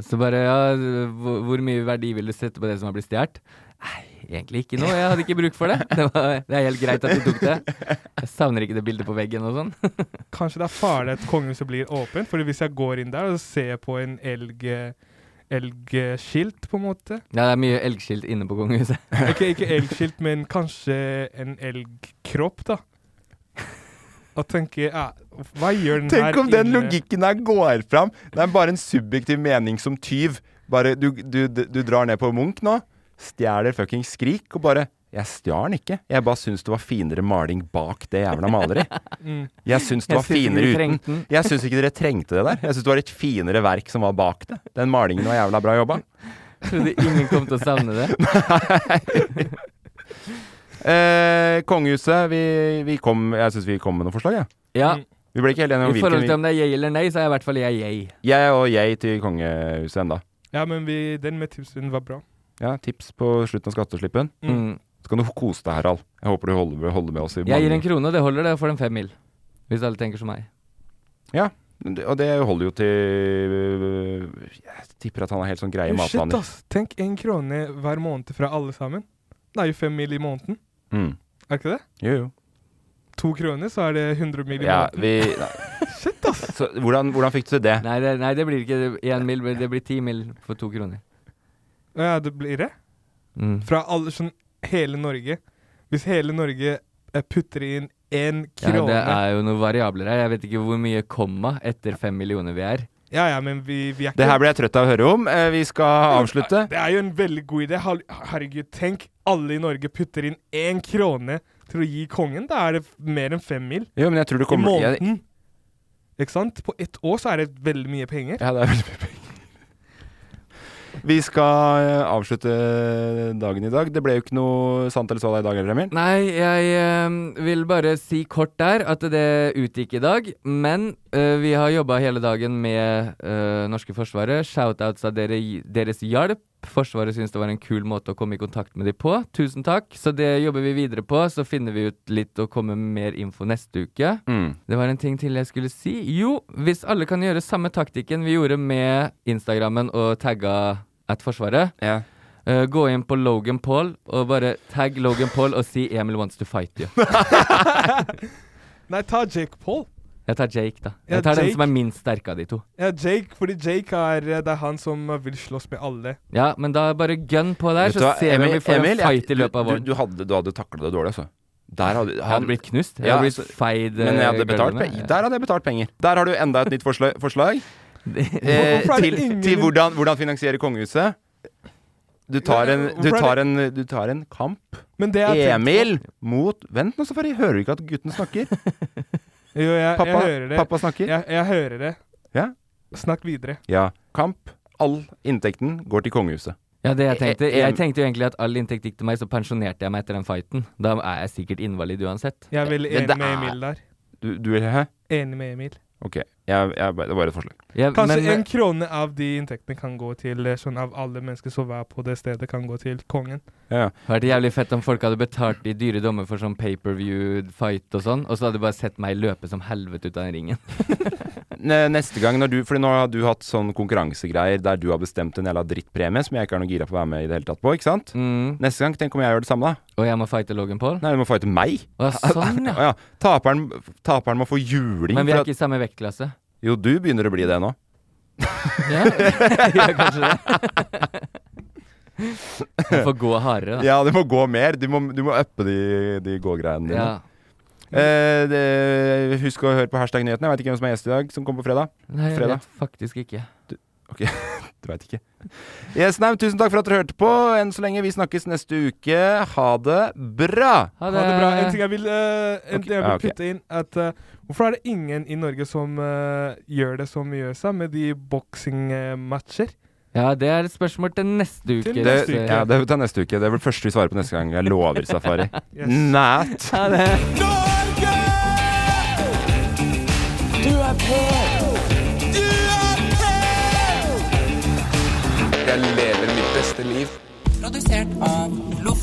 [SPEAKER 2] Så bare ja, hvor, hvor mye verdi vil du sette på det som har blitt stjålet? Nei, egentlig ikke noe. Jeg hadde ikke bruk for det. Det, var, det er helt greit at de tok det. Jeg savner ikke det bildet på veggen og sånn.
[SPEAKER 3] Kanskje det er farlig at kongehuset blir åpent, Fordi hvis jeg går inn der og ser på en elg elgskilt, på en
[SPEAKER 1] *laughs*
[SPEAKER 3] måte
[SPEAKER 2] Ja, det er mye elgskilt inne på kongehuset.
[SPEAKER 3] Ikke, ikke elgskilt, men kanskje en elgkropp, da. Og tenker ja, Hva gjør den her
[SPEAKER 1] Tenk om den
[SPEAKER 3] inne?
[SPEAKER 1] logikken her går fram. Det er bare en subjektiv mening som tyv. Bare, du, du, du drar ned på Munch nå, stjeler fucking Skrik, og bare Jeg stjal den ikke. Jeg bare syns det var finere maling bak det jævla maleriet.
[SPEAKER 3] Mm.
[SPEAKER 1] Jeg syns det
[SPEAKER 2] Jeg
[SPEAKER 1] var
[SPEAKER 2] syns ikke
[SPEAKER 1] finere
[SPEAKER 2] vi
[SPEAKER 1] uten.
[SPEAKER 2] trengte den.
[SPEAKER 1] Jeg syns ikke dere trengte det der. Jeg syns det var et finere verk som var bak det. Den malingen var jævla bra
[SPEAKER 2] *laughs*
[SPEAKER 1] jobba.
[SPEAKER 2] Trodde ingen kom til å savne det.
[SPEAKER 1] Eh, kongehuset, vi, vi kom Jeg syns vi kom med noen forslag, jeg.
[SPEAKER 2] Ja.
[SPEAKER 1] Vi ble ikke helt enige om
[SPEAKER 2] I forhold til
[SPEAKER 1] hvilken.
[SPEAKER 2] om det er yay eller nei, så er i hvert fall jeg yay.
[SPEAKER 1] Vi, jeg og jeg til kongehuset enda.
[SPEAKER 3] Ja, men vi, den med tipsen var bra.
[SPEAKER 1] Ja, tips på slutten av skatteslippen.
[SPEAKER 2] Mm.
[SPEAKER 1] Så kan du kose deg, Harald. Jeg håper du holder, holder med oss i
[SPEAKER 2] Jeg gir en krone, og det holder det for en fem mil. Hvis alle tenker som meg.
[SPEAKER 1] Ja, men det- og det holder jo til Jeg tipper at han er helt sånn grei
[SPEAKER 3] Shit,
[SPEAKER 1] matvaner.
[SPEAKER 3] ass. Tenk én krone hver måned fra alle sammen. Det er jo fem mil i måneden,
[SPEAKER 1] Mm.
[SPEAKER 3] er ikke det?
[SPEAKER 1] Jo, jo.
[SPEAKER 3] To kroner, så er det 100 mil i
[SPEAKER 1] Ja,
[SPEAKER 3] måneden.
[SPEAKER 1] vi
[SPEAKER 3] *laughs* Shit, ass!
[SPEAKER 1] Så hvordan, hvordan fikk du til det?
[SPEAKER 2] Nei, det, nei, det blir ikke én mil, det blir ti mil for to kroner.
[SPEAKER 3] Ja, det blir det.
[SPEAKER 2] Mm.
[SPEAKER 3] Fra alle, sånn hele Norge. Hvis hele Norge eh, putter inn én
[SPEAKER 2] Ja,
[SPEAKER 3] krone
[SPEAKER 2] det
[SPEAKER 3] Ja,
[SPEAKER 2] er jo noen variabler her. Jeg vet ikke hvor mye komma etter fem millioner vi er.
[SPEAKER 3] ja, men vi, vi er ikke
[SPEAKER 1] Det her ble jeg trøtt av å høre om. Eh, Vi skal avslutte.
[SPEAKER 3] Det er jo en veldig god idé. Hal- Herregud, tenk alle i Norge putter inn én krone til å gi kongen. Da er det f- mer enn fem mil.
[SPEAKER 1] Jo, men jeg tror du
[SPEAKER 3] I
[SPEAKER 1] kommer jeg-
[SPEAKER 3] måneden. Ikke sant? På ett år så er det veldig mye penger.
[SPEAKER 1] Ja, det er veldig mye penger. Vi skal eh, avslutte dagen i dag. Det ble jo ikke noe sant eller så i dag heller, Emil.
[SPEAKER 2] Nei, jeg eh, vil bare si kort der at det utgikk i dag. Men eh, vi har jobba hele dagen med eh, norske forsvaret. Shoutouts av dere, deres hjelp. Forsvaret syns det var en kul måte å komme i kontakt med dem på. Tusen takk. Så det jobber vi videre på. Så finner vi ut litt og kommer med mer info neste uke.
[SPEAKER 1] Mm.
[SPEAKER 2] Det var en ting til jeg skulle si. Jo, hvis alle kan gjøre samme taktikken vi gjorde med Instagrammen og tagga at Forsvaret eh, Gå inn på Logan Paul og bare tagg Logan Paul og si 'Emil wants to fight you'.
[SPEAKER 3] Nei, ta Jake Paul.
[SPEAKER 2] Jeg tar Jake, da.
[SPEAKER 3] Ja,
[SPEAKER 2] Jeg tar den
[SPEAKER 3] Jake.
[SPEAKER 2] som er minst sterk av de to.
[SPEAKER 3] Ja, Jake, fordi Jake er eh, Det er han som vil slåss med alle.
[SPEAKER 2] Ja, men da bare gun på der,
[SPEAKER 1] Vet du
[SPEAKER 2] så
[SPEAKER 1] hva,
[SPEAKER 2] ser vi om vi får
[SPEAKER 1] Emil,
[SPEAKER 2] en
[SPEAKER 1] jeg-
[SPEAKER 2] fight i løpet av
[SPEAKER 1] du-
[SPEAKER 2] våren.
[SPEAKER 1] Du, du hadde, du hadde takla det dårlig, altså. Der hadde,
[SPEAKER 2] Jeg hadde blitt knust. Jeg hadde blitt
[SPEAKER 1] altså,
[SPEAKER 2] feid, eh,
[SPEAKER 1] Men jeg hadde betalt,
[SPEAKER 2] gulvene.
[SPEAKER 1] pe- der hadde jeg betalt penger. Der har du enda et nytt forslag. forslag. eh,
[SPEAKER 2] *laughs* Hvorfor er det
[SPEAKER 1] til
[SPEAKER 2] ingen-
[SPEAKER 1] til hvordan, hvordan finansiere kongehuset. Du tar en, du
[SPEAKER 3] Hvorfor er
[SPEAKER 1] tar en, du tar en kamp.
[SPEAKER 3] Men det jeg har tenkt
[SPEAKER 1] Emil mot Vent nå, Safari. Hører du ikke at gutten
[SPEAKER 2] *laughs*
[SPEAKER 1] snakker?
[SPEAKER 3] Jo, jeg,
[SPEAKER 1] Pappa-
[SPEAKER 3] jeg hører det.
[SPEAKER 1] pappa snakker?
[SPEAKER 3] Jeg, jeg hører det.
[SPEAKER 1] Ja.
[SPEAKER 3] Snakk videre.
[SPEAKER 1] Ja. Kamp. All inntekten går til kongehuset.
[SPEAKER 2] Ja, det jeg tenkte.
[SPEAKER 1] Eh, em-
[SPEAKER 2] Jeg tenkte jo egentlig at all inntekt gikk til meg, så pensjonerte jeg meg etter den fighten. Da er jeg sikkert invalid uansett.
[SPEAKER 3] Jeg er veldig
[SPEAKER 1] Men det
[SPEAKER 3] enig med
[SPEAKER 1] er-
[SPEAKER 3] Emil der.
[SPEAKER 1] Du, du vil Hæ?
[SPEAKER 3] Enig med Emil.
[SPEAKER 1] OK. Jeg, jeg, det var et forslag.
[SPEAKER 3] Kanskje
[SPEAKER 1] eh,
[SPEAKER 3] en krone av de inntektene kan gå til eh, sånn av alle mennesker som er på det stedet, kan gå til kongen.
[SPEAKER 1] Ja.
[SPEAKER 2] Det hadde vært eh, jævlig fett om folk hadde betalt i dyre dommer for sånn paperview-fight og sånn, og så hadde de bare sett meg løpe som helvete ut av den ringen.
[SPEAKER 1] Ne- Neste gang når du Fordi nå har du hatt sånn konkurransegreier der du har bestemt en jævla drittpremie som jeg ikke er noe gira på å være med i det hele tatt på, ikke sant? Neste gang, tenk om jeg gjør det samme, da.
[SPEAKER 2] Og jeg må fighte Logan Paul?
[SPEAKER 1] Nei, du må fighte meg.
[SPEAKER 2] Å, sånn, ja.
[SPEAKER 1] ja. Taperen, taperen må få juling.
[SPEAKER 2] Men vi
[SPEAKER 1] for
[SPEAKER 2] er
[SPEAKER 1] at-
[SPEAKER 2] ikke i samme vektklasse.
[SPEAKER 1] Jo, du begynner å bli det nå.
[SPEAKER 2] *laughs* Ja, ja kanskje det. Du får gå hardere, da.
[SPEAKER 1] Ja, du må gå mer. Du må, du må uppe de, de gågreiene dine.
[SPEAKER 2] Ja.
[SPEAKER 1] Eh, det, husk å høre på hashtag nyhetene. Jeg veit ikke hvem som er gjest i dag, som kommer på fredag.
[SPEAKER 2] Nei, jeg
[SPEAKER 1] fredag.
[SPEAKER 2] vet faktisk ikke.
[SPEAKER 1] Du, ok, du veit ikke. Yes, nei, men tusen takk for at dere hørte på. Enn så lenge. Vi snakkes neste uke. Ha det bra.
[SPEAKER 3] Ha det. bra. En ting jeg vil, eh, en ting jeg vil
[SPEAKER 1] Ah, ok.
[SPEAKER 3] putte inn, at eh, hvorfor er det ingen i Norge som eh, gjør det som vi gjør seg med de boksingmatcher?
[SPEAKER 2] Ja, det er et spørsmål til neste uke.
[SPEAKER 1] Det,
[SPEAKER 2] Lasse.
[SPEAKER 1] ja, det tar neste uke. Det blir første vi svarer på neste gang. Jeg lover, Safari.
[SPEAKER 3] Yes.
[SPEAKER 1] Nært.
[SPEAKER 2] Ha det.
[SPEAKER 9] Du er på! Du er på!
[SPEAKER 4] Jeg lever mitt beste liv.
[SPEAKER 9] Produsert av Loff.